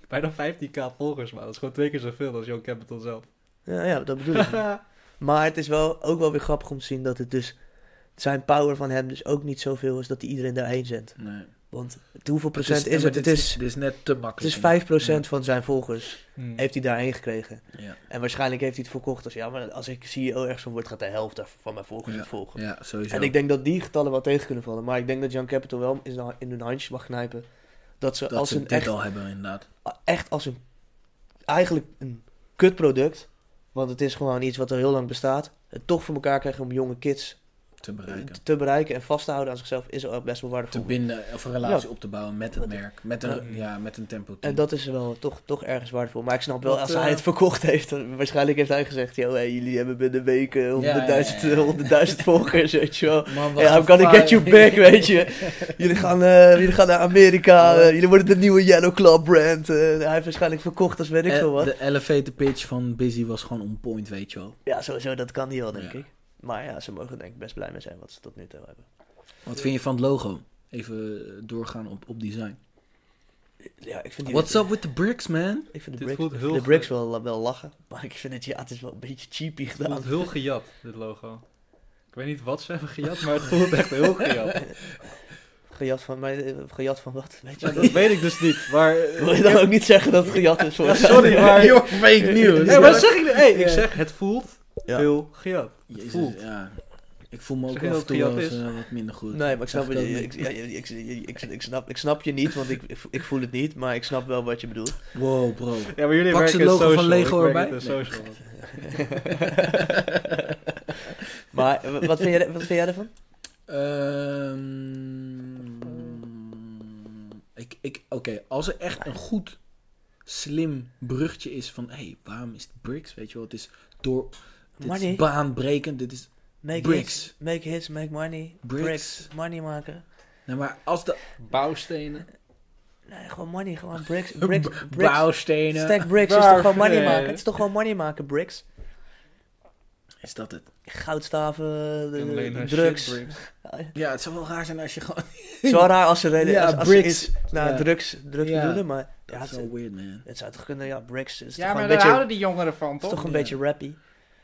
Speaker 4: Bijna 15k volgers, maar dat is gewoon twee keer zoveel als Young Capital zelf.
Speaker 1: Ja, ja, dat bedoel ik. maar het is wel ook wel weer grappig om te zien dat het dus... Zijn power van hem dus ook niet zoveel is dat hij iedereen daarheen zendt.
Speaker 3: Nee.
Speaker 1: Want het- hoeveel procent is het? Het is,
Speaker 3: Dit is net te makkelijk.
Speaker 1: het is 5% procent van zijn volgers
Speaker 4: Hmm.
Speaker 1: heeft hij daarheen gekregen.
Speaker 3: Ja,
Speaker 1: En waarschijnlijk heeft hij het verkocht als... Ja, maar als ik CEO ergens van word, gaat de helft van mijn volgers het volgen.
Speaker 3: ja sowieso.
Speaker 1: En ik denk dat die getallen wel tegen kunnen vallen. Maar ik denk dat Jan Capital wel in hun- in hun handjes mag knijpen. Dat ze
Speaker 3: dat
Speaker 1: als
Speaker 3: ze
Speaker 1: een
Speaker 3: dit
Speaker 1: echt,
Speaker 3: al hebben, inderdaad.
Speaker 1: echt als een... Eigenlijk een kutproduct. Want het is gewoon iets wat al heel lang bestaat. Het toch voor elkaar krijgen om jonge kids
Speaker 3: Te bereiken.
Speaker 1: te, te bereiken en vast te houden aan zichzelf is al best wel
Speaker 3: Te
Speaker 1: waardevol.
Speaker 3: binden of een relatie op te bouwen met het merk. Met een,
Speaker 4: Ja.
Speaker 3: ja, met een tempo.
Speaker 1: En dat is wel toch, toch ergens waardevol. Maar ik snap wel,
Speaker 3: Wat,
Speaker 1: als
Speaker 3: eh,
Speaker 1: hij het verkocht heeft, dan waarschijnlijk heeft hij gezegd: Yo, hey, jullie hebben binnen een week eh, 100.000
Speaker 3: ja, ja.
Speaker 1: 100.000 volgers, weet je wel.
Speaker 3: Man, wat
Speaker 1: Ja, I'm gonna
Speaker 3: gevaar.
Speaker 1: get you back, weet je. Jullie gaan, eh, jullie gaan naar Amerika. eh, jullie worden de nieuwe Yellow Club brand. eh, hij heeft waarschijnlijk verkocht als weet ik
Speaker 3: Eh,
Speaker 1: veel wat.
Speaker 3: De elevator pitch van Busy was gewoon on point, weet je wel.
Speaker 1: Ja, sowieso, dat kan hij wel, denk
Speaker 3: Ja.
Speaker 1: ik. Maar ja, ze mogen er denk ik best blij mee zijn wat ze tot nu toe hebben.
Speaker 3: Wat vind je van het logo? Even eh, doorgaan op, op design.
Speaker 1: Ja, ik vind die...
Speaker 3: What's up with the bricks, man?
Speaker 1: Ik vind de
Speaker 4: Dit
Speaker 1: bricks,
Speaker 4: voelt
Speaker 1: ik
Speaker 4: heel
Speaker 1: vind de
Speaker 4: ge-
Speaker 1: bricks wel, eh, wel lachen. Maar ik vind het, ja, het is wel een beetje cheapy
Speaker 4: Het
Speaker 1: gedaan.
Speaker 4: voelt heel gejat, dit logo. Ik weet niet wat ze hebben gejat, maar het voelt echt heel gejat.
Speaker 1: Gejat van, mij, eh, gejat van wat, weet je
Speaker 4: Ja,
Speaker 1: wel.
Speaker 4: dat weet ik dus niet, maar...
Speaker 1: Wil je dan ook niet zeggen dat het gejat is voor
Speaker 4: sorry, maar...
Speaker 3: Your fake news.
Speaker 4: Hé, wat zeg ik nu? Hey, ik
Speaker 3: Ja.
Speaker 4: zeg, het voelt
Speaker 1: Ja.
Speaker 4: heel gejat. Het
Speaker 3: Jezus,
Speaker 4: voelt.
Speaker 3: ja. Ik voel me
Speaker 4: Zeg
Speaker 3: ook
Speaker 4: je
Speaker 3: af
Speaker 4: dat
Speaker 3: en toe
Speaker 4: het
Speaker 3: wel eens,
Speaker 4: gejat
Speaker 3: eh, wat minder goed.
Speaker 1: Nee, maar ik snap,
Speaker 3: Zeg
Speaker 1: wat je,
Speaker 3: ook
Speaker 1: ik, ja, ik, ik, ik, ik, snap, ik snap je niet, want ik, ik, ik voel het niet, maar ik snap wel wat je bedoelt.
Speaker 3: niet. Wow, bro.
Speaker 4: Ja, maar jullie
Speaker 3: Pak ze
Speaker 4: werken
Speaker 3: het logo
Speaker 4: in
Speaker 3: van
Speaker 4: social.
Speaker 3: Lego
Speaker 4: ik werk
Speaker 3: erbij?
Speaker 4: in social.
Speaker 1: maar w- wat vind, jij, wat vind jij ervan?
Speaker 3: Ehm, ik, ik, Oké, als er echt een goed, slim bruggetje is van... Hé, hey, waarom is het bricks? Weet je wel, het is door... Dit
Speaker 1: Money.
Speaker 3: is baanbrekend, dit is...
Speaker 1: Make
Speaker 3: Bricks.
Speaker 1: hits, make hits, make money.
Speaker 3: Bricks.
Speaker 1: Bricks. Money maken.
Speaker 3: Nou, maar als de
Speaker 4: Bouwstenen.
Speaker 1: Nee, gewoon money, gewoon bricks. Bricks.
Speaker 3: b-
Speaker 1: bricks.
Speaker 3: bouwstenen...
Speaker 1: Stack bricks is toch gewoon money
Speaker 4: Bouwstenen.
Speaker 1: maken? Het is toch gewoon money maken, bricks?
Speaker 3: Is dat het?
Speaker 1: Goudstaven, de-
Speaker 4: En alleen
Speaker 1: de
Speaker 4: haar
Speaker 1: Eh, drugs.
Speaker 4: shit bricks.
Speaker 3: Ja, het zou wel raar zijn als je gewoon...
Speaker 1: Het is wel raar als ze reden
Speaker 3: Ja,
Speaker 1: als, als ze
Speaker 3: bricks.
Speaker 1: iets naar
Speaker 3: Ja.
Speaker 1: Nou, drugs, drugs
Speaker 3: Ja.
Speaker 1: bedoelen, maar ja,
Speaker 3: Dat is
Speaker 1: het,
Speaker 3: wel weird, man.
Speaker 1: het zou toch kunnen, ja, bricks is
Speaker 4: Ja,
Speaker 1: toch
Speaker 4: maar
Speaker 1: gewoon
Speaker 4: daar
Speaker 1: een beetje,
Speaker 4: houden die jongeren van,
Speaker 1: is
Speaker 4: toch?
Speaker 1: toch een
Speaker 3: Ja.
Speaker 1: beetje rappy.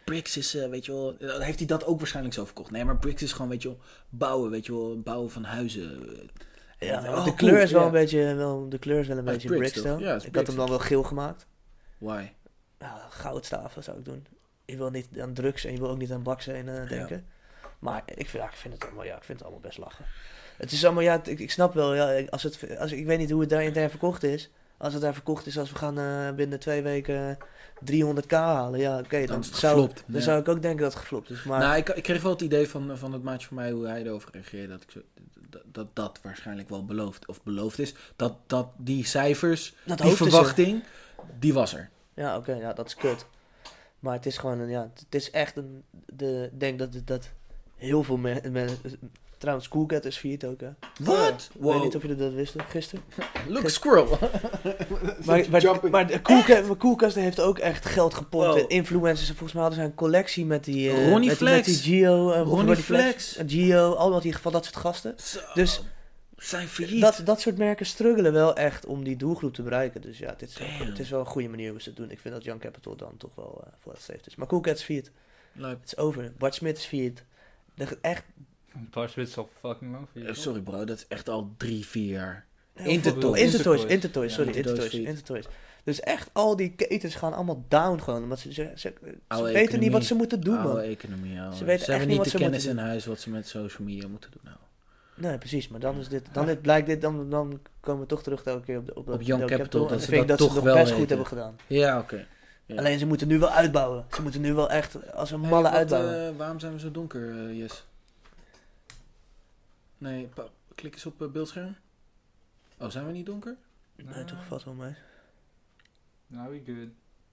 Speaker 3: Bricks is, eh, weet je wel... eh, Heeft hij dat ook waarschijnlijk zo verkocht? Nee, maar Bricks is gewoon, weet je wel... Bouwen, weet je wel... Bouwen van huizen.
Speaker 1: Ja,
Speaker 3: Oh,
Speaker 1: want de
Speaker 3: cool,
Speaker 1: kleur is wel
Speaker 3: ja.
Speaker 1: een beetje, wel, de kleur is wel een
Speaker 3: Ah,
Speaker 1: beetje
Speaker 3: bricks
Speaker 1: bricks
Speaker 3: toch?
Speaker 1: dan.
Speaker 3: Ja, het is
Speaker 1: ik had hem
Speaker 3: bricks.
Speaker 1: dan wel geel gemaakt.
Speaker 3: Why?
Speaker 1: Ja, goudstaven zou ik doen. Je wil niet aan drugs en je wil ook niet aan baksen en eh, denken. Maar ik vind, ja, ik vind het allemaal, ja, ik vind het allemaal best lachen. Het is allemaal, ja, het- ik, ik snap wel, ja, als het, als, ik weet niet hoe het daar intern verkocht is. Als het daar verkocht is, als we gaan eh, binnen twee weken eh, 300k halen, ja, oké,
Speaker 3: Dan
Speaker 1: dan,
Speaker 3: is het
Speaker 1: zou,
Speaker 3: geflopt,
Speaker 1: dan
Speaker 3: ja.
Speaker 1: zou ik ook denken dat het geflopt is. Maar
Speaker 3: Nou, ik, ik kreeg wel het idee van, van het maatje van mij hoe hij erover reageerde. Dat, ik zo, dat, dat dat waarschijnlijk wel beloofd, of beloofd is. Dat, dat die cijfers,
Speaker 1: dat
Speaker 3: die
Speaker 1: hoopten ze.
Speaker 3: verwachting, die was er.
Speaker 1: Ja, oké, ja, dat is kut. Maar het is gewoon een, ja, het is echt een, de, ik denk dat, dat heel veel mensen, trouwens, Coolcat is failliet ook, hè.
Speaker 3: Wat?
Speaker 1: Ik weet niet
Speaker 3: Wow.
Speaker 1: of jullie dat wisten, gisteren.
Speaker 3: Look, squirrel.
Speaker 1: Maar, maar, maar de Coolcat, maar Coolcat heeft ook echt geld gepompt.
Speaker 3: Wow.
Speaker 1: en Influencers, en volgens mij hadden ze een collectie met die... eh,
Speaker 3: Ronnie
Speaker 1: met, die-
Speaker 3: Flex.
Speaker 1: Met die Gio. eh,
Speaker 3: Ronnie Flex.
Speaker 1: en Gio, allemaal in ieder geval dat soort gasten.
Speaker 3: dus,
Speaker 1: Dus
Speaker 3: zijn failliet.
Speaker 1: dat, dat soort merken struggelen wel echt om die doelgroep te bereiken. Dus ja, dit is,
Speaker 3: Damn.
Speaker 1: het is wel een goede manier hoe ze het doen. Ik vind dat Young Capital dan toch wel eh, voor het safe is. Maar Coolcat is failliet.
Speaker 3: Leuk.
Speaker 1: Het is over. Bart Smit is failliet. De- Echt.
Speaker 4: Bart Smit is al fucking lang voor
Speaker 3: Eh,
Speaker 4: je.
Speaker 3: Sorry bro, dat is echt al drie, vier jaar.
Speaker 1: Intertoys.
Speaker 3: Intertoys.
Speaker 1: Intertoys, Intertoys,
Speaker 4: Ja,
Speaker 1: sorry.
Speaker 3: Intertoys
Speaker 1: Intertoys,
Speaker 3: failliet.
Speaker 1: Intertoys. Dus echt, al die ketens gaan allemaal down gewoon. Omdat ze, ze, ze, ze
Speaker 3: Oude
Speaker 1: weten
Speaker 3: economie.
Speaker 1: niet wat ze moeten doen,
Speaker 3: Oude
Speaker 1: man.
Speaker 3: economie, ouwe.
Speaker 1: Ze weten echt niet
Speaker 3: hebben niet
Speaker 1: wat
Speaker 3: de
Speaker 1: ze
Speaker 3: kennis
Speaker 1: moeten
Speaker 3: in huis wat ze met social media moeten doen. Nou.
Speaker 1: Nee, precies. Maar dan, is dit, dan dit, blijkt dit, dan, dan komen we toch terug elke keer op, de, op, dat-
Speaker 3: Ah. Op Young
Speaker 1: dat
Speaker 3: Capital,
Speaker 1: En
Speaker 3: dat
Speaker 1: dan
Speaker 3: ze
Speaker 1: vind ik
Speaker 3: dat
Speaker 1: dat ze het
Speaker 3: toch
Speaker 1: nog
Speaker 3: wel
Speaker 1: best goed
Speaker 3: weten.
Speaker 1: hebben gedaan.
Speaker 3: Ja, oké. Ja.
Speaker 1: Alleen ze moeten nu wel uitbouwen. Ze moeten nu wel echt als een
Speaker 3: Hey,
Speaker 1: malle
Speaker 3: wat,
Speaker 1: uitbouwen.
Speaker 3: eh, waarom zijn we zo donker, eh, Jes? Nee, pa- klik eens op eh, beeldscherm. Oh, zijn we niet donker?
Speaker 1: nee,
Speaker 3: Ah.
Speaker 1: toch valt wel mee.
Speaker 4: Nou, we good.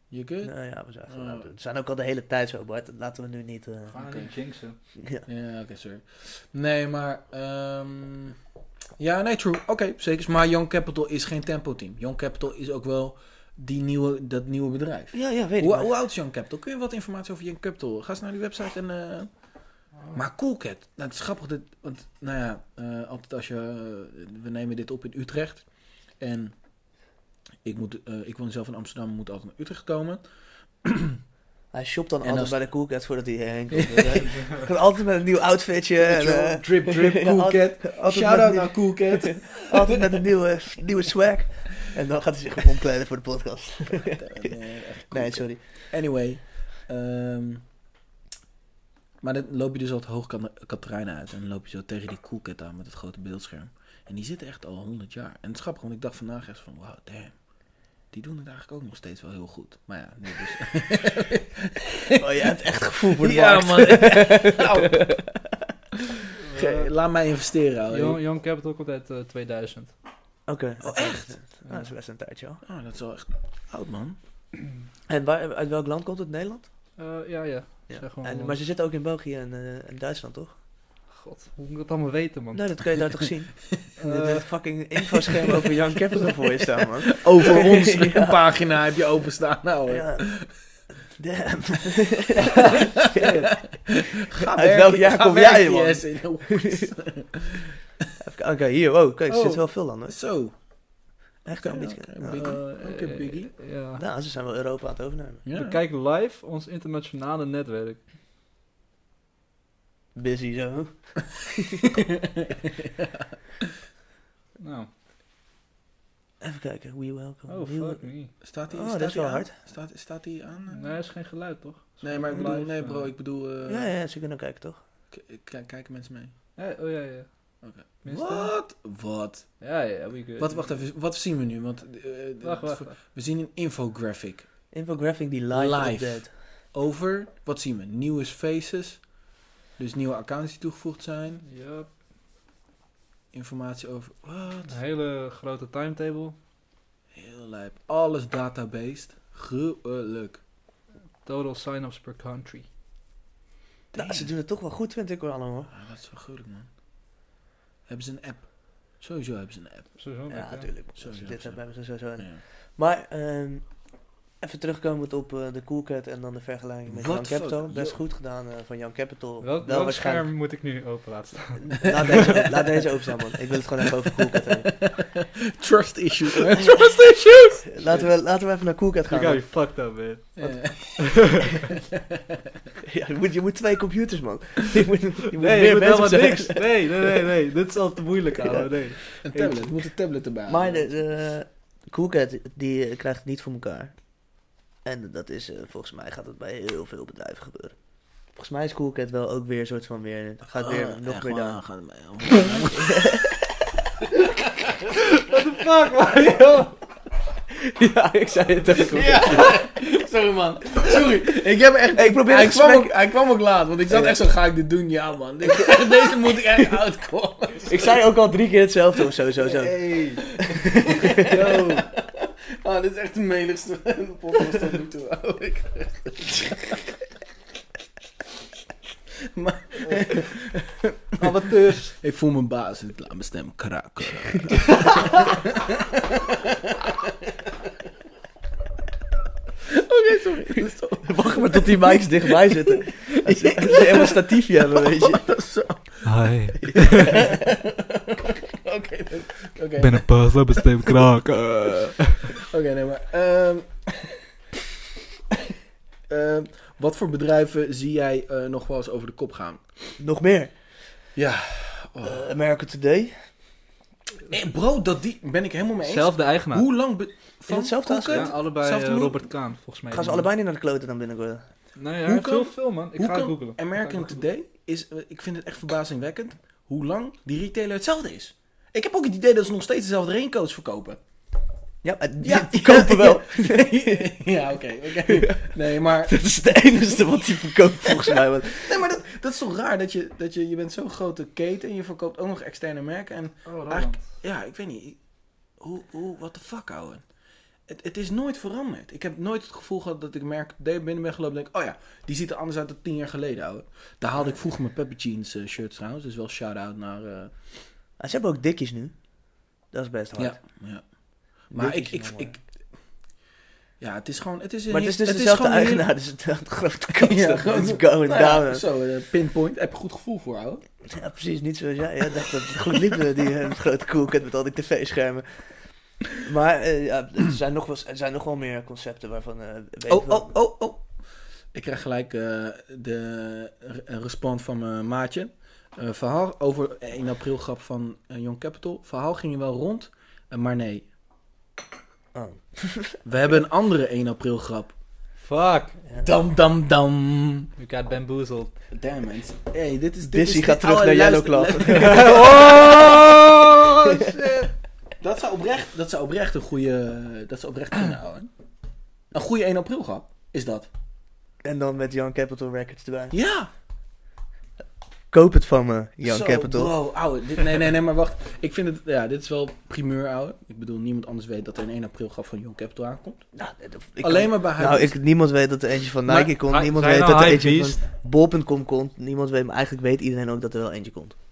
Speaker 3: You good?
Speaker 1: Nou ja, we zijn gewoon
Speaker 3: Oh.
Speaker 1: aan het doen. Het zijn ook al de hele tijd zo, Bart. Laten we nu niet... eh,
Speaker 4: Gaan we
Speaker 3: Oké.
Speaker 4: niet jinxen.
Speaker 1: ja.
Speaker 3: Ja, oké, sorry. Nee, maar... ehm, Ja, nee, true. Oké, zeker. Maar Young Capital is geen tempo-team. Young Capital is ook wel die nieuwe, dat nieuwe bedrijf.
Speaker 1: Ja, ja, weet ik
Speaker 3: Hoe,
Speaker 1: maar.
Speaker 3: hoe oud is Young Capital? Kun je wat informatie over Young Capital? Ga eens naar die website en... eh, Maar Coolcat, nou, het is grappig, dit, want nou ja, eh, altijd als je... eh, we nemen dit op in Utrecht. En ik, moet, eh, ik woon zelf in Amsterdam, moet altijd naar Utrecht komen.
Speaker 1: Hij shopt dan
Speaker 3: En
Speaker 1: altijd
Speaker 3: als-
Speaker 1: bij de Coolcats voordat hij heen komt. weet je. Gaat altijd met een nieuw outfitje. En, eh,
Speaker 3: drip, drip,
Speaker 1: ja,
Speaker 3: Coolcat.
Speaker 1: altijd
Speaker 3: Shout-out
Speaker 1: met-
Speaker 3: naar Coolcat.
Speaker 1: altijd met een nieuwe, nieuwe swag. En dan gaat hij zich weer omkleden voor de podcast.
Speaker 3: Nee, echt
Speaker 1: Nee,
Speaker 3: Coolcat.
Speaker 1: sorry.
Speaker 3: Anyway. ehm, maar dan loop je dus al het hoog Kat- Katerijnen uit. En dan loop je zo tegen die koelket aan met het grote beeldscherm. En die zitten echt al 100 jaar. En het is grappig, want ik dacht vandaag echt van... Wow, damn. Die doen het eigenlijk ook nog steeds wel heel goed. Maar ja, nu dus...
Speaker 1: Oh, jij hebt echt gevoel voor de
Speaker 3: ja,
Speaker 1: markt.
Speaker 3: man. Au. Ge- Laat mij investeren, ouwe.
Speaker 4: Young, Young Capital komt uit eh, 2000.
Speaker 1: Oké.
Speaker 3: Oh, echt?
Speaker 1: Nou, dat is best een tijdje al.
Speaker 3: Oh, dat is wel echt oud, man.
Speaker 1: En waar, uit welk land komt het? Nederland?
Speaker 4: Eh, ja, ja.
Speaker 1: Ja.
Speaker 4: Zeg gewoon
Speaker 1: En,
Speaker 4: wel.
Speaker 1: maar ze zitten ook in België en, eh, en Duitsland, toch?
Speaker 4: God, hoe moet ik dat allemaal weten, man?
Speaker 1: Nee, dat kan je daar toch zien?
Speaker 4: Eh,
Speaker 1: Dit is fucking infoscherm over Young Capital voor je staan, man.
Speaker 3: Over ons
Speaker 1: Ja.
Speaker 3: een pagina heb je openstaan, nou, ouwe.
Speaker 1: Ja. Damn.
Speaker 3: Ga
Speaker 1: Uit welk jaar
Speaker 3: ga
Speaker 1: kom jij,
Speaker 3: werken,
Speaker 1: man?
Speaker 3: Jesse.
Speaker 1: Even kijken. Oké, hier. Wow, kijk, er
Speaker 3: Oh.
Speaker 1: zitten wel veel landen.
Speaker 3: Zo.
Speaker 1: Echt wel een
Speaker 3: Ja,
Speaker 1: beetje.
Speaker 3: oké,
Speaker 1: ja.
Speaker 3: Biggie.
Speaker 4: eh,
Speaker 3: Oké, Biggie.
Speaker 4: eh, Ja.
Speaker 1: Nou, ze zijn wel Europa aan het overnemen.
Speaker 3: Ja.
Speaker 4: Bekijk live ons internationale netwerk.
Speaker 1: Busy zo.
Speaker 4: Nou,
Speaker 1: Even kijken. We welcome.
Speaker 4: oh
Speaker 1: you.
Speaker 4: fuck me.
Speaker 3: Staat hij
Speaker 1: Oh,
Speaker 3: staat
Speaker 1: dat is
Speaker 3: hij
Speaker 1: wel
Speaker 3: aan?
Speaker 1: hard.
Speaker 3: Staat, staat hij aan? eh?
Speaker 4: Nee, is geen geluid toch? Is
Speaker 3: Nee,
Speaker 4: gewoon
Speaker 3: maar ik bedoel,
Speaker 4: live,
Speaker 3: nee
Speaker 4: eh.
Speaker 3: bro, ik bedoel, eh,
Speaker 1: Ja, ja, ze kunnen kijken, toch?
Speaker 3: k- k- kijken mensen mee.
Speaker 4: Ja, oh ja, ja.
Speaker 3: Oké.
Speaker 4: Tenminste-
Speaker 3: Wat? Wat?
Speaker 4: Ja, ja, we good.
Speaker 3: Wat, wacht even, wat zien we nu? Want eh, eh,
Speaker 4: Wacht, wacht.
Speaker 3: voor-
Speaker 4: wacht.
Speaker 3: we zien een infographic
Speaker 1: Infographic die live,
Speaker 3: Live.
Speaker 1: update.
Speaker 3: over, wat zien we? Nieuwe faces, dus nieuwe accounts die toegevoegd zijn,
Speaker 4: Ja,
Speaker 3: informatie over, wat?
Speaker 4: een hele grote timetable.
Speaker 3: Heel lijp. Alles databased. Gruwelijk.
Speaker 4: Total sign-ups per country.
Speaker 1: Nou, ze doen het toch wel goed, vind ik wel allemaal.
Speaker 3: Ah, dat is wel gruwelijk, man. Hebben ze een app? Sowieso hebben ze een app.
Speaker 4: Sowieso.
Speaker 1: Ja,
Speaker 4: leuk, hè?
Speaker 1: natuurlijk.
Speaker 3: Oh, Zo,
Speaker 1: Als ze
Speaker 3: zo,
Speaker 1: dit
Speaker 3: zo.
Speaker 1: hebben ze sowieso. een-
Speaker 3: Ja.
Speaker 1: Maar, ehm, even terugkomend op eh, de Coolcat en dan de vergelijking met
Speaker 3: What
Speaker 1: Young
Speaker 3: the fuck?
Speaker 1: Capital. Best
Speaker 3: Yo.
Speaker 1: goed gedaan eh, van Young Capital.
Speaker 4: Welk,
Speaker 1: wel
Speaker 4: welk
Speaker 1: waarschijnlijk.
Speaker 4: scherm moet ik nu open laten staan?
Speaker 1: Laat deze, laat deze openstaan, man. Ik wil het gewoon even over Coolcat hebben.
Speaker 3: Trust issues.
Speaker 1: Laten we, laten we even naar Coolcat
Speaker 4: You
Speaker 1: gaan.
Speaker 4: got me fucked up, man.
Speaker 3: Eh,
Speaker 1: Ja, je, moet, je moet twee computers, man. Je moet, je moet
Speaker 4: Nee,
Speaker 1: meer
Speaker 4: je moet
Speaker 1: mensen
Speaker 4: helemaal
Speaker 1: zijn.
Speaker 4: niks. Nee, nee, nee, nee. Dit is al te moeilijk, ouwe. Nee.
Speaker 3: een tablet. Er moet een tablet erbij.
Speaker 1: Maar de, de Coolcat, die eh, krijgt het niet voor elkaar. En dat is, eh, volgens mij gaat het bij heel veel bedrijven gebeuren. Volgens mij is Coolcat wel ook weer een soort van weer, gaat weer
Speaker 3: Ah,
Speaker 1: nog
Speaker 3: echt
Speaker 1: meer
Speaker 3: waar,
Speaker 1: down.
Speaker 3: gaat mee.
Speaker 4: Fuck, man, joh.
Speaker 1: ja, ik zei het ook.
Speaker 3: Sorry man. Sorry. Ik heb echt...
Speaker 1: Hey, ik probeer
Speaker 3: hij,
Speaker 1: het
Speaker 3: kwam
Speaker 1: gesprek-
Speaker 3: ook, hij kwam ook laat, want ik zat echt zo, ga ik dit doen? Ja man. Dit- Deze moet ik echt uitkomen.
Speaker 1: Ik zei ook al drie keer hetzelfde of zo, zo, zo.
Speaker 4: Hey.
Speaker 3: Oh, dit is echt de menigste podcast tot nu toe. Oh, ik- maar,
Speaker 4: Amateurs.
Speaker 3: ik voel mijn baas, ik laat mijn stem kraken. Oké, sorry. Dat is toch-
Speaker 1: Wacht maar tot die mics dichtbij zitten. Als ze, als ze helemaal een statiefje hebben, weet je.
Speaker 2: Hi,
Speaker 3: Oké, dat- oké.
Speaker 2: een paas, laat mijn stem kraken.
Speaker 3: Oké, nee, maar. ehm, ehm, wat voor bedrijven zie jij eh, nog wel eens over de kop gaan?
Speaker 1: Nog meer.
Speaker 3: Ja.
Speaker 1: Eh, America Today.
Speaker 3: Eh, bro, dat die ben ik helemaal mee eens.
Speaker 4: Zelfde eigenaar.
Speaker 3: Hoe lang. be- van
Speaker 1: hetzelfde als-
Speaker 3: Coolcat?
Speaker 4: Ja, allebei
Speaker 3: Zelfde
Speaker 4: eh,
Speaker 3: moe-
Speaker 4: Robert Kaan, volgens mij.
Speaker 1: Gaan ze allebei niet naar de kloten dan binnenkort?
Speaker 4: Nee, hij
Speaker 3: Hoe
Speaker 4: heeft
Speaker 3: kan-
Speaker 4: heel veel, man. Ik
Speaker 3: hoe
Speaker 4: ga het
Speaker 3: kan
Speaker 4: googlen.
Speaker 3: American
Speaker 4: Oh,
Speaker 3: Today is. eh, ik vind het echt verbazingwekkend hoe lang die retailer hetzelfde is. Ik heb ook het idee dat ze nog steeds dezelfde raincoats verkopen.
Speaker 1: Ja, eh, die, die kopen wel.
Speaker 3: ja, oké. oké. Nee, maar.
Speaker 1: Dat is het enige wat die verkoopt volgens mij. want-
Speaker 3: Nee, maar dat, dat is toch raar dat je, dat je, je bent zo'n grote keten en je verkoopt ook nog externe merken. En
Speaker 4: Oh, Roland.
Speaker 3: Eigenlijk- ja, ik weet niet. Hoe, hoe, what the fuck, ouwe. Het, het is nooit veranderd. Ik heb nooit het gevoel gehad dat ik merk, dat ik binnen ben gelopen en denk, oh ja, die ziet er anders uit dan tien jaar geleden, ouwe. Daar haalde ik vroeger mijn Pepper Jeans eh, shirts trouwens, dus wel shout-out naar eh,
Speaker 1: Ah, ze hebben ook dikjes nu. Dat is best hard.
Speaker 3: Ja, ja. Maar ik,
Speaker 1: Dikkies
Speaker 3: ik,
Speaker 1: zijn wel
Speaker 3: ik... Ja, het is gewoon... Het is een
Speaker 1: Maar het is
Speaker 3: heel-
Speaker 1: dus dezelfde
Speaker 3: gewoon een heel-
Speaker 1: eigenaar, dus het had een grote kans
Speaker 3: Ja,
Speaker 1: dat
Speaker 3: gewoon-
Speaker 1: het going
Speaker 3: Nou ja,
Speaker 1: down. is.
Speaker 3: Zo, eh, pinpoint. Heb je goed gevoel voor, ouwe.
Speaker 1: Ja, precies, niet zoals jij. Jij dacht dat het goed liep, eh, die eh, grote koelkast met al die tv-schermen. Maar eh, ja, er, zijn nog wel, er zijn nog wel meer concepten waarvan... eh, weet ik
Speaker 3: Oh,
Speaker 1: wel-
Speaker 3: oh, oh, oh. Ik krijg gelijk eh, de re- respons van mijn maatje. Eh, verhaal over 1 april grap van eh, Young Capital. Verhaal ging je wel rond, eh, maar nee.
Speaker 1: Oh.
Speaker 3: We hebben een andere 1 april grap.
Speaker 4: Fuck.
Speaker 1: Ja.
Speaker 3: Dam, dam, dam.
Speaker 4: You got bamboozled.
Speaker 3: Damn, man. Hey, dit is... dit
Speaker 1: Dizzy
Speaker 3: is-
Speaker 1: gaat terug
Speaker 3: ouwe,
Speaker 1: naar Yellow
Speaker 3: luister,
Speaker 1: Claw.
Speaker 4: Oh, shit.
Speaker 3: Dat zou oprecht, dat zou oprecht een goede... Dat zou oprecht kunnen, ouwe. Een goede 1 april grap is dat.
Speaker 1: En dan met Young Capital Records erbij.
Speaker 3: Ja.
Speaker 1: Koop het van me, Young
Speaker 3: Zo,
Speaker 1: Capital.
Speaker 3: Bro, ouwe, dit, nee, nee, nee, maar wacht. Ik vind het, ja, dit is wel primeur, ouwe. Ik bedoel, niemand anders weet dat er een 1 april graf van Young Capital aankomt.
Speaker 1: Nou, ik
Speaker 3: Alleen
Speaker 1: kan-
Speaker 3: maar bij
Speaker 1: Nou,
Speaker 3: haar.
Speaker 1: ik, niemand weet dat er eentje van
Speaker 2: Maar
Speaker 1: Nike komt.
Speaker 2: hij-
Speaker 1: niemand
Speaker 2: zijn
Speaker 1: weet
Speaker 2: nou
Speaker 1: dat er
Speaker 2: hype
Speaker 1: eentje
Speaker 2: beast?
Speaker 1: van Bol.com komt. Niemand weet, maar eigenlijk weet iedereen ook dat er wel eentje komt.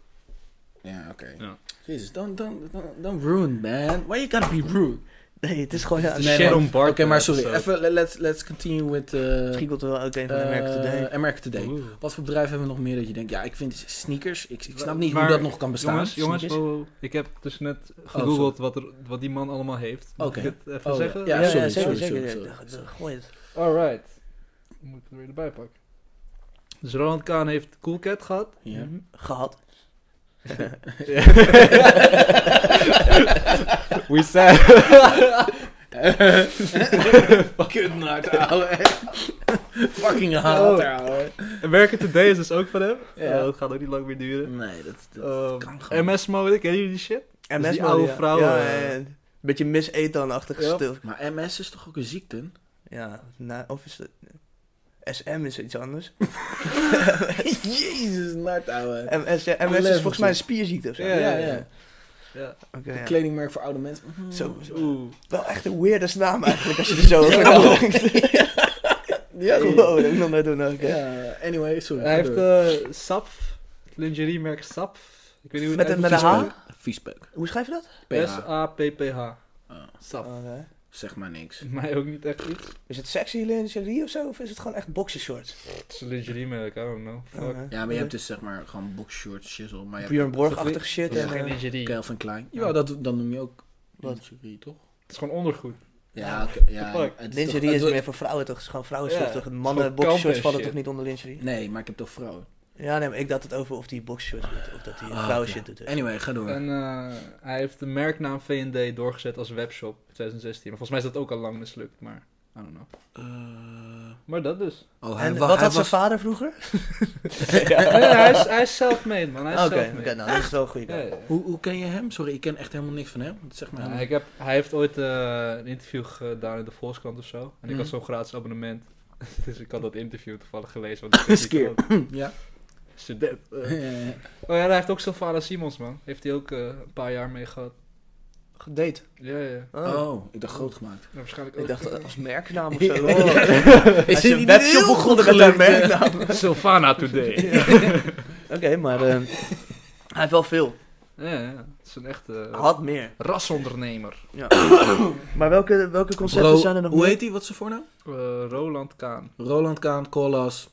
Speaker 3: Ja, oké.
Speaker 2: Ja.
Speaker 3: Jezus, don't, don't, don't, don't ruin, man. Why you gotta be rude?
Speaker 1: Nee, het is gewoon... Ja,
Speaker 2: De
Speaker 3: Nee,
Speaker 2: Sharon
Speaker 3: maar- Oké,
Speaker 2: Barton
Speaker 3: maar sorry.
Speaker 2: episode.
Speaker 3: Even, let's, let's continue with... eh
Speaker 1: misschien komt er wel ook een van
Speaker 3: eh,
Speaker 1: America Today.
Speaker 3: America Today.
Speaker 2: Oeh.
Speaker 3: Wat voor bedrijven hebben we nog meer dat je denkt, ja, ik vind sneakers, ik, ik snap niet
Speaker 2: Maar-
Speaker 3: hoe dat nog kan bestaan.
Speaker 2: Jongens, jongens
Speaker 1: Sneakers?
Speaker 2: wow, wow. ik heb dus net
Speaker 3: sorry.
Speaker 2: gegoogeld wat, er, wat die man allemaal heeft. Moet
Speaker 3: Oké.
Speaker 2: ik het even
Speaker 3: Oh, ja.
Speaker 2: zeggen?
Speaker 3: Ja, sorry, sorry,
Speaker 1: zeker,
Speaker 3: sorry,
Speaker 1: zeker.
Speaker 3: sorry.
Speaker 1: Gooi het.
Speaker 4: Alright. Moet ik er weer erbij pakken.
Speaker 2: Dus Ronald Kaan heeft Cool Cat gehad. Mhm.
Speaker 3: Ja.
Speaker 1: Gehad.
Speaker 4: We said.
Speaker 3: Kutnaard, ouwe. Fucking haat,
Speaker 2: Oh.
Speaker 3: ouwe.
Speaker 2: American Today is dus ook van hem.
Speaker 3: Ja.
Speaker 2: Oh, dat gaat ook niet lang meer duren.
Speaker 3: Nee, dat, dat
Speaker 2: Ehm,
Speaker 3: kan gewoon.
Speaker 2: MS Mode, kennen jullie die shit?
Speaker 1: En
Speaker 2: die oude vrouw,
Speaker 1: Ja,
Speaker 2: eh.
Speaker 1: ja, ja. Beetje Miss Ethan-achtig
Speaker 2: Ja.
Speaker 1: stil.
Speaker 3: Maar MS is toch ook een ziekte?
Speaker 1: Ja, nou, of is het... SM is iets anders.
Speaker 3: Jezus, Nart, ouwe.
Speaker 1: MS, ja, MS is
Speaker 3: Level
Speaker 1: volgens mij een spierziekte of zo.
Speaker 2: Ja,
Speaker 3: Ja, ja.
Speaker 2: Ja.
Speaker 1: Oké,
Speaker 3: Een
Speaker 1: ja.
Speaker 3: kledingmerk voor oude mensen. Mhm.
Speaker 1: Zo, zo.
Speaker 2: Oeh.
Speaker 1: Wel echt een weirdest naam eigenlijk als je er zo over nadenkt. ja, gewoon. Ik nog net doen. ook, hè.
Speaker 3: Ja, Eh, anyway, sorry.
Speaker 2: Hij
Speaker 3: ga
Speaker 2: heeft
Speaker 3: door.
Speaker 2: eh Sap, lingerie merk Sap. Ik weet niet hoe
Speaker 1: Met
Speaker 2: het
Speaker 1: een- met een
Speaker 2: uitgesproken
Speaker 1: H?
Speaker 3: Viespeuk. Viespeuk.
Speaker 1: Hoe schrijf je dat?
Speaker 3: PH.
Speaker 2: S-A-P-P-H.
Speaker 3: Ah,
Speaker 2: Sap.
Speaker 1: Oké.
Speaker 3: zeg maar niks.
Speaker 2: Mij ook niet echt iets.
Speaker 1: Oh, Is het sexy lingerie of zo? Of is het gewoon echt boxershorts? Oh,
Speaker 2: Het is een lingerie merk, I don't know. Fuck.
Speaker 1: Oké.
Speaker 3: Ja, maar je hebt dus zeg maar gewoon boxshorts, shizzle, maar je hebt
Speaker 1: Björn Borg-achtig shit.
Speaker 2: Het is
Speaker 1: En,
Speaker 2: geen
Speaker 1: eh,
Speaker 2: lingerie. Het
Speaker 3: Calvin Klein. Ja, dat, dan noem je ook
Speaker 1: Wat?
Speaker 3: lingerie, toch?
Speaker 2: is gewoon ondergoed.
Speaker 3: Ja, oké. ja,
Speaker 2: Fuck.
Speaker 3: het is
Speaker 1: lingerie
Speaker 3: toch-
Speaker 1: is
Speaker 3: het-
Speaker 1: meer voor vrouwen toch? Het is gewoon vrouwenshorts
Speaker 2: Ja,
Speaker 1: toch?
Speaker 2: het is
Speaker 1: Mannen
Speaker 2: gewoon
Speaker 1: boxershorts
Speaker 2: kampen
Speaker 1: vallen
Speaker 2: shit.
Speaker 1: toch niet onder lingerie?
Speaker 3: Nee, maar ik heb toch vrouwen.
Speaker 1: Ja, nee, maar ik dacht het over of die boxershorts doet. Of dat die
Speaker 3: Ah,
Speaker 1: vrouwen
Speaker 3: oké.
Speaker 1: shit doet. dus.
Speaker 3: Anyway, ga door.
Speaker 2: En eh, hij heeft de merknaam V&D doorgezet als webshop in 2016. Maar volgens mij is dat ook al lang mislukt, maar I don't know.
Speaker 3: Eh,
Speaker 2: Maar dat dus.
Speaker 3: oh, hij,
Speaker 1: En
Speaker 3: wa-
Speaker 1: wat
Speaker 3: hij
Speaker 1: had zijn
Speaker 3: was...
Speaker 1: vader vroeger?
Speaker 2: Nee, nee, Oh hij, is, hij is self-made, man. Hij is
Speaker 1: Oké,
Speaker 2: self-made.
Speaker 1: oké, nou dat is wel een goede
Speaker 2: Ja, ja,
Speaker 1: kant.
Speaker 2: ja.
Speaker 3: Hoe, hoe ken je hem? Sorry, ik ken echt helemaal niks van hem. Zeg maar
Speaker 2: Ja,
Speaker 3: helemaal-
Speaker 2: ik heb, hij heeft ooit eh, een interview gedaan in de Volkskrant of zo. En ik
Speaker 3: Mhm.
Speaker 2: had zo'n gratis abonnement. dus ik had dat interview toevallig gelezen. Want ik wist
Speaker 3: Skeer.
Speaker 2: niet dat-
Speaker 3: Hm, Ja.
Speaker 2: Student. eh. Oh ja, hij heeft ook Sylvana Simons, man. Heeft hij ook eh, een paar jaar mee gehad.
Speaker 1: Gedate.
Speaker 2: Ja, ja. ja.
Speaker 1: Oh.
Speaker 3: Oh, ik dacht groot gemaakt.
Speaker 4: Nou,
Speaker 2: En waarschijnlijk ook.
Speaker 1: Ik dacht eh, als merknaam of zo.
Speaker 3: Ja.
Speaker 1: Oh. Als je
Speaker 3: dit
Speaker 1: een
Speaker 3: niet
Speaker 1: webshop
Speaker 3: heel
Speaker 1: begonnen
Speaker 3: goed
Speaker 1: met een
Speaker 3: gelukt, hè?
Speaker 1: merknaam.
Speaker 2: Sylvana Today.
Speaker 1: Ja. Oké, maar eh, hij heeft wel veel.
Speaker 2: Ja, ja, ja. Het is een echte eh,
Speaker 1: Had meer.
Speaker 2: rasondernemer.
Speaker 1: Maar welke, welke concepten
Speaker 3: Ro-
Speaker 1: zijn er nog
Speaker 3: hoe
Speaker 1: meer?
Speaker 3: heet hij? Wat is zijn voornaam?
Speaker 2: Eh, Roland Kaan.
Speaker 3: Roland Kaan, call us.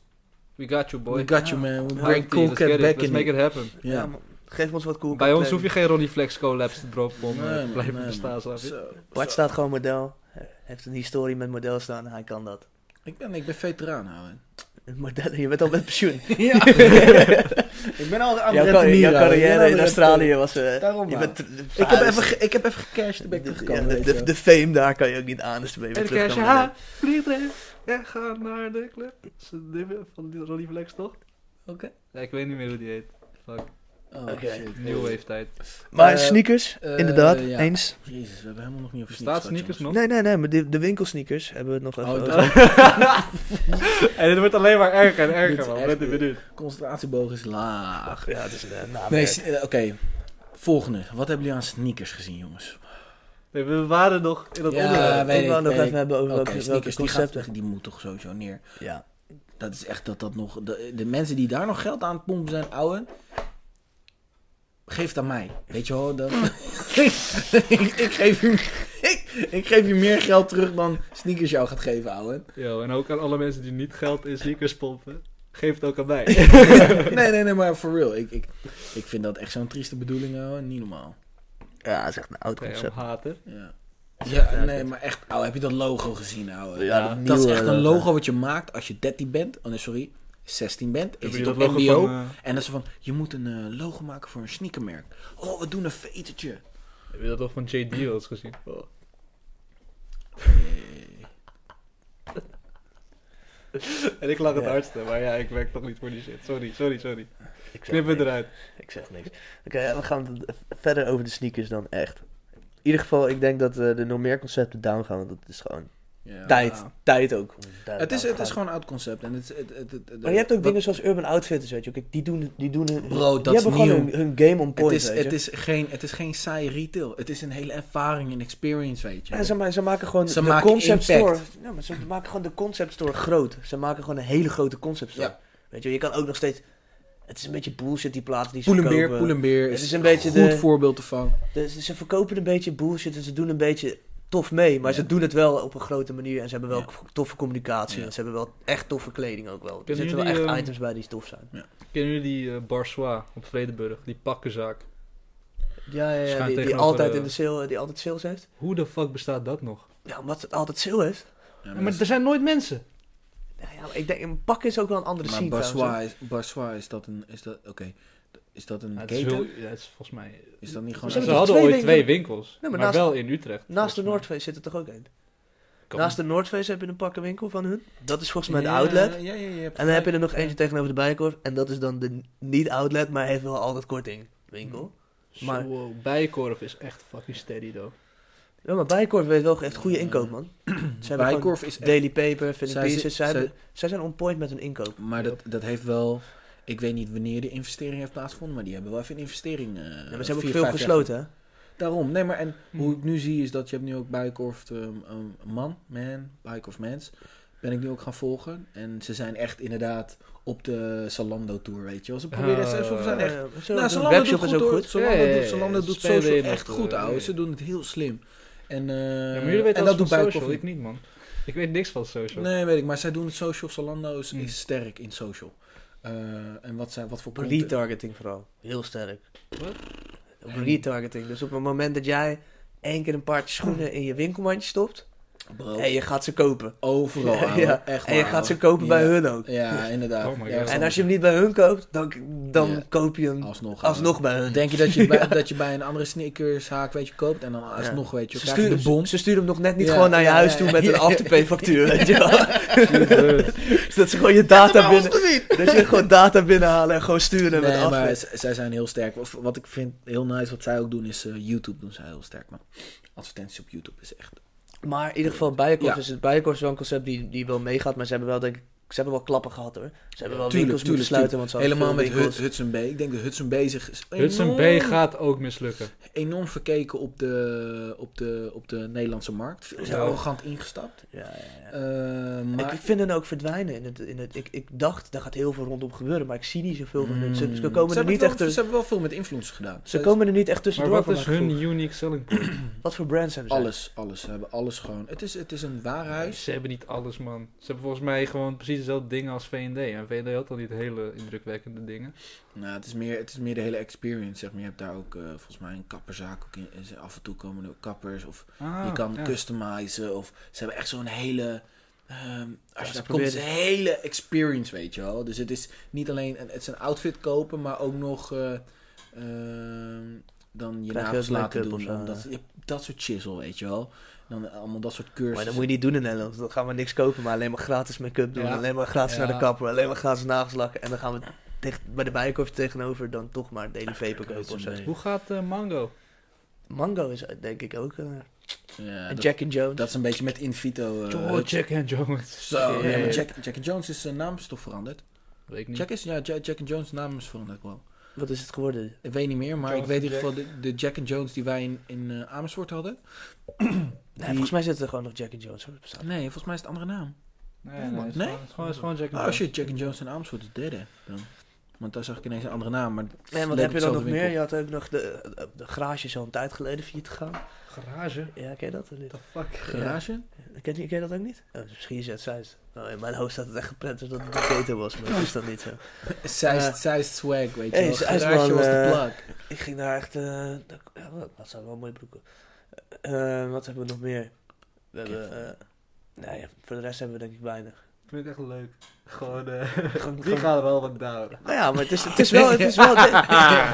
Speaker 2: We got you, boy.
Speaker 3: We got you, man. We
Speaker 1: Ja,
Speaker 3: bring cool
Speaker 2: Let's
Speaker 3: cat
Speaker 2: get it.
Speaker 3: back
Speaker 2: Let's
Speaker 3: in
Speaker 2: make
Speaker 3: it.
Speaker 2: it happen.
Speaker 1: Ja,
Speaker 3: Ja.
Speaker 1: man. geef ons wat cool.
Speaker 2: Bij ons hoef je geen Ronnie Flex collabs te droppen om eh,
Speaker 3: Nee,
Speaker 2: te
Speaker 3: man,
Speaker 2: blijven
Speaker 3: nee,
Speaker 2: bestaan,
Speaker 3: man.
Speaker 2: snap je?
Speaker 3: Zo.
Speaker 1: Bart staat gewoon model. Hij heeft een historie met model staan. Hij kan dat.
Speaker 3: Ik ben, ik ben veteraan, houden.
Speaker 1: Een Model, je bent al met pensioen.
Speaker 3: Ja. ik ben al aan
Speaker 1: Jouw, carri- jouw
Speaker 3: het rentenieren, ouwe. Ik ben aan
Speaker 1: carrière
Speaker 3: het
Speaker 1: in
Speaker 3: rentenieren.
Speaker 1: Australië was... eh,
Speaker 3: Daarom,
Speaker 1: je
Speaker 3: man.
Speaker 1: bent,
Speaker 3: Ik heb even, ge- ik heb even gecashed, dan ben ik
Speaker 1: de,
Speaker 3: teruggekomen.
Speaker 1: ja, de,
Speaker 3: weet
Speaker 1: de-
Speaker 3: je wel.
Speaker 1: de fame daar kan je ook niet aan, dus ben je
Speaker 2: En
Speaker 1: weer
Speaker 2: dan krijg
Speaker 1: terug.
Speaker 2: je,
Speaker 1: kan worden.
Speaker 2: ha, vlieg erin en ga naar de club. Dat is het nummer van die Ronnie Flex, toch?
Speaker 3: Oké.
Speaker 2: Ja, ik weet niet meer hoe die heet. Fuck,
Speaker 3: Oh,
Speaker 1: Oké.
Speaker 3: shit.
Speaker 2: new wave tijd.
Speaker 1: Maar
Speaker 3: Eh,
Speaker 1: sneakers,
Speaker 3: eh,
Speaker 1: inderdaad,
Speaker 3: ja.
Speaker 1: eens.
Speaker 3: Jezus, we hebben helemaal nog niet over
Speaker 2: Bestaat
Speaker 3: sneakers.
Speaker 2: sneakers nog?
Speaker 1: Nee, nee, nee, maar de, de winkelsneakers hebben we het nog even
Speaker 3: Oh,
Speaker 1: over.
Speaker 3: dat-
Speaker 2: en het wordt alleen maar erger en
Speaker 3: Dit
Speaker 2: erger,
Speaker 3: is
Speaker 2: man.
Speaker 3: echt
Speaker 2: Bent u
Speaker 3: weer-
Speaker 2: benieuwd?
Speaker 3: gehad. Concentratieboog is laag.
Speaker 1: Ja, het is een eh, naamwerk.
Speaker 3: Nee, s- eh, oké. Volgende. Wat hebben jullie aan sneakers gezien, jongens?
Speaker 2: Nee, we waren nog in dat
Speaker 3: Ja,
Speaker 2: onderwerp.
Speaker 3: weet
Speaker 1: Eh, ik wou
Speaker 3: ik,
Speaker 1: nog
Speaker 3: weet
Speaker 1: even
Speaker 3: ik.
Speaker 1: hebben over
Speaker 3: Oké,
Speaker 1: welke, welke
Speaker 3: sneakers, die,
Speaker 1: concepten.
Speaker 3: gaat, die moet toch sowieso neer.
Speaker 1: Ja.
Speaker 3: Dat is echt dat dat nog... De, de mensen die daar nog geld aan het pompen zijn, ouwe... geef het aan mij. Weet je wel, dan... ik, ik geef u, ik, ik geef u meer geld terug dan sneakers jou gaat geven, ouwe.
Speaker 4: Yo, en ook aan alle mensen die niet geld in sneakers pompen. Geef het ook aan mij.
Speaker 3: nee, nee, nee, maar for real. Ik, ik, ik vind dat echt zo'n trieste bedoeling, ouwe. Niet normaal.
Speaker 1: Ja, dat is echt een oud
Speaker 4: Damn,
Speaker 1: concept.
Speaker 4: hater.
Speaker 3: Ja. Ja, nee, maar echt, ouwe, heb je dat logo gezien, ouwe?
Speaker 1: Ja, dat,
Speaker 3: Dat is
Speaker 1: nieuwe, eh,
Speaker 3: echt een logo wat je maakt als je 13 bent. Oh nee, sorry. 16 bent. Is het op MBO.
Speaker 4: van, eh,
Speaker 3: En dat ze van, je moet een eh, logo maken voor een sneakermerk. Oh, we doen een vetertje.
Speaker 4: heb je dat al van JD wel eens gezien? Oh. en ik lag het
Speaker 1: Ja.
Speaker 4: hardste, maar ja, ik werk toch niet voor die shit. Sorry, sorry, sorry.
Speaker 1: Ik zeg
Speaker 4: Knip het
Speaker 1: niks.
Speaker 4: eruit.
Speaker 1: Ik zeg niks. Oké, ja, we gaan het verder over de sneakers dan echt. In ieder geval, ik denk dat eh, de nog meer concepten down gaan, want dat is gewoon
Speaker 3: Ja.
Speaker 1: tijd. Tijd ook. Daar-
Speaker 3: Het is,
Speaker 1: down
Speaker 3: het is
Speaker 1: gaan.
Speaker 3: gewoon een oud concept. En het, het, het, het- het-
Speaker 1: Maar je hebt ook
Speaker 3: wat-
Speaker 1: dingen zoals Urban Outfitters, weet je. Kijk, die doen, die doen hun,
Speaker 3: Bro,
Speaker 1: die
Speaker 3: dat is
Speaker 1: hebben gewoon
Speaker 3: nieuw.
Speaker 1: hun, hun game on
Speaker 3: Het
Speaker 1: point,
Speaker 3: is,
Speaker 1: weet je.
Speaker 3: het, is geen, het is geen saai retail. Het is een hele ervaring en experience, weet je.
Speaker 1: Ja, ze, ma- ze maken gewoon
Speaker 3: Ze
Speaker 1: de
Speaker 3: maken
Speaker 1: concept
Speaker 3: impact.
Speaker 1: store. Ja, maar ze maken gewoon de concept store groot. Ze maken gewoon een hele grote concept store.
Speaker 3: Ja.
Speaker 1: Weet je, je kan ook nog steeds. Het is een beetje bullshit die platen die ze
Speaker 3: Poelenbeer,
Speaker 1: verkopen.
Speaker 3: Poelenbeer
Speaker 1: Het
Speaker 3: eh, is,
Speaker 1: is een beetje
Speaker 3: goed
Speaker 1: de-
Speaker 3: voorbeeld ervan.
Speaker 1: Dus ze verkopen een beetje bullshit en ze doen een beetje tof mee. Maar
Speaker 3: Ja.
Speaker 1: ze doen het wel op een grote manier. En ze hebben wel
Speaker 3: Ja.
Speaker 1: toffe communicatie.
Speaker 3: Ja.
Speaker 1: En ze hebben wel echt toffe kleding ook wel. Er
Speaker 4: Kennen
Speaker 1: zitten wel echt
Speaker 4: jullie, ehm,
Speaker 1: items bij die tof zijn.
Speaker 4: Kennen jullie die eh, Barsois op Vredenburg? Die pakkenzaak.
Speaker 1: Ja, ja,
Speaker 4: Schuin
Speaker 1: ja die, die
Speaker 4: tegenover,
Speaker 1: altijd
Speaker 4: eh,
Speaker 1: in de sale, die altijd sales heeft.
Speaker 4: Hoe de fuck bestaat dat nog?
Speaker 1: Ja, omdat het altijd sale heeft.
Speaker 3: Ja,
Speaker 4: Ja, maar er zijn nooit mensen.
Speaker 1: Ja, ja, maar ik denk, een pak is ook wel een andere
Speaker 3: maar
Speaker 1: scene trouwens,
Speaker 3: Barsois, Barsois, is dat een... Is dat, oké, is dat een
Speaker 4: Ja, het, is
Speaker 3: keten?
Speaker 4: heel- ja, het is volgens mij...
Speaker 3: Is dat niet
Speaker 1: Ze
Speaker 3: gewoon...
Speaker 4: Ze
Speaker 1: hebben toch
Speaker 4: hadden
Speaker 1: twee
Speaker 4: ooit
Speaker 1: winkels?
Speaker 4: twee winkels,
Speaker 1: maar
Speaker 4: maar,
Speaker 1: naast-
Speaker 4: wel in Utrecht.
Speaker 1: hoor. Naast de
Speaker 4: volgens
Speaker 1: Noordface zit er toch ook een?
Speaker 4: mij. Kan-
Speaker 1: Naast de Noordface heb je een pakkenwinkel van hun. Dat is volgens mij de
Speaker 3: Ja,
Speaker 1: outlet.
Speaker 3: Ja, ja, ja, je hebt
Speaker 1: En dan heb je
Speaker 3: gelijk.
Speaker 1: er nog eentje tegenover de bijenkorf. En dat is dan de niet-outlet, maar heeft wel altijd korting winkel. maar-
Speaker 4: Zo, wow, Bijenkorf is echt fucking steady, though.
Speaker 1: Ja, maar Bijenkorf weet wel echt goede inkoop, man. Ze hebben gewoon
Speaker 3: Bijenkorf is echt-
Speaker 1: Daily Paper, Philip
Speaker 3: Zij
Speaker 1: Pieces.
Speaker 3: zit-
Speaker 1: Zij,
Speaker 3: zij-
Speaker 1: hebben- zij zijn on point met hun inkoop.
Speaker 3: Maar dat, dat heeft wel... Ik weet niet wanneer de investering heeft plaatsgevonden, maar die hebben wel even een investering. eh
Speaker 1: Ja, maar ze hebben
Speaker 3: vier,
Speaker 1: ook veel
Speaker 3: vijf jaar
Speaker 1: gesloten, hè?
Speaker 3: Daarom, nee, maar en
Speaker 4: Hm.
Speaker 3: hoe ik nu zie is dat je hebt nu ook Bijenkorf ehm ehm, Man, Man, Bijenkorf Mens, ben ik nu ook gaan volgen. En ze zijn echt inderdaad op de Zalando Tour, weet je wel. Ze proberen,
Speaker 4: Ah.
Speaker 3: ze, ze zijn echt...
Speaker 1: Ja, zo,
Speaker 3: Nou,
Speaker 1: hun
Speaker 3: Zalando doet
Speaker 1: webshop
Speaker 3: goed,
Speaker 1: is ook
Speaker 3: hoor.
Speaker 1: goed.
Speaker 3: Zalando
Speaker 4: Ja, ja, ja,
Speaker 3: doet, Zalando
Speaker 4: ja, ze
Speaker 3: doet
Speaker 4: spelen
Speaker 3: social
Speaker 4: nog,
Speaker 3: echt
Speaker 4: eh,
Speaker 3: goed, ouwe.
Speaker 4: ja.
Speaker 3: Ze doen het heel slim. En, eh
Speaker 4: Ja, maar jullie
Speaker 3: en
Speaker 4: weten alles
Speaker 3: dat
Speaker 4: van
Speaker 3: doet
Speaker 4: social,
Speaker 3: Bijenkorf
Speaker 4: ik niet, man. Ik weet niks van social.
Speaker 3: Nee, weet ik, maar zij doen het social. Zalando is,
Speaker 4: Hmm.
Speaker 3: is sterk in social. Eh, en wat, zij, wat voor
Speaker 1: Op
Speaker 3: content-
Speaker 1: retargeting vooral. Heel sterk.
Speaker 4: Wat?
Speaker 1: Op retargeting. Dus op het moment dat jij één keer een paardje schoenen in je winkelmandje stopt...
Speaker 3: Bro,
Speaker 1: en je gaat ze kopen.
Speaker 3: overal,
Speaker 1: Ja,
Speaker 3: ouwe.
Speaker 1: ja.
Speaker 3: Oh. Echt
Speaker 1: En je
Speaker 3: waar,
Speaker 1: gaat ze
Speaker 3: ouwe.
Speaker 1: kopen bij
Speaker 3: Ja.
Speaker 1: hun ook.
Speaker 3: Ja, inderdaad.
Speaker 4: Oh my
Speaker 3: Ergens
Speaker 4: God.
Speaker 1: En als je hem niet bij hun koopt, dan, dan
Speaker 3: Ja.
Speaker 1: koop je hem
Speaker 3: Alsnog. eh,
Speaker 1: alsnog bij hun.
Speaker 3: Denk je dat je, bij, dat je bij een andere sneakershaak weet je, koopt en dan alsnog weet je,
Speaker 1: Ze
Speaker 3: krijg je
Speaker 1: sturen,
Speaker 3: de bom.
Speaker 1: ze, ze sturen hem nog net niet
Speaker 3: Ja,
Speaker 1: gewoon naar je
Speaker 3: ja,
Speaker 1: huis
Speaker 3: ja,
Speaker 1: toe
Speaker 3: ja,
Speaker 1: met een
Speaker 3: ja.
Speaker 1: afterpay-factuur, weet je wel.
Speaker 4: Jezus.
Speaker 1: dat ze gewoon je data binnen... Dat je gewoon data binnenhalen en gewoon sturen met
Speaker 3: Nee,
Speaker 1: af.
Speaker 3: maar z- zij zijn heel sterk. Of Wat ik vind heel nice wat zij ook doen is eh, YouTube doen zij heel sterk man. Advertenties op YouTube is echt.
Speaker 1: Maar in ieder geval, Bijenkorf
Speaker 3: Ja.
Speaker 1: is het Bijenkorf is wel een concept die, die wel meegaat. Maar ze hebben wel, denk ik, ze hebben wel klappen gehad hoor. Ze hebben wel
Speaker 3: Tuurlijk,
Speaker 1: winkels
Speaker 3: tuurlijk,
Speaker 1: moeten sluiten, want ze hadden
Speaker 3: Helemaal met
Speaker 1: veel winkels.
Speaker 3: Hud- Hudson B. Ik denk dat Hudson B zich is enorm,
Speaker 4: Hudson B gaat ook mislukken.
Speaker 3: enorm verkeken op de, op de, op de Nederlandse markt. Veel te
Speaker 1: Ja.
Speaker 3: arrogant ingestapt.
Speaker 1: Ja, ja, ja.
Speaker 3: Eh, maar
Speaker 1: Ik vind hen ook verdwijnen. In het, in het, ik, ik dacht, daar gaat heel veel rondom gebeuren, maar ik zie niet zoveel van hun. Hmm. Ze, ze komen
Speaker 3: Mm. Ze
Speaker 1: er
Speaker 3: hebben
Speaker 1: niet
Speaker 3: wel-
Speaker 1: echt...
Speaker 3: Ze
Speaker 1: Ze,
Speaker 3: hebben wel veel met influencers gedaan. Ze-
Speaker 1: komen er niet echt
Speaker 4: Maar
Speaker 1: tussendoor.
Speaker 4: wat
Speaker 1: voor
Speaker 4: is
Speaker 1: mijn
Speaker 4: hun
Speaker 1: gevoel.
Speaker 4: unique selling point?
Speaker 1: Wat voor brands hebben ze?
Speaker 3: Alles, alles. Ze hebben alles gewoon. Het is, het is een waar huis.
Speaker 4: Ze hebben niet alles, man. Ze hebben volgens mij gewoon precies dezelfde dingen als V&D. En V&D had al niet hele indrukwekkende dingen.
Speaker 3: Nou, het is meer, het is meer de hele experience, zeg maar. Je hebt daar ook eh, volgens mij een kapperzaak. Ook in, en af en toe komen er kappers. Of je
Speaker 1: Ah,
Speaker 3: kan
Speaker 4: ja.
Speaker 3: customizen. Of ze hebben echt zo'n hele... ehm, als
Speaker 1: ze
Speaker 3: je daar komt,
Speaker 1: proberen-
Speaker 3: is een hele experience, weet je wel. Dus het is niet alleen... een- Het is een outfit kopen, maar ook nog... eh, ehm, dan je
Speaker 1: Krijg je
Speaker 3: nagels
Speaker 1: ook
Speaker 3: laten
Speaker 1: make-up
Speaker 3: doen.
Speaker 1: of zo,
Speaker 3: dan dat,
Speaker 1: ja.
Speaker 3: je hebt dat soort chisel, weet je wel. Dan allemaal dat soort cursussen.
Speaker 1: Maar dat moet je niet doen in Nederland. Dan gaan we niks kopen, maar alleen maar gratis make-up doen.
Speaker 4: Ja.
Speaker 1: Alleen maar gratis
Speaker 4: Ja.
Speaker 1: naar de kapper, alleen maar gratis nagels lakken. En dan gaan we tegen- bij de bijenkorf tegenover dan toch maar Daily Paper
Speaker 3: dat is
Speaker 1: kopen of zo.
Speaker 3: een
Speaker 4: Hoe gaat eh, Mango?
Speaker 1: Mango is eh, denk ik ook. eh,
Speaker 3: Ja,
Speaker 1: en
Speaker 3: dat,
Speaker 1: Jack and Jones.
Speaker 3: dat is een beetje met Invito. eh,
Speaker 4: Joe, Jack and Jones.
Speaker 3: Zo,
Speaker 4: Ja,
Speaker 3: nee,
Speaker 4: ja,
Speaker 3: maar
Speaker 4: ja.
Speaker 3: Jack, Jack Jones is zijn naam is toch veranderd?
Speaker 4: Weet ik niet.
Speaker 3: Jack is, ja, Ja- Jack and Jones naam is veranderd, bro.
Speaker 1: Wat is het geworden?
Speaker 3: Ik weet niet meer, maar
Speaker 4: Jones
Speaker 3: ik weet in
Speaker 4: en
Speaker 3: ieder geval de, de Jack and Jones die wij in, in eh, Amersfoort hadden.
Speaker 1: Nee, volgens mij zitten er gewoon nog Jack and Jones. hoor, bestaat.
Speaker 3: Nee, volgens mij is het een andere naam.
Speaker 4: Nee, nee,
Speaker 3: man.
Speaker 4: het is
Speaker 3: Nee?
Speaker 4: gewoon- het is gewoon, het is gewoon Jack and
Speaker 3: Oh
Speaker 4: Jones.
Speaker 3: shit, Jack and Jones in Amersfoort is derde. Dan. Want daar zag ik ineens een andere naam. Maar het
Speaker 1: En wat
Speaker 3: leek
Speaker 1: heb je dan nog
Speaker 3: hetzelfde
Speaker 1: meer?
Speaker 3: winkel.
Speaker 1: Je had ook nog de, de garage is al een tijd geleden failliet gegaan.
Speaker 4: Garage?
Speaker 1: Ja, ken je dat? of niet?
Speaker 4: The fuck?
Speaker 3: Garage?
Speaker 1: Ken je, ken je dat ook niet? Oh, misschien is het Zeist. Nou, in mijn hoofd staat het echt geprent dus dat het een keto was, maar dat is dat niet zo.
Speaker 3: Zij
Speaker 1: Eh,
Speaker 3: zij is swag, weet je
Speaker 1: hey,
Speaker 3: wel.
Speaker 1: zij is
Speaker 3: Garage
Speaker 1: wel,
Speaker 3: was de
Speaker 1: eh,
Speaker 3: plug.
Speaker 1: Ik ging daar echt... eh, dat- ja, dat zijn wel mooie broeken. Eh, wat hebben we nog meer? We hebben... eh, nou ja, voor de rest hebben we denk ik weinig.
Speaker 4: Ik vind het echt leuk. Gewoon, eh,
Speaker 1: Gewoon-
Speaker 4: die
Speaker 1: gewoon-
Speaker 4: gaan wel wat down.
Speaker 1: Nou ja, maar het is, het is, wel, het is, wel, de-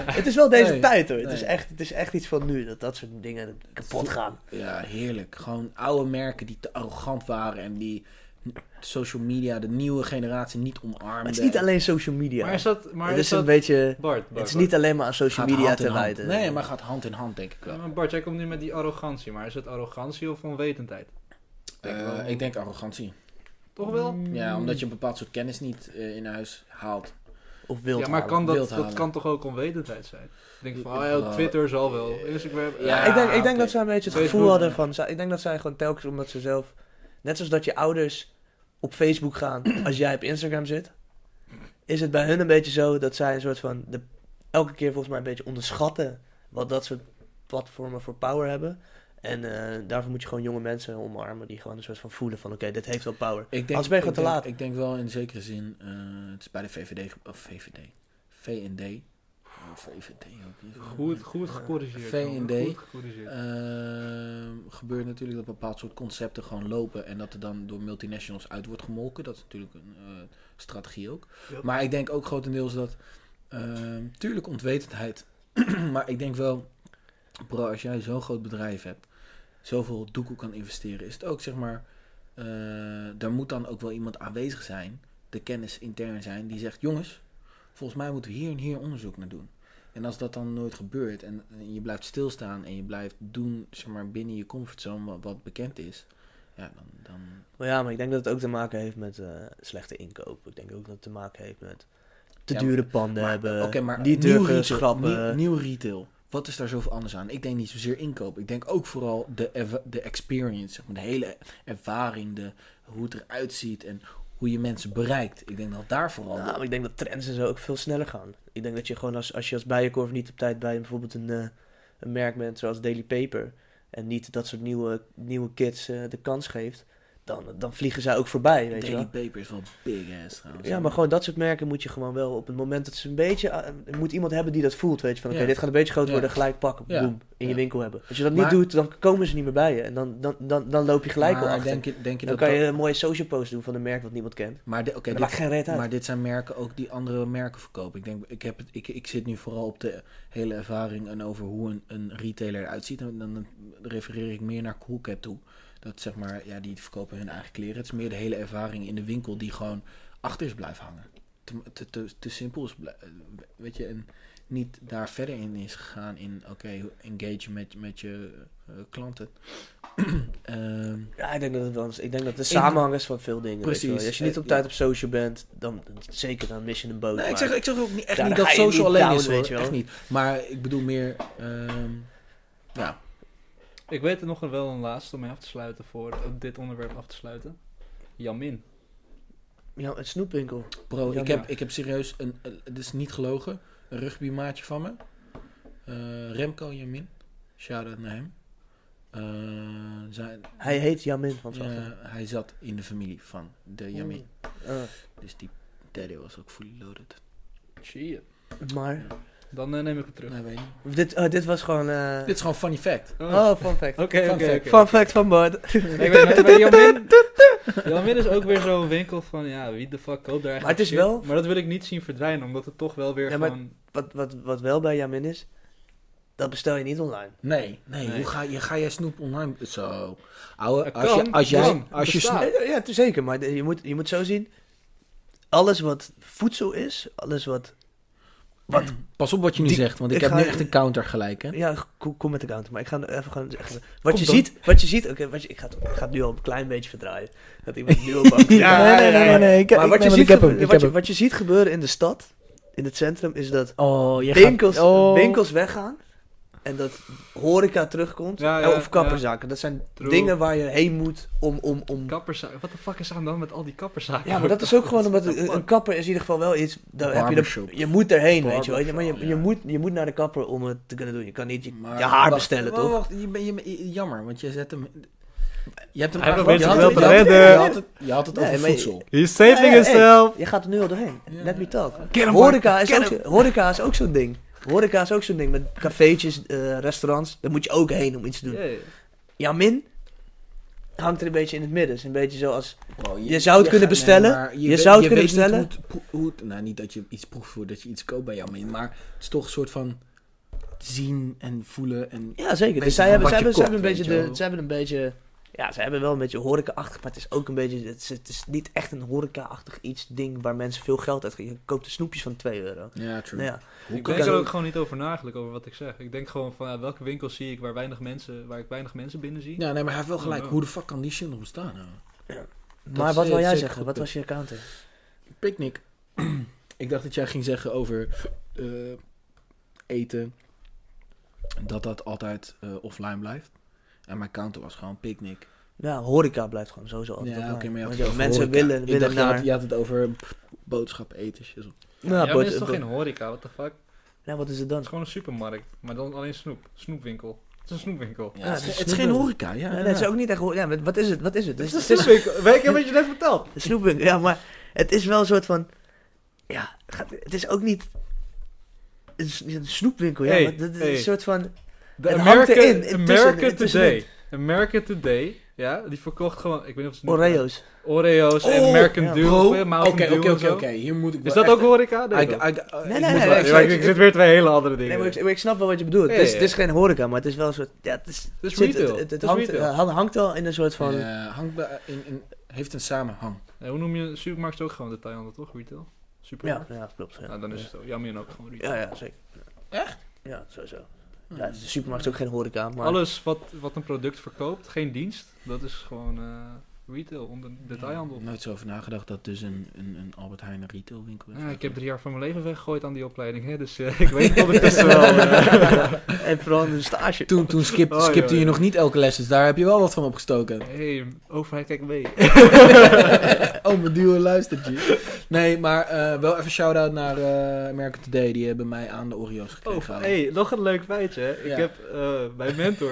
Speaker 1: het is wel deze
Speaker 3: Nee,
Speaker 1: tijd hoor. Het, is
Speaker 3: nee.
Speaker 1: echt, het is echt iets van nu, dat dat soort dingen kapot gaan.
Speaker 3: Ja, heerlijk. Gewoon oude merken die te arrogant waren en die social media, de nieuwe generatie, niet omarmden.
Speaker 1: Maar het is niet alleen social media.
Speaker 4: Maar is dat... Maar
Speaker 1: het
Speaker 4: is
Speaker 1: is een
Speaker 4: dat...
Speaker 1: beetje...
Speaker 4: Bart, Bart,
Speaker 1: Het is niet alleen maar aan social
Speaker 3: Gaat
Speaker 1: media
Speaker 3: hand in
Speaker 1: te
Speaker 3: hand.
Speaker 1: wijten.
Speaker 3: Nee, maar gaat hand in hand, denk ik wel.
Speaker 4: Ja, maar Bart, jij komt nu met die arrogantie, maar is het arrogantie of onwetendheid?
Speaker 3: Eh,
Speaker 4: Denk wel.
Speaker 3: ik denk arrogantie.
Speaker 4: Toch wel?
Speaker 1: Mm,
Speaker 3: Ja, omdat je een bepaald soort kennis niet eh, in huis haalt.
Speaker 1: Of wild
Speaker 4: Ja, maar
Speaker 1: halen.
Speaker 4: kan dat,
Speaker 3: wild
Speaker 4: dat
Speaker 3: halen.
Speaker 4: kan toch ook onwetendheid zijn? Ik denk van,
Speaker 3: Ik-
Speaker 4: oh ja,
Speaker 3: eh,
Speaker 4: Twitter zal wel, Instagram...
Speaker 3: ja,
Speaker 1: ik denk, ik denk
Speaker 3: oké.
Speaker 1: dat zij een beetje het
Speaker 4: Facebook,
Speaker 1: gevoel hadden
Speaker 4: ja.
Speaker 1: van... zij- Ik denk dat zij gewoon telkens, omdat ze zelf... Net zoals dat je ouders op Facebook gaan als jij op Instagram zit... Is het bij hun een beetje zo dat zij een soort van... De, elke keer volgens mij een beetje onderschatten... Wat dat soort platformen voor power hebben. En eh, daarvoor moet je gewoon jonge mensen omarmen... Die gewoon een soort van voelen van... Oké, dit heeft wel power.
Speaker 3: Ik denk,
Speaker 1: Anders ben je
Speaker 3: ik
Speaker 1: gewoon te
Speaker 3: denk-
Speaker 1: laat.
Speaker 3: Ik denk wel in zekere zin, eh, het is bij de VVD, ge- of VVD, VND, Oh, VVD ook niet.
Speaker 4: Goed, goed gecorrigeerd.
Speaker 3: V&D.
Speaker 4: jongen, Goed gecorrigeerd.
Speaker 3: Ehm, gebeurt natuurlijk dat bepaald soort concepten gewoon lopen en dat er dan door multinationals uit wordt gemolken. Dat is natuurlijk een eh, strategie ook.
Speaker 4: Ja.
Speaker 3: Maar ik denk ook grotendeels dat, ehm, tuurlijk ontwetendheid, maar ik denk wel, bro, als jij zo'n groot bedrijf hebt, zoveel doekoe kan investeren, is het ook zeg maar, eh, daar moet dan ook wel iemand aanwezig zijn, de kennis intern zijn, die zegt, jongens, volgens mij moeten we hier en hier onderzoek naar doen. En als dat dan nooit gebeurt en, en je blijft stilstaan en je blijft doen zeg maar, binnen je comfortzone wat, wat bekend is, ja, dan, dan
Speaker 1: Maar ja, maar ik denk dat het ook te maken heeft met eh, slechte inkoop. Ik denk ook dat het te maken heeft met te
Speaker 3: Ja,
Speaker 1: dure panden
Speaker 3: maar-
Speaker 1: hebben,
Speaker 3: oké, maar
Speaker 1: Eh, niet
Speaker 3: nieuw
Speaker 1: durven
Speaker 3: retail,
Speaker 1: schrappen.
Speaker 3: Nieuw, nieuw retail, wat is daar zoveel anders aan? Ik denk niet zozeer inkoop. Ik denk ook vooral de, erva- de experience, zeg maar, de hele ervaring, de, hoe het eruit ziet en hoe je mensen bereikt. Ik denk dat daar vooral...
Speaker 1: Nou, maar ik denk dat trends en zo ook veel sneller gaan. Ik denk dat je gewoon als, als je als bijenkorf niet op tijd bij bijvoorbeeld een, eh, een merk bent zoals Daily Paper en niet dat soort nieuwe, nieuwe kids eh, de kans geeft, dan, dan vliegen zij ook voorbij, weet je
Speaker 3: Daily
Speaker 1: wel.
Speaker 3: Paper is wel big ass trouwens.
Speaker 1: Ja, maar gewoon dat soort merken moet je gewoon wel op het moment dat ze een beetje... eh, er moet iemand hebben die dat voelt, weet je. Van oké,
Speaker 3: Ja.
Speaker 1: dit gaat een beetje groot
Speaker 3: Ja.
Speaker 1: worden, gelijk pakken,
Speaker 3: Ja.
Speaker 1: boem, in je
Speaker 3: Ja.
Speaker 1: winkel hebben. Als je dat niet
Speaker 3: Maar-
Speaker 1: doet, dan komen ze niet meer bij je. En dan, dan, dan, dan loop je gelijk al
Speaker 3: Maar
Speaker 1: achter.
Speaker 3: denk je, denk je
Speaker 1: dan
Speaker 3: dat...
Speaker 1: kan je
Speaker 3: dat-
Speaker 1: een mooie social post doen van een merk wat niemand kent.
Speaker 3: maar de- oké,
Speaker 1: dat
Speaker 3: dit-
Speaker 1: maakt geen reet uit.
Speaker 3: Maar dit zijn merken ook die andere merken verkopen. Ik denk, ik, heb het, ik, ik zit nu vooral op de hele ervaring en over hoe een, een retailer eruit ziet. En dan refereer ik meer naar Coolcap toe. Dat zeg maar, ja, die verkopen hun eigen kleren. Het is meer de hele ervaring in de winkel die gewoon achter is blijven hangen. Te, te, te, te simpel is, blij- weet je, en niet daar verder in is gegaan in, oké, engage met, met je eh, klanten. Ehm,
Speaker 1: Ja, ik denk dat het wel... Ik denk dat de samenhang is van veel dingen. Precies.
Speaker 3: Precies.
Speaker 1: Als je niet op
Speaker 3: Eh,
Speaker 1: tijd
Speaker 3: ja.
Speaker 1: op social bent, dan zeker dan mis je een boot.
Speaker 3: Nee, ik
Speaker 1: maar-
Speaker 3: zeg, ik zeg ook niet, echt
Speaker 1: Ja,
Speaker 3: niet
Speaker 1: dan
Speaker 3: dat
Speaker 1: ga je
Speaker 3: social
Speaker 1: niet
Speaker 3: alleen
Speaker 1: down,
Speaker 3: is, hoor.
Speaker 1: weet je wel.
Speaker 3: Echt niet. Maar ik bedoel meer... ehm, ja.
Speaker 4: Ik weet er nog wel een laatste om mee af te sluiten, voor eh, dit onderwerp af te sluiten. Jamin.
Speaker 1: Ja, een snoepwinkel.
Speaker 3: Bro,
Speaker 1: Ja,
Speaker 3: ik,
Speaker 1: ja.
Speaker 3: heb, ik heb serieus een... eh, Het is niet gelogen. Een rugbymaatje van me. Eh, Remco Jamin. Shout-out naar hem. Eh, zijn,
Speaker 1: Hij heet Jamin van
Speaker 3: eh,
Speaker 1: zijn achternaam.
Speaker 3: hij zat in de familie van de Jamin.
Speaker 1: Eh,
Speaker 3: Dus die daddy was ook fully loaded.
Speaker 4: Tjie.
Speaker 1: Oh, maar...
Speaker 4: Dan eh, neem ik het terug.
Speaker 3: Nee, weet niet.
Speaker 1: Dit, oh, dit was gewoon... eh,
Speaker 3: Dit is gewoon funny fact.
Speaker 1: Oh, fun fact.
Speaker 4: Oké,
Speaker 3: Fun
Speaker 4: oké,
Speaker 3: fact.
Speaker 4: oké.
Speaker 1: Fun fact van Bart.
Speaker 4: Nee, ik weet- maar Jamin, Jamin is ook weer zo'n winkel van, ja, wie de fuck koopt daar eigenlijk
Speaker 1: Maar het is
Speaker 4: shit?
Speaker 1: wel-
Speaker 4: Maar dat wil ik niet zien verdwijnen, omdat het toch wel weer
Speaker 1: Ja, maar-
Speaker 4: gewoon...
Speaker 1: Wat, wat, wat wel bij Jamin is, dat bestel je niet online.
Speaker 3: Nee, nee.
Speaker 4: Nee.
Speaker 3: Hoe ga, je, ga jij snoep online... Zo. Ouwe,
Speaker 4: Het
Speaker 3: als, je,
Speaker 4: kan,
Speaker 3: als, jij,
Speaker 4: kan,
Speaker 3: als je
Speaker 4: bestaat.
Speaker 3: snoep...
Speaker 1: Eh, Ja, t- zeker, maar de- je moet, je moet zo zien, alles wat voedsel is, alles wat... wat
Speaker 3: Pas op wat je nu
Speaker 1: Die-
Speaker 3: zegt, want ik,
Speaker 1: ik
Speaker 3: heb
Speaker 1: ga-
Speaker 3: nu echt een counter gelijk, hè?
Speaker 1: ja, kom, kom met de counter, maar ik ga even gewoon zeggen. Wat
Speaker 3: Kom
Speaker 1: je
Speaker 3: dan.
Speaker 1: ziet, wat je ziet, oké, wat je- ik, ga het, ik ga het nu al een klein beetje verdraaien. Dat iemand nu al bang
Speaker 3: Ja, nee, nee, nee, nee, ik-
Speaker 1: Maar wat je
Speaker 3: ik- nee, want
Speaker 1: ziet
Speaker 3: ik heb hem,
Speaker 1: gebe-
Speaker 3: ik
Speaker 1: wat
Speaker 3: heb
Speaker 1: je-
Speaker 3: hem.
Speaker 1: wat je ziet gebeuren in de stad, in het centrum, is dat
Speaker 3: Oh, je
Speaker 1: winkels,
Speaker 3: gaat- oh.
Speaker 1: winkels weggaan En dat horeca terugkomt. Nou,
Speaker 2: Ja, ja,
Speaker 1: of kapperzaken. Dat zijn
Speaker 2: True.
Speaker 1: dingen waar je heen moet om... om, om...
Speaker 2: Kapperszaak. Wat de fuck is aan dan met al die kapperszaken?
Speaker 1: Ja, maar dat is ook gewoon omdat een, een kapper is in ieder geval wel iets... Daar heb je, de,
Speaker 3: Barbershop.
Speaker 1: je moet erheen, weet je wel. Je- Maar je,
Speaker 3: Barbershop,
Speaker 1: je,
Speaker 3: ja.
Speaker 1: moet, je moet naar de kapper om het te kunnen doen. Je kan niet je,
Speaker 3: Maar
Speaker 1: je haar
Speaker 3: wacht,
Speaker 1: bestellen,
Speaker 3: wa-
Speaker 1: toch?
Speaker 3: Wacht, je, bent- je, bent- je- jammer, want je zet hem... Je hebt hem
Speaker 4: Hij
Speaker 3: eigenlijk-
Speaker 4: probeert
Speaker 3: je
Speaker 4: zich
Speaker 3: had
Speaker 4: wel
Speaker 3: het-
Speaker 4: te
Speaker 3: je had
Speaker 4: redden.
Speaker 3: het- Je had het
Speaker 1: Nee,
Speaker 3: over
Speaker 1: maar je-
Speaker 3: voedsel.
Speaker 4: He's saving eh,
Speaker 1: Hey, hey, hey.
Speaker 4: himself.
Speaker 1: Je gaat er nu al doorheen.
Speaker 3: Ja.
Speaker 1: Let me talk.
Speaker 2: Get him,
Speaker 1: Horeca is, ook, zo- horeca is ook zo'n ding. Horeca is ook zo'n ding. Met cafeetjes, eh, restaurants. Daar moet je ook heen om iets te doen. Ja, min hangt er een beetje in het midden. Is een beetje zoals...
Speaker 3: Bro,
Speaker 1: Je zou het kunnen
Speaker 3: gaat-
Speaker 1: bestellen.
Speaker 3: maar
Speaker 1: Je zou het kunnen
Speaker 3: weet niet
Speaker 1: bestellen.
Speaker 3: hoe het pro- hoe het- nou, niet dat je iets proeft voordat je iets koopt bij Jamin, maar het is toch een soort van zien en voelen en...
Speaker 1: Ja, zeker.
Speaker 3: Beetje
Speaker 1: Dus zij
Speaker 3: van
Speaker 1: hebben, zij, hebben,
Speaker 3: wat je
Speaker 1: zij hebben een
Speaker 3: koopt,
Speaker 1: beetje
Speaker 3: weet je
Speaker 1: de...
Speaker 3: wel.
Speaker 1: Zij hebben een beetje... Ja, ze hebben wel een beetje horeca-achtig, maar het is ook een beetje... Het is, het is niet echt een horeca-achtig iets ding waar mensen veel geld uit... Je koopt de snoepjes van 2 euro.
Speaker 3: Ja, true.
Speaker 1: Nou ja,
Speaker 3: Hoe
Speaker 2: Ik
Speaker 3: kan
Speaker 2: denk er
Speaker 1: kan-
Speaker 2: ook gewoon niet over nagelijk over wat ik zeg. Ik denk gewoon van ja, welke winkels zie ik waar, weinig mensen, waar ik weinig mensen binnen zie.
Speaker 3: Ja, nee, maar hij heeft wel gelijk.
Speaker 2: Ja.
Speaker 3: Hoe de fuck kan die shit nog bestaan? Nou?
Speaker 1: maar
Speaker 3: is,
Speaker 1: wat
Speaker 3: eh,
Speaker 1: wil jij
Speaker 3: zeker
Speaker 1: zeggen?
Speaker 3: goed
Speaker 1: Wat
Speaker 3: punt.
Speaker 1: was je counter?
Speaker 3: Picnic. ik dacht dat jij ging zeggen over eh, eten. Dat dat altijd eh, offline blijft. En mijn counter was gewoon picknick.
Speaker 1: Ja, horeca blijft gewoon sowieso altijd
Speaker 3: Ja, oké,
Speaker 1: online.
Speaker 3: maar je had
Speaker 1: Oh, Want
Speaker 3: het over
Speaker 1: Mensen
Speaker 3: horeca.
Speaker 1: willen,
Speaker 3: Ik
Speaker 1: willen
Speaker 3: dacht, je
Speaker 1: naar...
Speaker 3: had- je had het over boodschap eten. shit.
Speaker 1: Nou,
Speaker 2: Ja,
Speaker 1: ja,
Speaker 2: maar dit is toch geen horeca, what the fuck? Het
Speaker 1: ja, wat is het
Speaker 2: is
Speaker 1: dan?
Speaker 2: gewoon een supermarkt, maar dan alleen snoep. Snoepwinkel. Het is een snoepwinkel.
Speaker 3: Ja,
Speaker 1: Ja,
Speaker 3: het,
Speaker 1: dat
Speaker 3: is,
Speaker 1: is
Speaker 3: het is geen
Speaker 1: snoepen.
Speaker 3: horeca, ja.
Speaker 1: Ja, nee, het is ook niet echt... ho- Ja, maar wat is het? Wat is het? Het is, het is
Speaker 2: Snoepwinkel. Weet je wat je net verteld?
Speaker 1: een snoepwinkel. Ja, maar het is wel een soort van... Ja, gaat- het is ook niet... Het is niet een snoepwinkel, ja.
Speaker 2: Hey,
Speaker 1: maar het is
Speaker 2: hey.
Speaker 1: een soort van...
Speaker 2: De
Speaker 1: Het hangt
Speaker 2: America,
Speaker 1: erin, ertussen,
Speaker 2: America Today.
Speaker 1: ertussenin.
Speaker 2: America Today, ja, die verkocht gewoon, ik weet niet of ze het noemen.
Speaker 1: Oreo's.
Speaker 2: Oreo's en
Speaker 3: Oh,
Speaker 2: American
Speaker 1: ja.
Speaker 2: Dew.
Speaker 3: Bro,
Speaker 2: Mountain
Speaker 3: Oké,
Speaker 2: Dew
Speaker 3: oké,
Speaker 2: en
Speaker 3: oké,
Speaker 2: zo.
Speaker 3: oké. Hier moet ik
Speaker 2: Is
Speaker 3: wel
Speaker 2: dat ook
Speaker 3: echt-
Speaker 2: horeca? Nee,
Speaker 3: I-
Speaker 2: toch?
Speaker 3: I- I-
Speaker 1: Nee,
Speaker 3: ik
Speaker 1: nee,
Speaker 3: moet
Speaker 1: nee,
Speaker 3: wel
Speaker 1: ik
Speaker 3: echt-
Speaker 1: zou-
Speaker 2: Ja, ik, ik zit weer twee hele andere dingen.
Speaker 1: Nee, maar ik, maar ik snap wel wat je bedoelt.
Speaker 2: Ja,
Speaker 1: het, is,
Speaker 2: ja,
Speaker 1: het is geen horeca, maar het is wel een soort... Ja, het is...
Speaker 2: Het is
Speaker 1: zit-
Speaker 2: retail.
Speaker 1: Het, het
Speaker 2: Het is
Speaker 1: hangt,
Speaker 2: retail.
Speaker 1: eh, hang- hangt al in een soort van...
Speaker 3: Eh, hangt bij- in, in, heeft een samenhang.
Speaker 2: Nee, Eh, hoe noem je supermarkt ook gewoon detailhandel, toch? Retail?
Speaker 1: ja,
Speaker 2: Supermarkt?
Speaker 1: ja, klopt. Ja.
Speaker 2: Nou, dan is het ook. Jammer ook gewoon retail.
Speaker 1: Ja, ja, zeker.
Speaker 3: Echt?
Speaker 1: Ja, sowieso.
Speaker 2: Hmm.
Speaker 1: Ja, de supermarkt is ook geen horeca, maar...
Speaker 2: Alles wat, wat een product verkoopt, geen dienst, dat is gewoon eh, retail, onder detailhandel.
Speaker 3: Ik heb Nooit zo over nagedacht dat dus een, een, een Albert Heijn een retailwinkel is.
Speaker 2: Ah, ik heb drie jaar van mijn leven weggegooid aan die opleiding, hè, dus eh, ik weet het ondertussen wel. eh.
Speaker 1: en vooral een stage.
Speaker 3: Toen, toen skip,
Speaker 2: Oh,
Speaker 3: skipte
Speaker 2: joh,
Speaker 3: je
Speaker 2: joh.
Speaker 3: nog niet elke les, dus daar heb je wel wat van opgestoken.
Speaker 2: hey, overheid, kijk mee.
Speaker 3: oh, mijn duo luistert je. Nee, maar eh, wel even shout-out naar eh American Today. Die hebben mij aan de Oreo's
Speaker 2: Oh,
Speaker 3: gekregen.
Speaker 2: hey, nog een leuk feitje. hè. Ik
Speaker 3: Ja.
Speaker 2: heb eh, mijn mentor.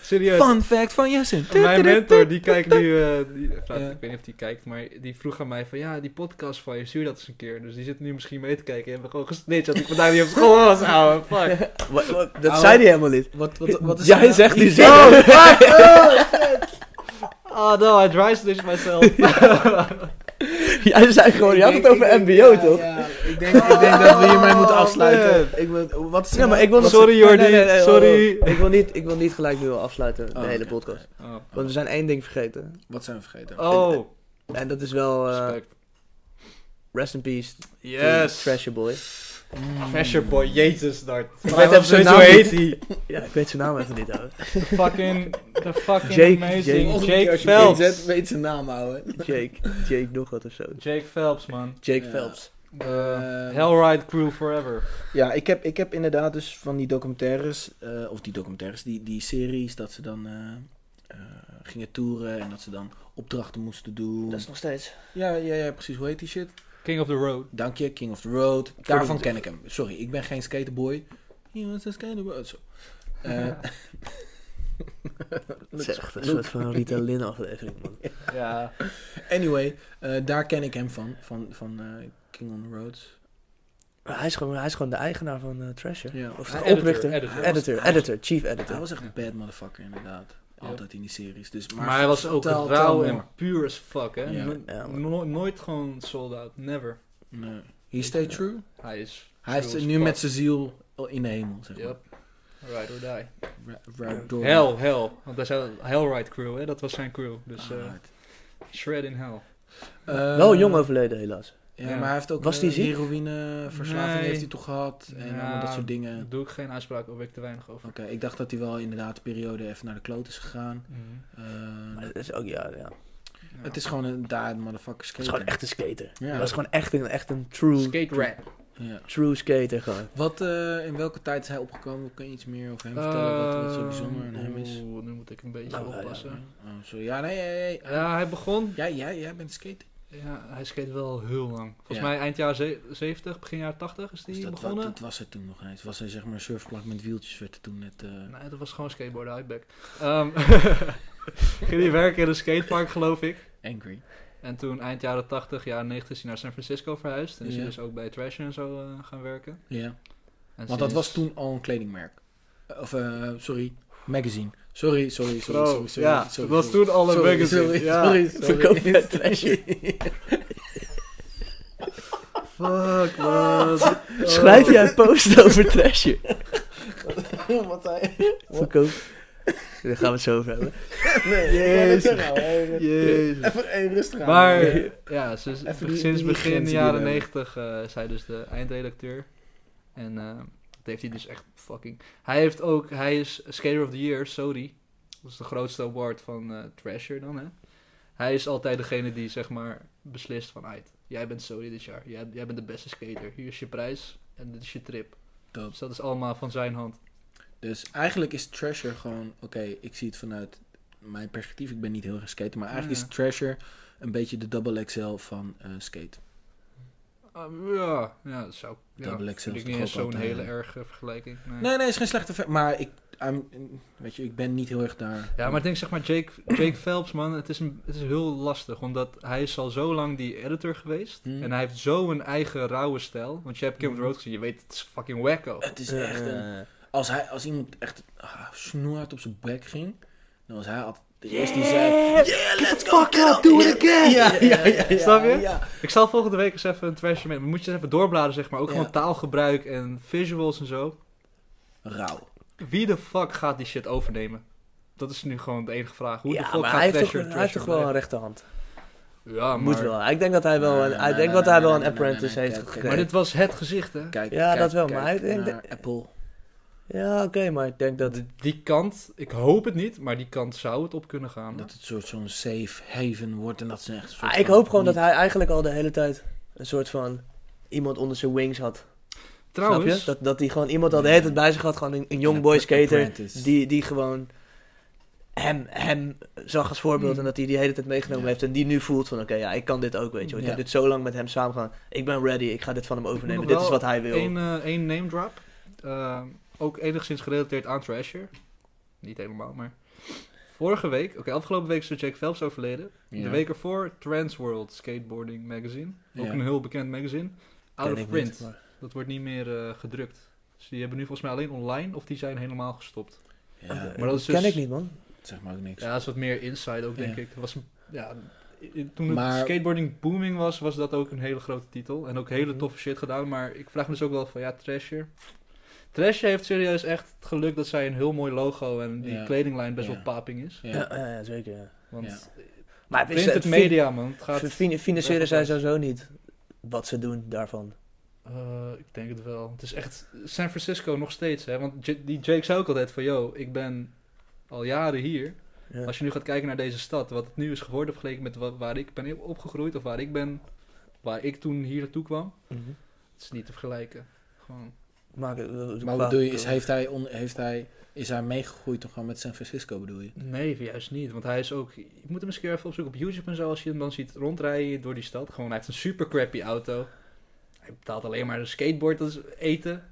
Speaker 2: Serieus.
Speaker 3: Fun fact van Jessen.
Speaker 2: Mijn mentor, die kijkt nu... eh, die, nou,
Speaker 3: Ja.
Speaker 2: Ik weet niet of die kijkt, maar die vroeg aan mij van... Ja, die podcast van je, stuur dat eens een keer. Dus die zit nu misschien mee te kijken. En we gewoon gesnitcht dat ik vandaag niet op school
Speaker 4: Oh,
Speaker 2: was, ouwe. Fuck.
Speaker 1: Wat- wat- dat
Speaker 3: Ouwe.
Speaker 1: zei hij helemaal niet.
Speaker 3: Wat, wat, wat is
Speaker 1: Jij
Speaker 3: nou-
Speaker 1: zegt die zin.
Speaker 2: Oh, fuck. Oh, shit. Oh, no, I dry snitched myself.
Speaker 1: Jij zei gewoon, je had
Speaker 3: Ik
Speaker 1: het
Speaker 3: denk-
Speaker 1: over
Speaker 3: ik
Speaker 1: MBO,
Speaker 3: denk- ja,
Speaker 1: toch?
Speaker 3: ja, ik, denk, ik denk dat we hiermee moeten
Speaker 2: Oh,
Speaker 3: afsluiten. Ik, wil- wat is er
Speaker 1: Ja, maar
Speaker 3: nou-
Speaker 1: ik wil...
Speaker 3: wat-
Speaker 2: Sorry,
Speaker 1: Nee, nee,
Speaker 2: Jordi.
Speaker 1: nee, nee,
Speaker 2: Sorry.
Speaker 1: oh, oh. Ik wil, niet, ik wil niet gelijk nu al afsluiten, de
Speaker 3: Oh,
Speaker 1: hele
Speaker 3: oké.
Speaker 1: podcast.
Speaker 2: Oh.
Speaker 1: Want we zijn één ding vergeten.
Speaker 3: Wat zijn we vergeten?
Speaker 2: Oh,
Speaker 1: En dat is wel... eh,
Speaker 2: respect.
Speaker 1: rest in peace. to
Speaker 2: Yes.
Speaker 1: Trasher Boy.
Speaker 2: Fresher boy, jezus, Dart.
Speaker 1: Ik
Speaker 2: Hij
Speaker 1: weet
Speaker 2: was
Speaker 1: even zijn
Speaker 2: zo
Speaker 1: naam
Speaker 2: heet
Speaker 1: niet.
Speaker 2: hij.
Speaker 1: Ja, ik weet zijn naam even niet, hoor.
Speaker 2: De fucking, de fucking
Speaker 1: Jake,
Speaker 2: amazing
Speaker 1: Jake.
Speaker 2: Jake,
Speaker 3: Volgende keer als je
Speaker 2: Phelps.
Speaker 3: inzet, weet zijn naam houden.
Speaker 1: Jake. Jake nog wat of zo.
Speaker 2: Jake Phelps, man.
Speaker 1: Jake
Speaker 3: Ja.
Speaker 1: Phelps.
Speaker 2: De
Speaker 3: Eh,
Speaker 2: Hellride crew forever.
Speaker 3: Ja, ik heb, ik heb inderdaad dus van die documentaires, eh, of die documentaires, die, die series, dat ze dan eh, eh, gingen toeren en dat ze dan opdrachten moesten doen.
Speaker 1: Dat is nog steeds.
Speaker 3: Ja, ja, ja, precies. Hoe heet die shit?
Speaker 2: King of the Road.
Speaker 3: Dank je, King of the Road. Daarvan ken ik hem. Sorry, ik ben geen skaterboy. He was a skaterboy. Zo. Eh,
Speaker 1: Het is echt een soort van Rita Lin aflevering, man.
Speaker 2: Ja.
Speaker 3: anyway, eh, daar ken ik hem van, van, van eh, King on the Road.
Speaker 1: Maar Hij is gewoon, hij is gewoon de eigenaar van eh, Trasher.
Speaker 3: Ja.
Speaker 1: Of de
Speaker 2: Hij- editor,
Speaker 1: oprichter.
Speaker 2: editor.
Speaker 1: Editor, editor, chief
Speaker 3: Hij
Speaker 1: editor.
Speaker 3: was echt een bad motherfucker, inderdaad. Altijd in die series. Dus,
Speaker 2: Maar, hij was ook
Speaker 3: totaal-
Speaker 2: rauw
Speaker 3: totaal
Speaker 2: en
Speaker 3: mooi.
Speaker 2: puur as fuck, hè?
Speaker 3: Ja.
Speaker 2: No-
Speaker 1: Ja, man.
Speaker 2: no- nooit gewoon sold out. Never.
Speaker 3: Nee. He stayed true.
Speaker 2: Hij is...
Speaker 3: Hij heeft
Speaker 2: true
Speaker 3: het
Speaker 2: as
Speaker 3: nu
Speaker 2: fuck.
Speaker 3: met zijn ziel in de hemel, zeg maar.
Speaker 2: Yep. Ride or die.
Speaker 3: Ra- ra- door-
Speaker 2: Hell, hell. Want hij zei Hellride crew, hè? Dat was zijn crew. Dus eh,
Speaker 3: Alright.
Speaker 2: shred in hell.
Speaker 3: Eh,
Speaker 1: Wel jong overleden, helaas.
Speaker 3: Ja,
Speaker 2: Ja.
Speaker 3: maar hij heeft ook
Speaker 1: Was die
Speaker 3: eh,
Speaker 1: ziek?
Speaker 3: heroïneverslaving
Speaker 2: Nee.
Speaker 3: heeft hij toch gehad. En
Speaker 2: Ja.
Speaker 3: allemaal dat soort dingen.
Speaker 2: Daar
Speaker 3: Oké,
Speaker 2: doe ik geen uitspraak over, ik te weinig over.
Speaker 3: ik dacht dat hij wel inderdaad de periode even naar de kloot is gegaan.
Speaker 2: Mhm.
Speaker 3: Eh,
Speaker 1: Maar dat is ook, ja, ja.
Speaker 2: Ja.
Speaker 3: het is gewoon een daad motherfucker
Speaker 1: Het is
Speaker 3: skater.
Speaker 1: gewoon echt een skater.
Speaker 3: Ja.
Speaker 1: Hij was gewoon echt een, echt een true...
Speaker 2: Skate rap.
Speaker 3: Ja.
Speaker 1: True skater gewoon.
Speaker 3: Wat, eh, in welke tijd is hij opgekomen? Kun je iets meer over hem
Speaker 2: Eh,
Speaker 3: vertellen? Wat, wat zo bijzonder aan hem is?
Speaker 2: Oeh, nu moet ik een beetje
Speaker 1: Nou, ja,
Speaker 2: oppassen.
Speaker 3: Oh, sorry. Ja, nee, nee, nee.
Speaker 2: Ja, hij begon...
Speaker 3: Jij, jij, jij bent skater.
Speaker 2: Ja, hij skate wel heel lang. Volgens
Speaker 3: Ja.
Speaker 2: mij eind jaar ze- 70, begin jaar 80 is die
Speaker 3: Dus dat, wa-
Speaker 2: begonnen.
Speaker 3: dat was het toen nog eens. Was hij zeg maar een surfplank met wieltjes werd er toen net... eh,
Speaker 2: Nee, dat was gewoon skateboarden, uitback. Ehm ging die werken in een skatepark, geloof ik.
Speaker 3: Angry.
Speaker 2: En toen eind jaren 80, jaren 90 is hij naar San Francisco verhuisd. En is
Speaker 3: Ja.
Speaker 2: hij dus ook bij Trash en zo eh, gaan werken. En
Speaker 3: Ja. Want dat
Speaker 2: sinds-
Speaker 3: was toen al een kledingmerk. Eh, Of, eh, sorry, magazine. Sorry, sorry, sorry,
Speaker 2: Zo,
Speaker 3: sorry, sorry.
Speaker 2: Oh, ja,
Speaker 3: sorry,
Speaker 2: dat was
Speaker 3: sorry.
Speaker 2: toen al een
Speaker 3: Sorry,
Speaker 2: magazine.
Speaker 3: Sorry,
Speaker 2: ja.
Speaker 3: sorry,
Speaker 1: Verkoop
Speaker 3: sorry.
Speaker 1: het trashje.
Speaker 2: Fuck, man.
Speaker 1: Schrijf jij een post over trashje?
Speaker 3: Wat zei je?
Speaker 1: Verkoop. Daar gaan we het zo over hebben.
Speaker 3: Nee,
Speaker 2: Jezus.
Speaker 3: ik wou net zeggen, hey,
Speaker 2: Jezus.
Speaker 3: Even hey, rustig aan.
Speaker 2: Maar
Speaker 3: Ja.
Speaker 2: ja, sinds,
Speaker 3: eh, Even die-
Speaker 2: sinds
Speaker 3: die grenzen
Speaker 2: begin
Speaker 3: die
Speaker 2: jaren
Speaker 3: we hebben.
Speaker 2: 90 eh, is hij dus de eindredacteur. En eh, dat heeft hij dus echt fucking... Hij heeft ook... Hij is Skater of the Year, sorry. Dat is de grootste award van eh Thrasher dan, hè. Hij is altijd degene die, zeg maar, beslist van... "Aight, jij bent sorry dit jaar. Jij, jij bent de beste skater. Hier is je prijs en dit is je trip.
Speaker 3: Dope.
Speaker 2: Dus dat is allemaal van zijn hand.
Speaker 3: Dus eigenlijk is Treasure gewoon... Oké, ik zie het vanuit mijn perspectief. Ik ben niet heel erg skater. Maar eigenlijk
Speaker 2: Ja.
Speaker 3: is Treasure een beetje de double XL van eh, skate.
Speaker 2: Ah, ja, ja, dat zou... Ja,
Speaker 3: Double XL
Speaker 2: vind
Speaker 3: is
Speaker 2: ik
Speaker 3: toch
Speaker 2: niet
Speaker 3: ook
Speaker 2: eens zo'n
Speaker 3: altijd,
Speaker 2: hele
Speaker 3: eh,
Speaker 2: erge vergelijking. nee.
Speaker 3: Nee, nee, is geen slechte... ver- Maar ik... I'm- weet je, ik ben niet heel erg daar...
Speaker 2: Ja, maar ik denk zeg maar Jake, Jake Phelps, man, het is, een, het is heel lastig. Omdat hij is al zo lang die editor geweest.
Speaker 3: Hmm.
Speaker 2: En hij heeft zo'n eigen rauwe stijl. Want je hebt Kim Road gezien, je weet, het is fucking wacko.
Speaker 3: Het is echt een...
Speaker 1: Eh,
Speaker 3: Als, hij, als iemand echt ah, snoerhard op zijn bek ging, dan was hij altijd de eerste die zei... Yeah, let's go, fuck up, do it again! Ja, ja, ja. ja,
Speaker 2: Snap je?
Speaker 3: Ja.
Speaker 2: Ik zal volgende week eens even een trash mee. Moet je eens even doorbladeren, zeg maar. Ook
Speaker 3: Ja.
Speaker 2: gewoon taalgebruik en visuals en zo.
Speaker 3: Rauw.
Speaker 2: Wie de fuck gaat die shit overnemen? Dat is nu gewoon de enige vraag. Hoe de
Speaker 1: ja,
Speaker 2: fuck
Speaker 1: maar
Speaker 2: gaat
Speaker 1: hij heeft, toch,
Speaker 2: Thrasher
Speaker 1: hij heeft toch wel een
Speaker 2: Thrasher
Speaker 1: rechterhand.
Speaker 2: blijven? Ja, maar...
Speaker 1: Moet wel. Ik denk dat hij wel een,
Speaker 3: Nee,
Speaker 1: ik
Speaker 3: nee,
Speaker 1: denk
Speaker 3: nee,
Speaker 1: dat
Speaker 3: nee,
Speaker 1: hij wel
Speaker 3: nee,
Speaker 1: een
Speaker 3: nee, nee,
Speaker 1: apprentice
Speaker 3: nee,
Speaker 1: heeft
Speaker 3: kijk,
Speaker 1: gekregen.
Speaker 2: Maar dit was het gezicht, hè?
Speaker 3: Kijk,
Speaker 1: Ja,
Speaker 3: kijk,
Speaker 1: dat wel,
Speaker 3: kijk
Speaker 1: maar hij- ik
Speaker 3: naar
Speaker 1: denk-
Speaker 3: Apple.
Speaker 1: Ja, oké, maar ik denk dat...
Speaker 2: D- Die kant, ik hoop het niet, maar die kant zou het op kunnen gaan.
Speaker 3: Dat het soort zo'n safe haven wordt en dat ze echt... soort
Speaker 1: Ah, ik
Speaker 3: van
Speaker 1: hoop gewoon dat
Speaker 3: niet-
Speaker 1: hij eigenlijk al de hele tijd een soort van iemand onder zijn wings had.
Speaker 2: Trouwens,
Speaker 1: Snap je? Dat, dat hij gewoon iemand al de hele tijd bij zich had. Gewoon een, een young boy
Speaker 3: Een
Speaker 1: skater
Speaker 3: apprentice.
Speaker 1: die, die gewoon hem, hem zag als voorbeeld.
Speaker 2: Mm.
Speaker 1: En dat hij die hele tijd meegenomen
Speaker 3: Ja.
Speaker 1: heeft. En die nu voelt van oké, ja, ik kan dit ook, weet je. wel. Ik
Speaker 3: Ja.
Speaker 1: heb dit zo lang met hem samen gedaan. Ik ben ready, ik ga dit van hem overnemen.
Speaker 2: nog
Speaker 1: Dit
Speaker 2: wel
Speaker 1: is wat hij wil.
Speaker 2: Eén eh, één name drop. Eh, ook enigszins gerelateerd aan Thrasher. Niet helemaal, maar... Vorige week, oké, afgelopen week is Sir Jake Phelps overleden.
Speaker 3: Ja.
Speaker 2: De week ervoor, Transworld Skateboarding Magazine. Ook
Speaker 3: Ja.
Speaker 2: een heel bekend magazine.
Speaker 1: Ken
Speaker 2: Out
Speaker 1: ik
Speaker 2: of
Speaker 1: niet,
Speaker 2: print.
Speaker 1: maar-
Speaker 2: Dat wordt niet meer eh, gedrukt. Dus die hebben nu volgens mij alleen online, of die zijn helemaal gestopt.
Speaker 3: Ja,
Speaker 2: Maar dat is
Speaker 1: Ken
Speaker 2: dus-
Speaker 1: ik niet, man.
Speaker 3: zeg maar ook niks.
Speaker 2: Ja, dat is wat meer inside ook, denk
Speaker 3: Ja.
Speaker 2: ik. Dat Was een, ja, i- i- toen het
Speaker 3: Maar-
Speaker 2: skateboarding booming was, was dat ook een hele grote titel. En ook hele
Speaker 1: Mhm.
Speaker 2: toffe shit gedaan. Maar ik vraag me dus ook wel van, ja, Thrasher. Thrasher heeft serieus echt het geluk dat zij een heel mooi logo en die
Speaker 3: Ja.
Speaker 2: kledinglijn best
Speaker 3: Ja.
Speaker 2: wel paping is.
Speaker 1: Ja,
Speaker 3: Ja.
Speaker 1: ja, ja, zeker. ja.
Speaker 2: Want
Speaker 1: Maar het is-
Speaker 2: print het
Speaker 1: fin-
Speaker 2: media, man. Het gaat...
Speaker 1: fin- fin- Financieren zij sowieso niet wat ze doen daarvan.
Speaker 2: Eh, ik denk het wel. Het is echt San Francisco nog steeds, hè. Want J- die Jake zei ook altijd van, yo, ik ben al jaren hier.
Speaker 1: Ja.
Speaker 2: Als je nu gaat kijken naar deze stad, wat het nu is geworden vergeleken met wa- waar ik ben opgegroeid of waar ik ben, waar ik toen hier naartoe kwam,
Speaker 1: Mhm.
Speaker 2: het is niet te vergelijken. Gewoon.
Speaker 1: Maar, eh, eh,
Speaker 3: Maar
Speaker 1: qua-
Speaker 3: wat bedoel je, is, heeft hij, on, heeft hij, is hij meegegroeid toch gewoon met San Francisco bedoel je?
Speaker 2: Nee, juist niet. Want hij is ook. Je moet hem eens een keer even opzoeken op YouTube en zo. Als je hem dan ziet rondrijden door die stad. Gewoon, hij heeft een super crappy auto. Hij betaalt alleen maar een skateboard. Dat is eten.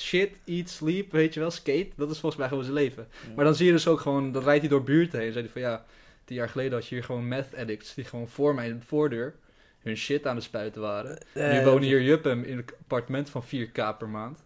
Speaker 2: Shit, eat, sleep. Weet je wel, skate. Dat is volgens mij gewoon zijn leven.
Speaker 3: Ja.
Speaker 2: Maar dan zie je dus ook gewoon. Dan rijdt hij door buurten heen. En zei hij van ja. Tien jaar geleden had je hier gewoon meth addicts. Die gewoon voor mijn voordeur. Hun shit aan het spuiten waren.
Speaker 1: eh,
Speaker 2: nu wonen hier Juppem in een appartement van 4k per maand.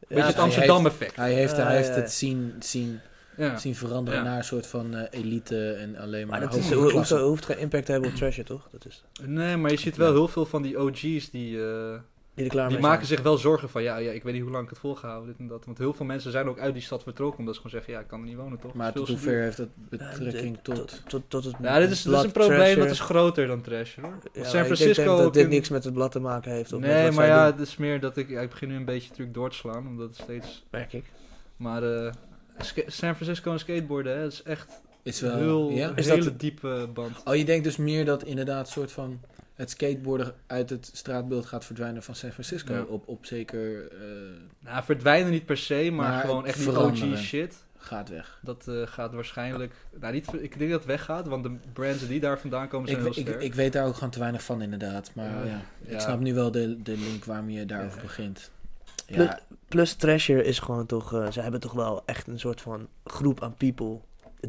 Speaker 2: Beetje
Speaker 1: Ja,
Speaker 2: het
Speaker 3: hij
Speaker 2: Amsterdam effect.
Speaker 3: Hij heeft,
Speaker 1: Ah,
Speaker 3: hij heeft
Speaker 1: ja, ja.
Speaker 3: het zien, zien,
Speaker 2: Ja.
Speaker 3: zien veranderen
Speaker 2: Ja.
Speaker 3: naar een soort van eh, elite en alleen maar,
Speaker 1: Maar dat is,
Speaker 3: hogere
Speaker 1: hoe- hoeft,
Speaker 3: klasse.
Speaker 1: hoeft geen impact te hebben op Treasure, toch? Dat is,
Speaker 2: Nee, maar je ziet wel heel veel van die OG's die. eh,
Speaker 1: die er klaar
Speaker 2: Die
Speaker 1: mee
Speaker 2: maken
Speaker 1: zijn.
Speaker 2: zich wel zorgen van, ja, ja, ik weet niet hoe lang ik het volgehouden, dit en dat. Want heel veel mensen zijn ook uit die stad vertrokken omdat ze gewoon zeggen, ja, ik kan er niet wonen, toch?
Speaker 3: Maar
Speaker 2: Het is veel
Speaker 3: tot hoe
Speaker 2: te duur.
Speaker 3: ver heeft dat betrekking
Speaker 1: Eh,
Speaker 3: tot...
Speaker 1: Tot, tot, tot het
Speaker 2: Ja, dit is, dit is een
Speaker 1: blad
Speaker 2: probleem
Speaker 1: Treasure.
Speaker 2: dat is groter dan trash, hoor. Want
Speaker 1: Ja, maar
Speaker 2: San
Speaker 1: Ik denk
Speaker 2: Francisco...
Speaker 1: dat
Speaker 2: ook
Speaker 1: dit
Speaker 2: in-
Speaker 1: niks met het blad te maken heeft. Of met
Speaker 2: nee,
Speaker 1: wat
Speaker 2: maar
Speaker 1: zij
Speaker 2: ja,
Speaker 1: doen,
Speaker 2: het is meer dat ik... ja, ik begin nu een beetje natuurlijk door te slaan, omdat het steeds...
Speaker 1: merk ik.
Speaker 2: Maar eh, ska- San Francisco en skateboarden, hè, dat is echt
Speaker 3: Is
Speaker 2: een
Speaker 3: wel,
Speaker 2: heel,
Speaker 3: ja?
Speaker 2: een
Speaker 1: Is dat-
Speaker 2: hele diepe band.
Speaker 3: Oh, je denkt dus meer dat inderdaad soort van... Het het skateboarden uit het straatbeeld gaat verdwijnen van San Francisco.
Speaker 4: Ja.
Speaker 3: Op, op zeker eh,
Speaker 4: Nou, verdwijnen niet per se, maar,
Speaker 3: Maar
Speaker 4: gewoon
Speaker 3: het
Speaker 4: echt die
Speaker 3: veranderen.
Speaker 4: OG shit.
Speaker 3: gaat weg.
Speaker 4: Dat eh, gaat waarschijnlijk... Nou, niet, ik denk dat het weggaat, want de brands die daar vandaan komen
Speaker 3: Ik,
Speaker 4: zijn
Speaker 3: ik,
Speaker 4: heel sterk.
Speaker 3: ik weet daar ook gewoon te weinig van inderdaad. Maar
Speaker 4: Ja.
Speaker 3: ja,
Speaker 4: Ja.
Speaker 3: ik snap nu wel de, de link waarom je daarover
Speaker 4: Ja.
Speaker 3: begint.
Speaker 1: Plus-
Speaker 3: Ja,
Speaker 1: Plus Treasure is gewoon toch... eh, ze hebben toch wel echt een soort van groep aan people...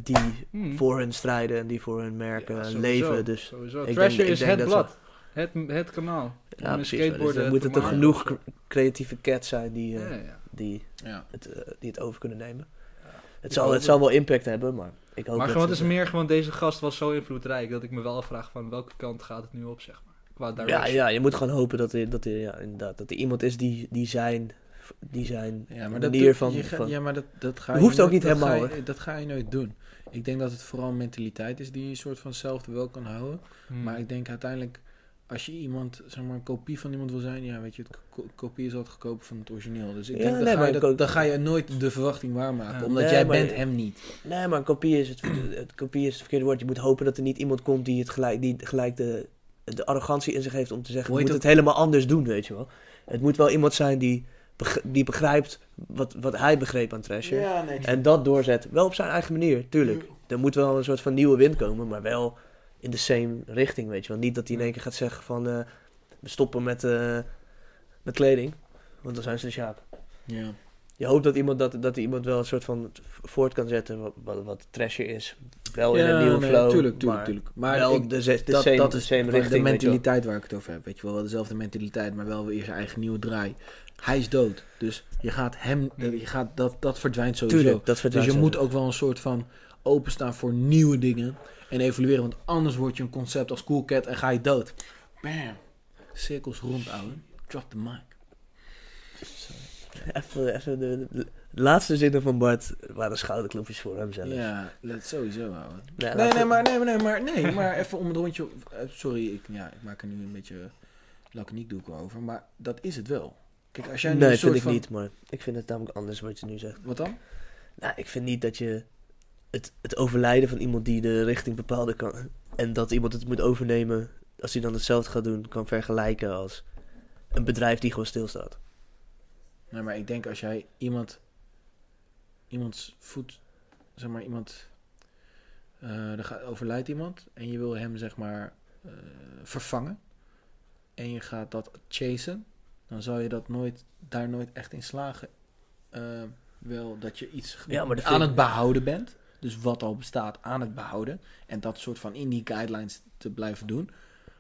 Speaker 1: die
Speaker 2: Hm.
Speaker 4: Hmm.
Speaker 1: voor hun strijden en die voor hun merken
Speaker 4: Ja,
Speaker 1: en
Speaker 4: sowieso,
Speaker 1: leven. Dus
Speaker 4: Sowieso.
Speaker 1: ik denk-
Speaker 4: Treasure
Speaker 1: ik
Speaker 4: is
Speaker 1: denk
Speaker 4: het
Speaker 1: dat
Speaker 4: blad. Het, het kanaal.
Speaker 1: ja,
Speaker 4: een
Speaker 1: precies. wel. Dus
Speaker 4: skateboarden
Speaker 1: dan moeten
Speaker 4: te
Speaker 1: er
Speaker 4: maken.
Speaker 1: genoeg cre- creatieve cats zijn die,
Speaker 4: Ja,
Speaker 1: eh,
Speaker 4: ja, ja.
Speaker 1: die,
Speaker 3: ja.
Speaker 1: het, eh, die het over kunnen nemen.
Speaker 4: Ik
Speaker 1: Het zal,
Speaker 4: hoop
Speaker 1: het zal wel impact hebben, maar ik hoop
Speaker 4: Maar
Speaker 1: dat
Speaker 4: gewoon, het
Speaker 1: ze-
Speaker 4: is meer gewoon, deze gast was zo invloedrijk dat ik me wel afvraag van welke kant gaat het nu op, zeg maar. Qua
Speaker 1: Ja,
Speaker 4: direction.
Speaker 1: ja, je moet gewoon hopen dat er, dat er, ja, inderdaad, dat er iemand is die, die zijn, die zijn
Speaker 3: Ja, maar dat,
Speaker 1: manier
Speaker 3: doe-
Speaker 1: van...
Speaker 3: je ga-
Speaker 1: van-
Speaker 3: ja, maar dat, dat ga
Speaker 1: Dat hoeft ook
Speaker 3: nooit-
Speaker 1: niet
Speaker 3: dat ga
Speaker 1: helemaal,
Speaker 3: je- dat ga je nooit doen. Ik denk dat het vooral een mentaliteit is die je een soort van zelf wel kan houden.
Speaker 4: Hmm.
Speaker 3: Maar ik denk uiteindelijk, als je iemand, zeg maar, een kopie van iemand wil zijn, ja, weet je, het ko- kopie is altijd goedkoper van het origineel. Dus ik
Speaker 1: Ja,
Speaker 3: denk, dan,
Speaker 1: nee,
Speaker 3: ga
Speaker 1: maar
Speaker 3: je
Speaker 1: ik
Speaker 3: dat,
Speaker 1: ook-
Speaker 3: dan ga je nooit de verwachting waarmaken,
Speaker 4: Ja.
Speaker 3: omdat
Speaker 1: Nee,
Speaker 3: jij
Speaker 1: maar-
Speaker 3: bent hem niet.
Speaker 1: Nee, maar een kopie is het, het kopie is het verkeerde woord. Je moet hopen dat er niet iemand komt die het gelijk, die gelijk de, de arrogantie in zich heeft om te zeggen:
Speaker 3: Hoe
Speaker 1: je
Speaker 3: heet
Speaker 1: moet het helemaal anders doen, weet je wel. Het moet wel iemand zijn die, beg- die begrijpt wat, wat hij begreep aan Thrasher.
Speaker 3: nee.
Speaker 1: En dat doorzet. Wel op zijn eigen manier, tuurlijk.
Speaker 3: Mm.
Speaker 1: Er moet wel een soort van nieuwe wind komen, maar wel in de same richting, weet je wel. Niet dat
Speaker 3: Mm.
Speaker 1: hij in één keer gaat zeggen van eh, we stoppen met, eh, met kleding. Want dan zijn ze de sjaap.
Speaker 3: Ja.
Speaker 1: Je hoopt dat iemand, dat, dat iemand wel een soort van voort kan zetten wat, wat, wat trasher is. Wel in
Speaker 3: Ja,
Speaker 1: een nieuwe
Speaker 3: nee,
Speaker 1: flow.
Speaker 3: tuurlijk, tuurlijk,
Speaker 1: maar
Speaker 3: tuurlijk. Maar
Speaker 1: wel
Speaker 3: ik-
Speaker 1: de, ze- de
Speaker 3: dat,
Speaker 1: same,
Speaker 3: dat is
Speaker 1: same
Speaker 3: de
Speaker 1: richting. weet je wel.
Speaker 3: mentaliteit waar ik het over heb. Weet je wel, wel dezelfde mentaliteit, maar wel weer zijn eigen nieuwe draai. Hij is dood, dus je gaat hem, eh, je gaat, dat, dat verdwijnt sowieso.
Speaker 1: Tuurlijk, dat
Speaker 3: Dus
Speaker 1: verdwijnt
Speaker 3: je
Speaker 1: zo.
Speaker 3: moet ook wel een soort van openstaan voor nieuwe dingen en evolueren, want anders word je een concept als Cool Cat en ga je dood. Bam. Cirkels rond, ouwe. Drop the mic.
Speaker 1: Even, even de, de laatste zinnen van Bart waren schouderklopjes voor hem zelf.
Speaker 3: Ja, dat sowieso, ouwe.
Speaker 1: Nee,
Speaker 3: Nee,
Speaker 1: laten
Speaker 3: nee,
Speaker 1: we-
Speaker 3: maar, nee, maar- nee, maar, nee, maar even om het rondje... eh, Sorry, ik, ja, ik maak er nu een beetje laconiek doek over, maar dat is het wel. Kijk, als jij nu
Speaker 1: Nee,
Speaker 3: een
Speaker 1: vind
Speaker 3: soort
Speaker 1: ik
Speaker 3: van...
Speaker 1: niet, maar ik vind het namelijk anders wat je nu zegt.
Speaker 3: Wat dan?
Speaker 1: Nou, ik vind niet dat je het, het overlijden van iemand die de richting bepaalde kan... en dat iemand het moet overnemen, als hij dan hetzelfde gaat doen... kan vergelijken als een bedrijf die gewoon stilstaat.
Speaker 3: Nee, maar ik denk als jij iemand... Iemands voet... Zeg maar, iemand... eh, er gaat, overlijdt iemand en je wil hem, zeg maar, eh, vervangen. En je gaat dat chasen. Dan zal je dat nooit, daar nooit echt in slagen. Eh, wel dat je iets
Speaker 1: Ja, maar dat
Speaker 3: aan
Speaker 1: vind-
Speaker 3: het behouden bent. Dus wat al bestaat aan het behouden. En dat soort van in die guidelines te blijven doen.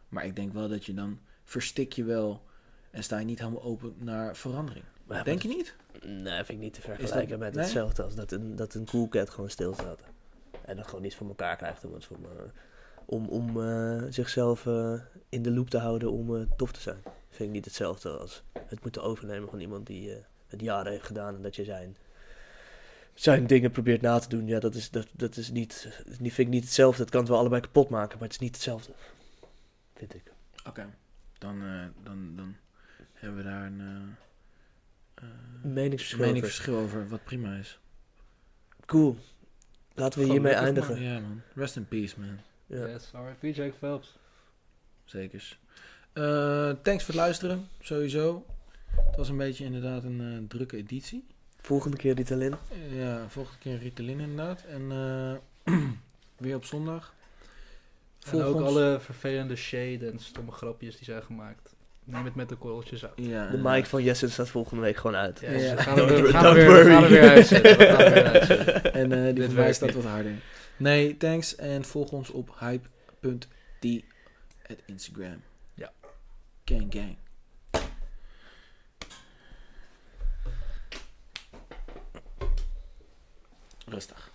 Speaker 3: Maar ik denk wel dat je dan verstik je wel. En sta je niet helemaal open naar verandering.
Speaker 1: Maar
Speaker 3: Denk je niet?
Speaker 1: Nee, vind ik niet te
Speaker 3: dat-
Speaker 1: vergelijken met
Speaker 3: nee?
Speaker 1: hetzelfde als dat een, dat een cool cat gewoon stilstaat. En dat gewoon niet voor elkaar krijgt om, het voor me- om, om eh, zichzelf eh, in de loop te houden om eh, tof te zijn. Vind ik niet hetzelfde als het moeten overnemen van iemand die eh, het jaren heeft gedaan en dat je zijn, zijn dingen probeert na te doen. Ja, dat, is, dat, dat is niet, die vind ik niet hetzelfde. Het kan het wel allebei kapot maken, maar het is niet hetzelfde. Vind ik.
Speaker 3: Oké. Dan, eh, dan, dan hebben we daar een eh, eh,
Speaker 1: Meningsverschil.
Speaker 3: meningsverschil over. Wat prima is.
Speaker 1: Cool. Laten we
Speaker 4: Gewoon
Speaker 1: hiermee
Speaker 4: lekker
Speaker 1: eindigen.
Speaker 3: Ja man. Rest in peace man.
Speaker 1: Ja.
Speaker 4: Yes, RIP Jake Phelps.
Speaker 3: Zekers. Eh, thanks voor het luisteren. Sowieso. Het was een beetje inderdaad een eh, drukke editie. Eh,
Speaker 1: Volgende keer die talent.
Speaker 3: Ja, volgende keer Ritalin inderdaad. En eh, weer op zondag.
Speaker 4: En
Speaker 3: Volg
Speaker 4: ook
Speaker 3: ons.
Speaker 4: alle vervelende shade en stomme grapjes die zijn gemaakt. Neem het met de korreltjes uit.
Speaker 3: Ja,
Speaker 1: De mic van Jessen staat volgende week gewoon uit. Dus
Speaker 4: Yes,
Speaker 3: Ja.
Speaker 4: we gaan er
Speaker 1: Don't
Speaker 4: weer- we gaan er weer-
Speaker 1: worry.
Speaker 4: we gaan er weer uitzetten. we gaan er weer uitzetten.
Speaker 3: En eh, die
Speaker 4: Dit
Speaker 3: van mij
Speaker 4: werkt
Speaker 3: staat
Speaker 4: niet.
Speaker 3: wat harder. Nee, thanks. En volg ons op hype.die at Instagram.
Speaker 4: Ja.
Speaker 3: Gang gang. Rustig.